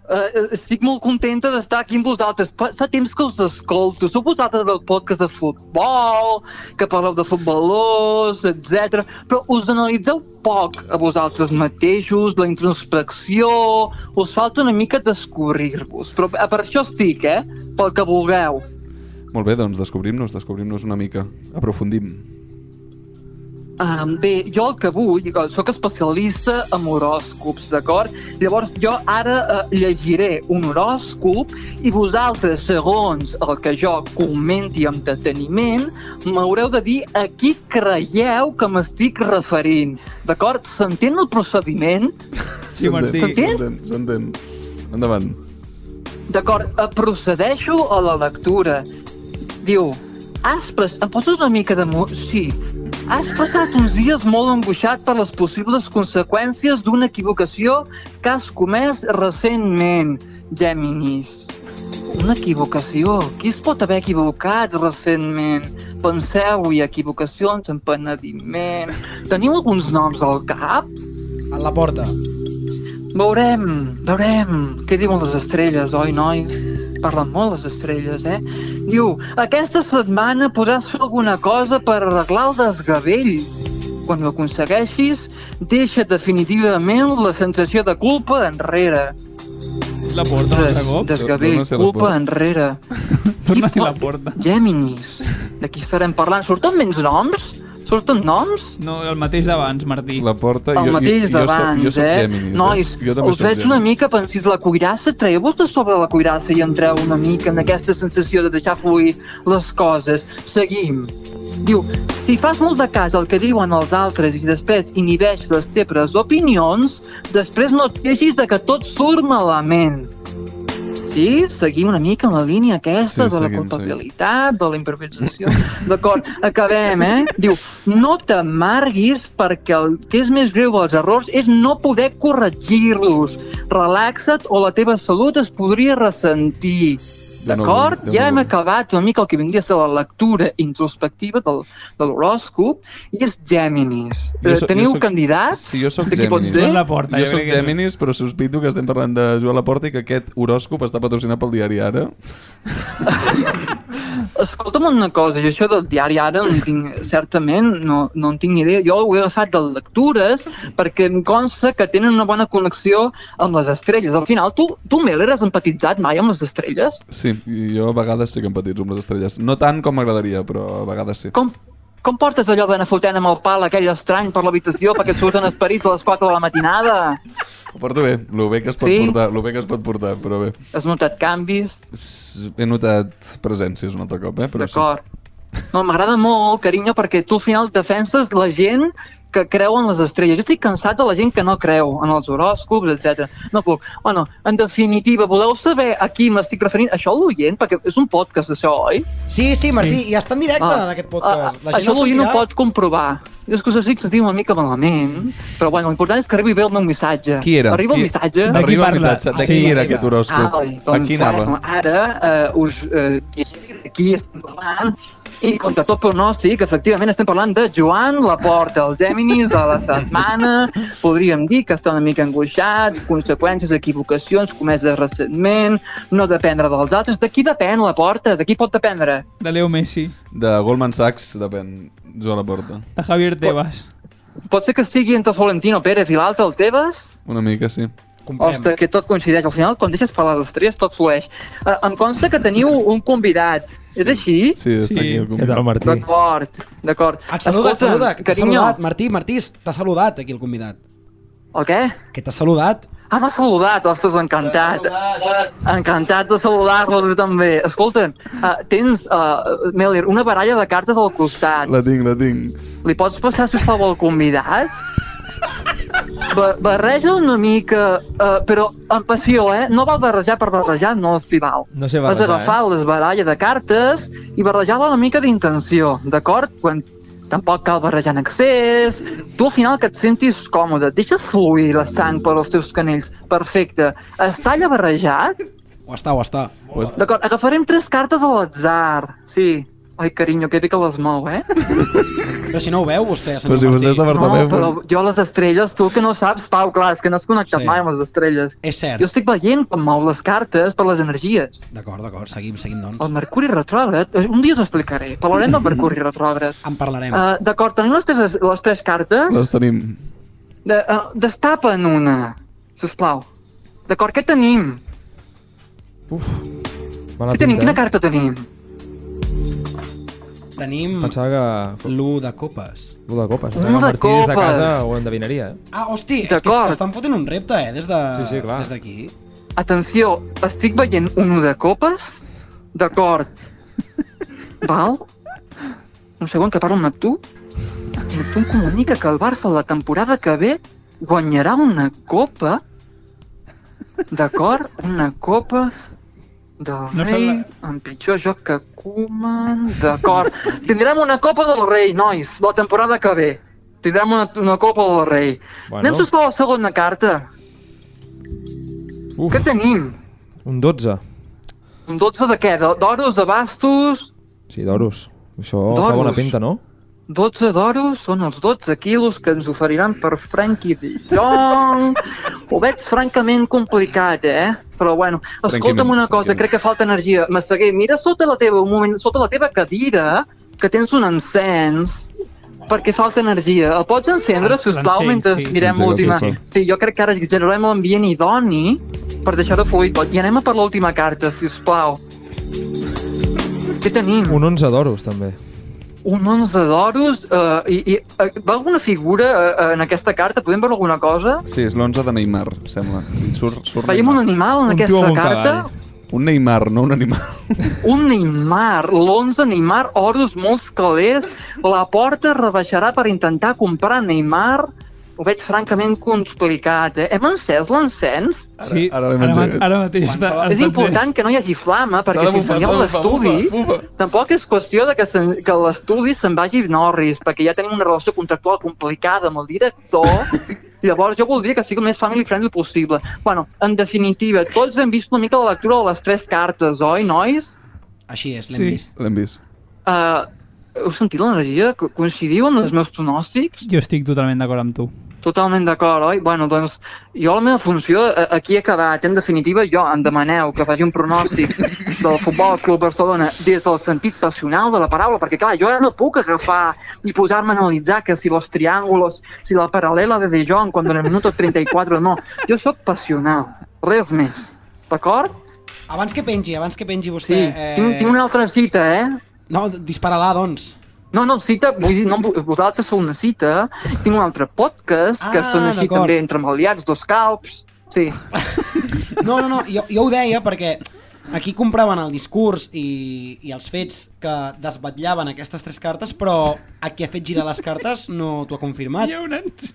Speaker 10: Eh, eh, estic molt contenta d'estar aquí amb vosaltres. Fa, fa temps que us escolto. Sou vosaltres del podcast de futbol, que parleu de futbolors, etc. Però us analitzeu poc a vosaltres mateixos, la introspecció... Us falta una mica descobrir-vos. Però eh, per això estic, eh? Pel que vulgueu.
Speaker 3: Molt bé, doncs descobrim-nos, descobrim-nos una mica. Aprofundim.
Speaker 10: Um, bé, jo el que vull, eh, sóc especialista en horòscops, d'acord? Llavors jo ara eh, llegiré un horòscop i vosaltres, segons el que jo comenti amb deteniment, m'haureu de dir a qui creieu que m'estic referint, d'acord? S'entén el procediment?
Speaker 4: Sí, Martí.
Speaker 10: S'entén?
Speaker 3: S'entén, s'entén. Endavant.
Speaker 10: D'acord, eh, procedeixo a la lectura. Diu, has pres... Em poses una mica de... Mu... Sí. Has passat uns dies molt angoixat per les possibles conseqüències d'una equivocació que has comès recentment, Géminis. Una equivocació? Qui es pot haver equivocat recentment? Penseu-hi, equivocacions, empenediment... Teniu alguns noms al cap?
Speaker 1: A la porta.
Speaker 10: Veurem, veurem què diuen les estrelles, oi, nois? Parlen molt les estrelles, eh? Diu, aquesta setmana podràs fer alguna cosa per arreglar el desgavell. Quan ho aconsegueixis, deixa definitivament la sensació de culpa enrere.
Speaker 4: La porta, un altre cop.
Speaker 10: Desgavell,
Speaker 3: Torna-se la
Speaker 10: culpa
Speaker 3: porta.
Speaker 10: enrere.
Speaker 4: Torna-li la porta.
Speaker 10: Géminis, de qui estarem parlant? Surten menys noms? Surten noms?
Speaker 4: No, el mateix d'abans, Martí.
Speaker 3: La porta...
Speaker 10: El mateix d'abans,
Speaker 3: jo, soc, jo soc
Speaker 10: eh?
Speaker 3: Géminis,
Speaker 10: Nois,
Speaker 3: eh? Jo també
Speaker 10: us
Speaker 3: soc
Speaker 10: veig una
Speaker 3: Géminis.
Speaker 10: mica pensis la cuirassa, treu-vos de sobre la cuirassa i entreu una mica en aquesta sensació de deixar fluir les coses. Seguim. Diu, si fas molt de cas al que diuen els altres i després inhibeix les teves opinions, després no et queixis de que tot surt malament. Sí, seguim una mica en la línia aquesta
Speaker 11: Sí,
Speaker 10: de la
Speaker 11: seguim,
Speaker 10: culpabilitat, de la improvisació. D'acord, acabem, eh? Diu, no t'amarguis perquè el que és més greu dels errors és no poder corregir-los. Relaxa't o la teva salut es podria ressentir.
Speaker 12: Déu-n'hi-do,
Speaker 10: D'acord?
Speaker 12: Déu-n'hi-do.
Speaker 10: Ja hem acabat una mica el que vindria a ser la lectura introspectiva del, de l'horòscop i és Gèminis.
Speaker 3: Jo
Speaker 10: Eh,
Speaker 3: sóc- jo
Speaker 10: Teniu
Speaker 3: sóc-
Speaker 10: candidats?
Speaker 3: Sí, jo sóc
Speaker 10: De qui pot
Speaker 3: Gèminis.
Speaker 10: ser? Joan Laporta,
Speaker 3: jo
Speaker 10: jo
Speaker 3: sóc
Speaker 10: crec que és-
Speaker 3: Gèminis, però sospito que estem parlant de Joan Laporta i que aquest horòscop està patrocinat pel diari Ara.
Speaker 10: Escolta'm una cosa, jo això del diari ara no en tinc, certament no, no en tinc ni idea. Jo ho he agafat de lectures perquè em consta que tenen una bona connexió amb les estrelles. Al final, tu, tu Meller, has empatitzat mai amb les estrelles?
Speaker 3: Sí, i jo a vegades sí que empatitzo amb les estrelles. No tant com m'agradaria, però a vegades sí.
Speaker 10: Com, com portes allò d'anar fotent amb el pal aquell estrany per l'habitació perquè et surten esperits a les 4 de la matinada?
Speaker 3: Ho porto bé, el bé que es pot
Speaker 10: Sí?
Speaker 3: portar, el bé que es pot portar, però bé.
Speaker 10: Has notat canvis?
Speaker 3: S- He notat presències un altre cop, eh? Però sí.
Speaker 10: D'acord. No, m'agrada molt, carinyo, perquè tu al final defenses la gent que creu en les estrelles. Jo estic cansat de la gent que no creu en els horòscops, etc. No puc. Bueno, en definitiva, voleu saber a qui m'estic referint? Això l'oient, perquè és un podcast, això, oi?
Speaker 1: Sí, sí, Martí, sí. i està en directe
Speaker 10: Ah.
Speaker 1: en aquest podcast. La gent
Speaker 10: això
Speaker 1: el
Speaker 10: l'oient ho
Speaker 1: sentirà.
Speaker 10: pot comprovar. Jo és que us estic sentint una mica malament, però bueno, l'important és que arribi bé el meu missatge.
Speaker 3: Qui era?
Speaker 10: Arriba
Speaker 3: Qui-
Speaker 10: el missatge?
Speaker 3: De qui Arriba el parla? Ah, missatge. De qui era aquest horòscop?
Speaker 10: Ah, doncs,
Speaker 3: A qui anava?
Speaker 10: bueno, Ara eh, us eh, llegiré de qui estem parlant i contra tot pronòstic, efectivament estem parlant de Joan Laporta, el Gèminis de la setmana. Podríem dir que està una mica angoixat, conseqüències, equivocacions comeses recentment, no dependre dels altres. De qui depèn la porta? De qui pot dependre?
Speaker 4: De Leo Messi,
Speaker 3: De Goldman Sachs, depèn. Jo a la porta.
Speaker 4: de Javier Tebas.
Speaker 10: Pot ser que estigui entre Florentino Pérez i l'altre, el Tebas?
Speaker 3: Una mica, sí.
Speaker 10: Ostres, que tot coincideix. Al final, quan deixes per les estrelles, tot flueix. Uh, em consta que teniu un convidat. Sí. És així?
Speaker 3: Sí, està aquí el
Speaker 9: Què tal, Martí?
Speaker 10: D'acord, d'acord.
Speaker 1: Ah, Et saluda, et
Speaker 10: Escolta'm,
Speaker 1: saluda, que t'ha
Speaker 10: carinyo.
Speaker 1: saludat. Martí, Martí, t'ha saludat aquí el convidat.
Speaker 10: El què?
Speaker 1: Que t'ha saludat.
Speaker 10: Ah, m'ha saludat, ostres, encantat. Encantat de saludar-lo, tu també. Escolta'm, uh, tens, uh, Melir, una baralla de cartes al costat.
Speaker 3: La tinc, la tinc.
Speaker 10: Li pots passar, sisplau, al convidat? Ba barreja una mica, eh, però amb passió, eh? No val barrejar per barrejar, no s'hi val.
Speaker 9: No sé
Speaker 10: Has
Speaker 9: barrejar, eh?
Speaker 10: agafar les baralles de cartes i barrejar-la una mica d'intenció, d'acord? Quan tampoc cal barrejar en excés. Tu al final que et sentis còmode, deixa fluir la sang per als teus canells. Perfecte. Està allà barrejat?
Speaker 1: Ho està, ho està.
Speaker 3: Ho està.
Speaker 10: D'acord, agafarem tres cartes a l'atzar. Sí. Ai, carinyo, que bé que les mou, eh?
Speaker 1: Però si no ho veu vostè,
Speaker 3: Però
Speaker 1: senyor
Speaker 3: si vostè
Speaker 1: Martí.
Speaker 3: està per
Speaker 10: No, però jo les estrelles, tu que no saps, Pau, clar, és que no has connectat
Speaker 1: Sí.
Speaker 10: sí. mai amb les estrelles.
Speaker 1: És cert.
Speaker 10: Jo estic veient com mou les cartes per les energies.
Speaker 1: D'acord, d'acord, seguim, seguim, doncs.
Speaker 10: El Mercuri retrògrad, eh, un dia us ho explicaré. Parlarem del Mercuri retrògrad.
Speaker 1: En parlarem.
Speaker 10: Uh, D'acord, tenim les tres, les tres cartes.
Speaker 3: Les tenim.
Speaker 10: De, uh, destapen una, sisplau. D'acord, què tenim?
Speaker 9: Mala
Speaker 10: Què tenim?
Speaker 9: pinta,
Speaker 10: Quina
Speaker 9: eh?
Speaker 10: carta tenim?
Speaker 1: Tenim
Speaker 9: Pensava que...
Speaker 1: L'1 de copes.
Speaker 9: L'1 de copes.
Speaker 1: L'u
Speaker 9: Pensava
Speaker 1: de
Speaker 9: que Martí des de
Speaker 1: copes.
Speaker 9: casa ho endevinaria, eh?
Speaker 1: Ah, hosti, és que t'estan fotent un repte, eh, des de...
Speaker 9: Sí, sí, clar.
Speaker 1: Des d'aquí.
Speaker 10: Atenció, estic veient un u de copes? D'acord. Val? Un segon que parlo amb Neptú. Neptú em comunica que el Barça la temporada que ve guanyarà una copa. D'acord? Una copa del
Speaker 4: No se
Speaker 10: rei
Speaker 4: la-
Speaker 10: amb pitjor joc que Koeman. D'acord. Tindrem una copa del rei, nois, la temporada que ve. Tindrem una, una copa del rei.
Speaker 9: Bueno.
Speaker 10: Bueno. Anem, sisplau, a la segona carta.
Speaker 9: Uf.
Speaker 10: Què tenim?
Speaker 9: Un 12.
Speaker 10: Un 12 de què? De- D'oros, de bastos?
Speaker 9: Sí, d'oros. Això
Speaker 10: D'oros.
Speaker 9: fa bona pinta, no?
Speaker 10: 12 d'oros són els 12 quilos que ens oferiran per Frankie de Jong. Ho veig francament complicat, eh? Però bueno, escolta'm
Speaker 12: Tranquil·lament,
Speaker 10: una cosa, crec que falta energia. Massaguer, mira sota la teva, un moment, sota la teva cadira, que tens un encens, perquè falta energia. El pots encendre, sisplau,
Speaker 12: l'encenc,
Speaker 10: mentre
Speaker 12: sí.
Speaker 10: mirem
Speaker 12: Engega,
Speaker 10: l'última...
Speaker 12: sí,
Speaker 10: Sí, jo crec que ara generarem l'ambient idoni per deixar-ho fluir tot. I anem a per l'última carta, sisplau. Què tenim?
Speaker 9: Un 11 d'oros, també.
Speaker 10: Un 11 d'oros uh, i, i uh, va alguna figura uh, en aquesta carta? Podem veure alguna cosa?
Speaker 3: Sí, és l'11 de Neymar, sembla. I Surt, surt
Speaker 10: Veiem un animal en
Speaker 9: Un tio eh.
Speaker 10: aquesta
Speaker 9: amb un
Speaker 10: carta?
Speaker 9: cavall.
Speaker 3: Un Neymar, no un animal.
Speaker 10: Un Neymar, l'11 Neymar, oros molts calés, la porta rebaixarà per intentar comprar Neymar. Ho veig francament complicat, eh? Hem encès l'encens?
Speaker 4: Sí, ara, ara, ara, ara mateix. Està,
Speaker 10: És important que no hi hagi flama, perquè
Speaker 4: Doncs S'ha de bufar,
Speaker 10: si ensenyeu
Speaker 4: s'ha de bufar,
Speaker 10: l'estudi, tampoc és qüestió de que, se, que l'estudi se'n vagi Norris, perquè ja tenim una relació contractual complicada amb el director, Llavors jo voldria que sigui el més family friendly possible. Bueno, en definitiva, tots hem vist una mica la lectura de les tres cartes, oi, nois?
Speaker 1: Així és,
Speaker 10: l'hem Sí. vist.
Speaker 3: L'hem vist.
Speaker 10: Uh, heu sentit l'energia? Co- Coincidiu amb els meus pronòstics?
Speaker 4: Jo estic totalment d'acord amb tu.
Speaker 10: Totalment d'acord, oi? Bueno, doncs jo la meva funció eh, aquí he acabat. En definitiva, jo em demaneu que faci un pronòstic del Futbol Club Barcelona des del sentit passional de la paraula, perquè clar, jo ara no puc agafar i posar-me a analitzar que si los triángulos, si la paral·lela de De Jong quan en el minut 34, no. Jo sóc passional, res més. D'acord?
Speaker 1: Abans que pengi, abans que pengi vostè...
Speaker 10: Sí, tinc- tinc una altra cita, eh?
Speaker 1: No, d- dispara-la, doncs.
Speaker 10: No, no, cita, vull dir, no, em vo- vosaltres sou una cita, eh? tinc un altre podcast que
Speaker 1: Ah,
Speaker 10: són així
Speaker 1: d'acord.
Speaker 10: també entre maliats, dos calps, sí.
Speaker 1: No, no, no, jo, jo ho deia perquè aquí compraven el discurs i, i els fets que desvetllaven aquestes tres cartes, però a qui ha fet girar les cartes no t'ho ha confirmat. Hi
Speaker 4: ha un encens.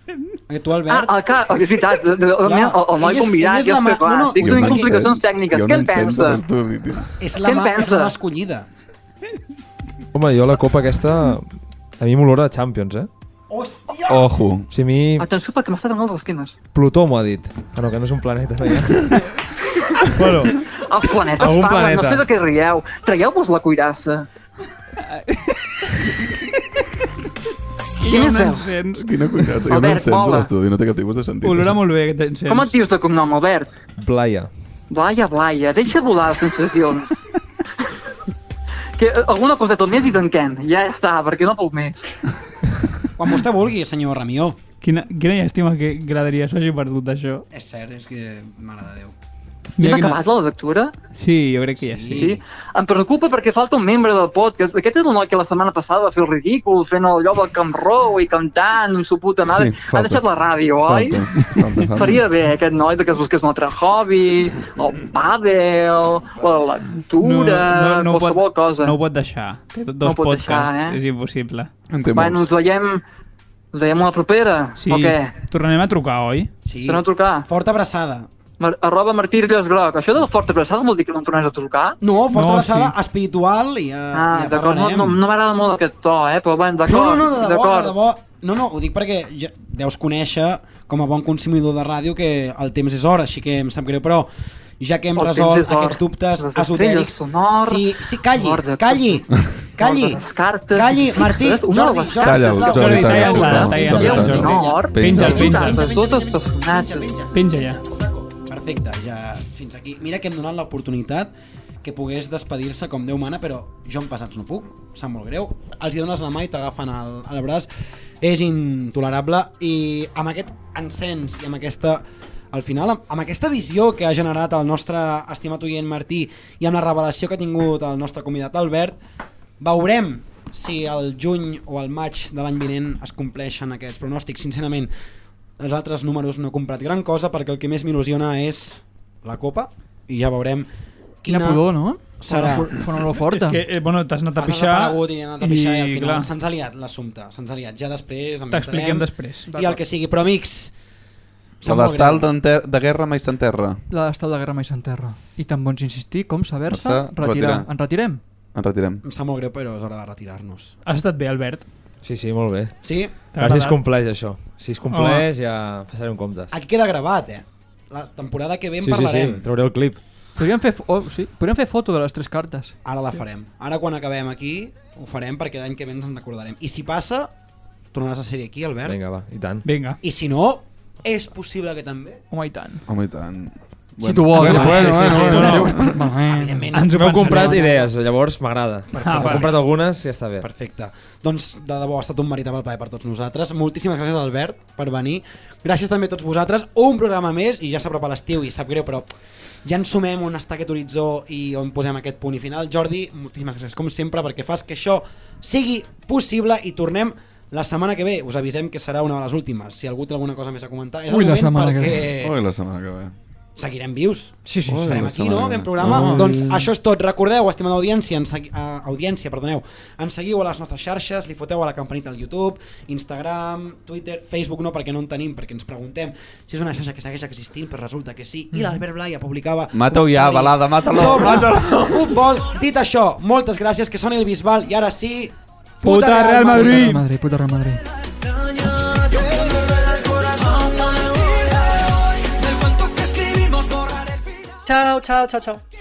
Speaker 1: Tu, Albert...
Speaker 10: Ah, el ca... és veritat, de- de- el, meu- el, el
Speaker 1: ella
Speaker 10: noi
Speaker 1: és-
Speaker 10: convidat,
Speaker 1: ella és
Speaker 10: ja
Speaker 1: la
Speaker 10: està
Speaker 1: mà-
Speaker 10: clar,
Speaker 1: no, no,
Speaker 10: estic
Speaker 1: jo
Speaker 10: tenint
Speaker 1: no-
Speaker 10: complicacions
Speaker 1: jo no
Speaker 10: tècniques,
Speaker 1: em
Speaker 10: què en
Speaker 1: sento
Speaker 10: pensa?
Speaker 1: És la,
Speaker 10: Què en
Speaker 1: mà, és
Speaker 10: pensa?
Speaker 1: la mà escollida.
Speaker 9: Home, jo la copa aquesta... A mi m'olora a Champions, eh?
Speaker 1: Hòstia!
Speaker 9: Ojo. Si a mi...
Speaker 1: Ah.
Speaker 10: Atenció perquè m'està donant les esquenes.
Speaker 9: Plutó m'ho ha dit. Ah, no, que no és un planeta, no ja. bueno,
Speaker 10: Els planetes
Speaker 9: Algun
Speaker 10: parlen,
Speaker 9: planeta.
Speaker 10: no sé de què rieu. Traieu-vos la cuirassa. Quines veus?
Speaker 4: encens.
Speaker 3: Quina cuirassa, hi ha un
Speaker 10: Albert,
Speaker 3: encens a
Speaker 10: mola.
Speaker 3: l'estudi, no té cap tipus de sentit.
Speaker 4: Olora molt bé aquest encens.
Speaker 10: Com et dius de cognom, Albert?
Speaker 9: Blaia.
Speaker 10: Blaia, blaia, deixa volar les sensacions. que eh, alguna coseta més i tanquem, ja està, perquè no puc més.
Speaker 1: Quan vostè vulgui, senyor Ramió.
Speaker 4: Quina, quina llàstima que gradaria s'hagi perdut això.
Speaker 1: És cert, és que... Mare de Déu.
Speaker 10: Ja hem
Speaker 4: Mira quina-
Speaker 10: acabat la lectura?
Speaker 4: Sí, jo crec que ja sí.
Speaker 10: Sí. Em preocupa perquè falta un membre del podcast. Aquest és el noi que la setmana passada va fer el ridícul, fent allò del Camp Row i cantant amb su puta mare.
Speaker 3: Sí,
Speaker 10: ha
Speaker 3: falta.
Speaker 10: deixat la ràdio, oi?
Speaker 3: Falta, falta, falta.
Speaker 10: Faria bé aquest noi de que es busqués un altre hobby, el pàdel, la lectura, no, no, no
Speaker 4: ho pot-
Speaker 10: qualsevol pot, cosa.
Speaker 4: No ho pot deixar. Té tot,
Speaker 10: No
Speaker 4: dos
Speaker 10: ho pot
Speaker 4: podcasts,
Speaker 10: deixar, eh?
Speaker 4: és impossible.
Speaker 10: bueno, ens veiem, ens veiem a la propera,
Speaker 4: Sí,
Speaker 10: o què?
Speaker 4: tornarem a trucar, oi?
Speaker 1: Sí.
Speaker 10: Tornem a trucar.
Speaker 1: Forta abraçada.
Speaker 10: Mar arroba Martí Ries Groc. Això de forta abraçada vol dir que no em tornaràs a trucar?
Speaker 1: No, forta no, abraçada sí. espiritual i ja,
Speaker 10: Ah,
Speaker 1: ja
Speaker 10: d'acord, no,
Speaker 1: parlarem.
Speaker 10: no, no m'agrada molt aquest to, eh? Però
Speaker 1: No, no,
Speaker 10: bueno, d'acord,
Speaker 1: no, de debò, de
Speaker 10: d'acord.
Speaker 1: debò. No, no, ho dic perquè ja deus conèixer com a bon consumidor de ràdio que el temps és or, així que em sap greu, però ja que hem
Speaker 10: El temps
Speaker 1: resolt
Speaker 10: és or.
Speaker 1: aquests dubtes
Speaker 10: Les estrelles
Speaker 1: esotèrics...
Speaker 10: sonor,
Speaker 1: sí, sí, calli,
Speaker 10: l'or de-
Speaker 1: calli, calli,
Speaker 10: l'or de les cartes,
Speaker 1: calli,
Speaker 10: fixa't,
Speaker 1: Martí,
Speaker 10: una de
Speaker 1: Jordi,
Speaker 10: les
Speaker 1: Jordi,
Speaker 3: Talla'l,
Speaker 1: sisplau.
Speaker 3: Jordi, Jordi, talla'l, talla'l, talla'l,
Speaker 10: Hi ha un
Speaker 3: talla'l,
Speaker 10: honor,
Speaker 3: Penja'l,
Speaker 10: de
Speaker 3: penja'l.
Speaker 10: totes, de tots els personatges.
Speaker 4: Penja ja.
Speaker 1: Perfecte, ja fins aquí. Mira que hem donat l'oportunitat que pogués despedir-se com Déu mana, però jo en passats no puc, sap molt greu. Els hi dones la mà i t'agafen el, el braç. És intolerable i amb aquest encens i amb aquesta al final, amb, amb aquesta visió que ha generat el nostre estimat oient Martí i amb la revelació que ha tingut el nostre convidat Albert, veurem si el juny o el maig de l'any vinent es compleixen aquests pronòstics. Sincerament, els altres números no he comprat gran cosa perquè el que més m'il·lusiona és la copa i ja veurem
Speaker 2: Quina
Speaker 1: quina,
Speaker 2: pudor, no?
Speaker 1: serà.
Speaker 2: Fa una- fa una olor forta.
Speaker 4: És que, eh, bueno, t'has anat a
Speaker 1: Has
Speaker 4: pixar...
Speaker 1: desaparegut i he anat a pixar i, al
Speaker 4: i, clar.
Speaker 1: final se'ns ha liat l'assumpte, se'ns ha liat. Ja després en
Speaker 4: T'expliquem
Speaker 1: parlarem
Speaker 4: després.
Speaker 1: I el que sigui, però amics,
Speaker 3: La d'estal d'enter- de guerra mai s'enterra.
Speaker 2: La d'estal de guerra mai s'enterra. I tan bons insistir com saber-se
Speaker 3: Marçà,
Speaker 2: retirar. retirar.
Speaker 3: retirar.
Speaker 2: En retirem?
Speaker 3: En retirem.
Speaker 1: em sap molt greu però és hora de retirar-nos.
Speaker 4: Ha estat bé, Albert.
Speaker 9: Sí, sí, molt bé.
Speaker 1: Sí?
Speaker 9: A veure si es compleix, això. Si es compleix, ja passarem comptes.
Speaker 1: Aquí queda gravat, eh? La temporada que ve en
Speaker 9: Sí, sí, sí,
Speaker 1: parlarem.
Speaker 9: trauré el clip.
Speaker 2: Podríem fer, fo- oh, sí, podríem fer foto de les tres cartes.
Speaker 1: Ara la farem. Ara quan acabem aquí ho farem perquè l'any que ve ens en recordarem. I si passa, tornaràs a ser aquí, Albert.
Speaker 9: Vinga, va, i tant.
Speaker 4: Vinga.
Speaker 1: I si no, és possible que també.
Speaker 2: Home, i tant.
Speaker 3: Home, i tant.
Speaker 2: tu vols,
Speaker 3: Bueno,
Speaker 2: va,
Speaker 3: bueno,
Speaker 2: sí, sí, sí,
Speaker 3: bueno,
Speaker 2: no,
Speaker 3: bueno.
Speaker 2: no.
Speaker 1: Evidentment.
Speaker 4: Ens
Speaker 9: M'heu
Speaker 4: ho pensarem.
Speaker 9: comprat idees, llavors m'agrada.
Speaker 1: Perfecte.
Speaker 9: M'he comprat algunes i ja està bé.
Speaker 1: Perfecte. Doncs, de debò, ha estat un veritable plaer per tots nosaltres. Moltíssimes gràcies, Albert, per venir. Gràcies també a tots vosaltres. Un programa més, i ja s'apropa l'estiu, i sap greu, però ja ens sumem on està aquest horitzó i on posem aquest punt i final. Jordi, moltíssimes gràcies, com sempre, perquè fas que això sigui possible i tornem la setmana que ve. Us avisem que serà una de les últimes. Si algú té alguna cosa més a comentar, és
Speaker 2: Ui,
Speaker 1: el
Speaker 2: la
Speaker 1: moment
Speaker 2: setmana que
Speaker 1: perquè...
Speaker 3: Ui, la setmana que ve.
Speaker 1: seguirem vius.
Speaker 2: Sí, sí,
Speaker 1: Estarem
Speaker 2: sí,
Speaker 1: aquí,
Speaker 2: sí,
Speaker 1: no?
Speaker 2: sí.
Speaker 1: Fem programa.
Speaker 2: Ai.
Speaker 1: Doncs això és tot. Recordeu, estimada audiència, ens segui, eh, audiència, perdoneu, ens seguiu a les nostres xarxes, li foteu a la campanita al YouTube, Instagram, Twitter, Facebook no, perquè no en tenim, perquè ens preguntem si és una xarxa que segueix existint, però resulta que
Speaker 2: Mm.
Speaker 1: sí. I l'Albert Blaya publicava...
Speaker 3: Mata-ho ja,
Speaker 1: comentaris
Speaker 3: Balada, mata-lo,
Speaker 1: sobre
Speaker 3: mata-lo.
Speaker 1: Futbol. Dit això, moltes gràcies, que són el Bisbal, i ara sí...
Speaker 2: Puta Real Madrid, puta Real Madrid.
Speaker 11: Chao, chao, chao, chao.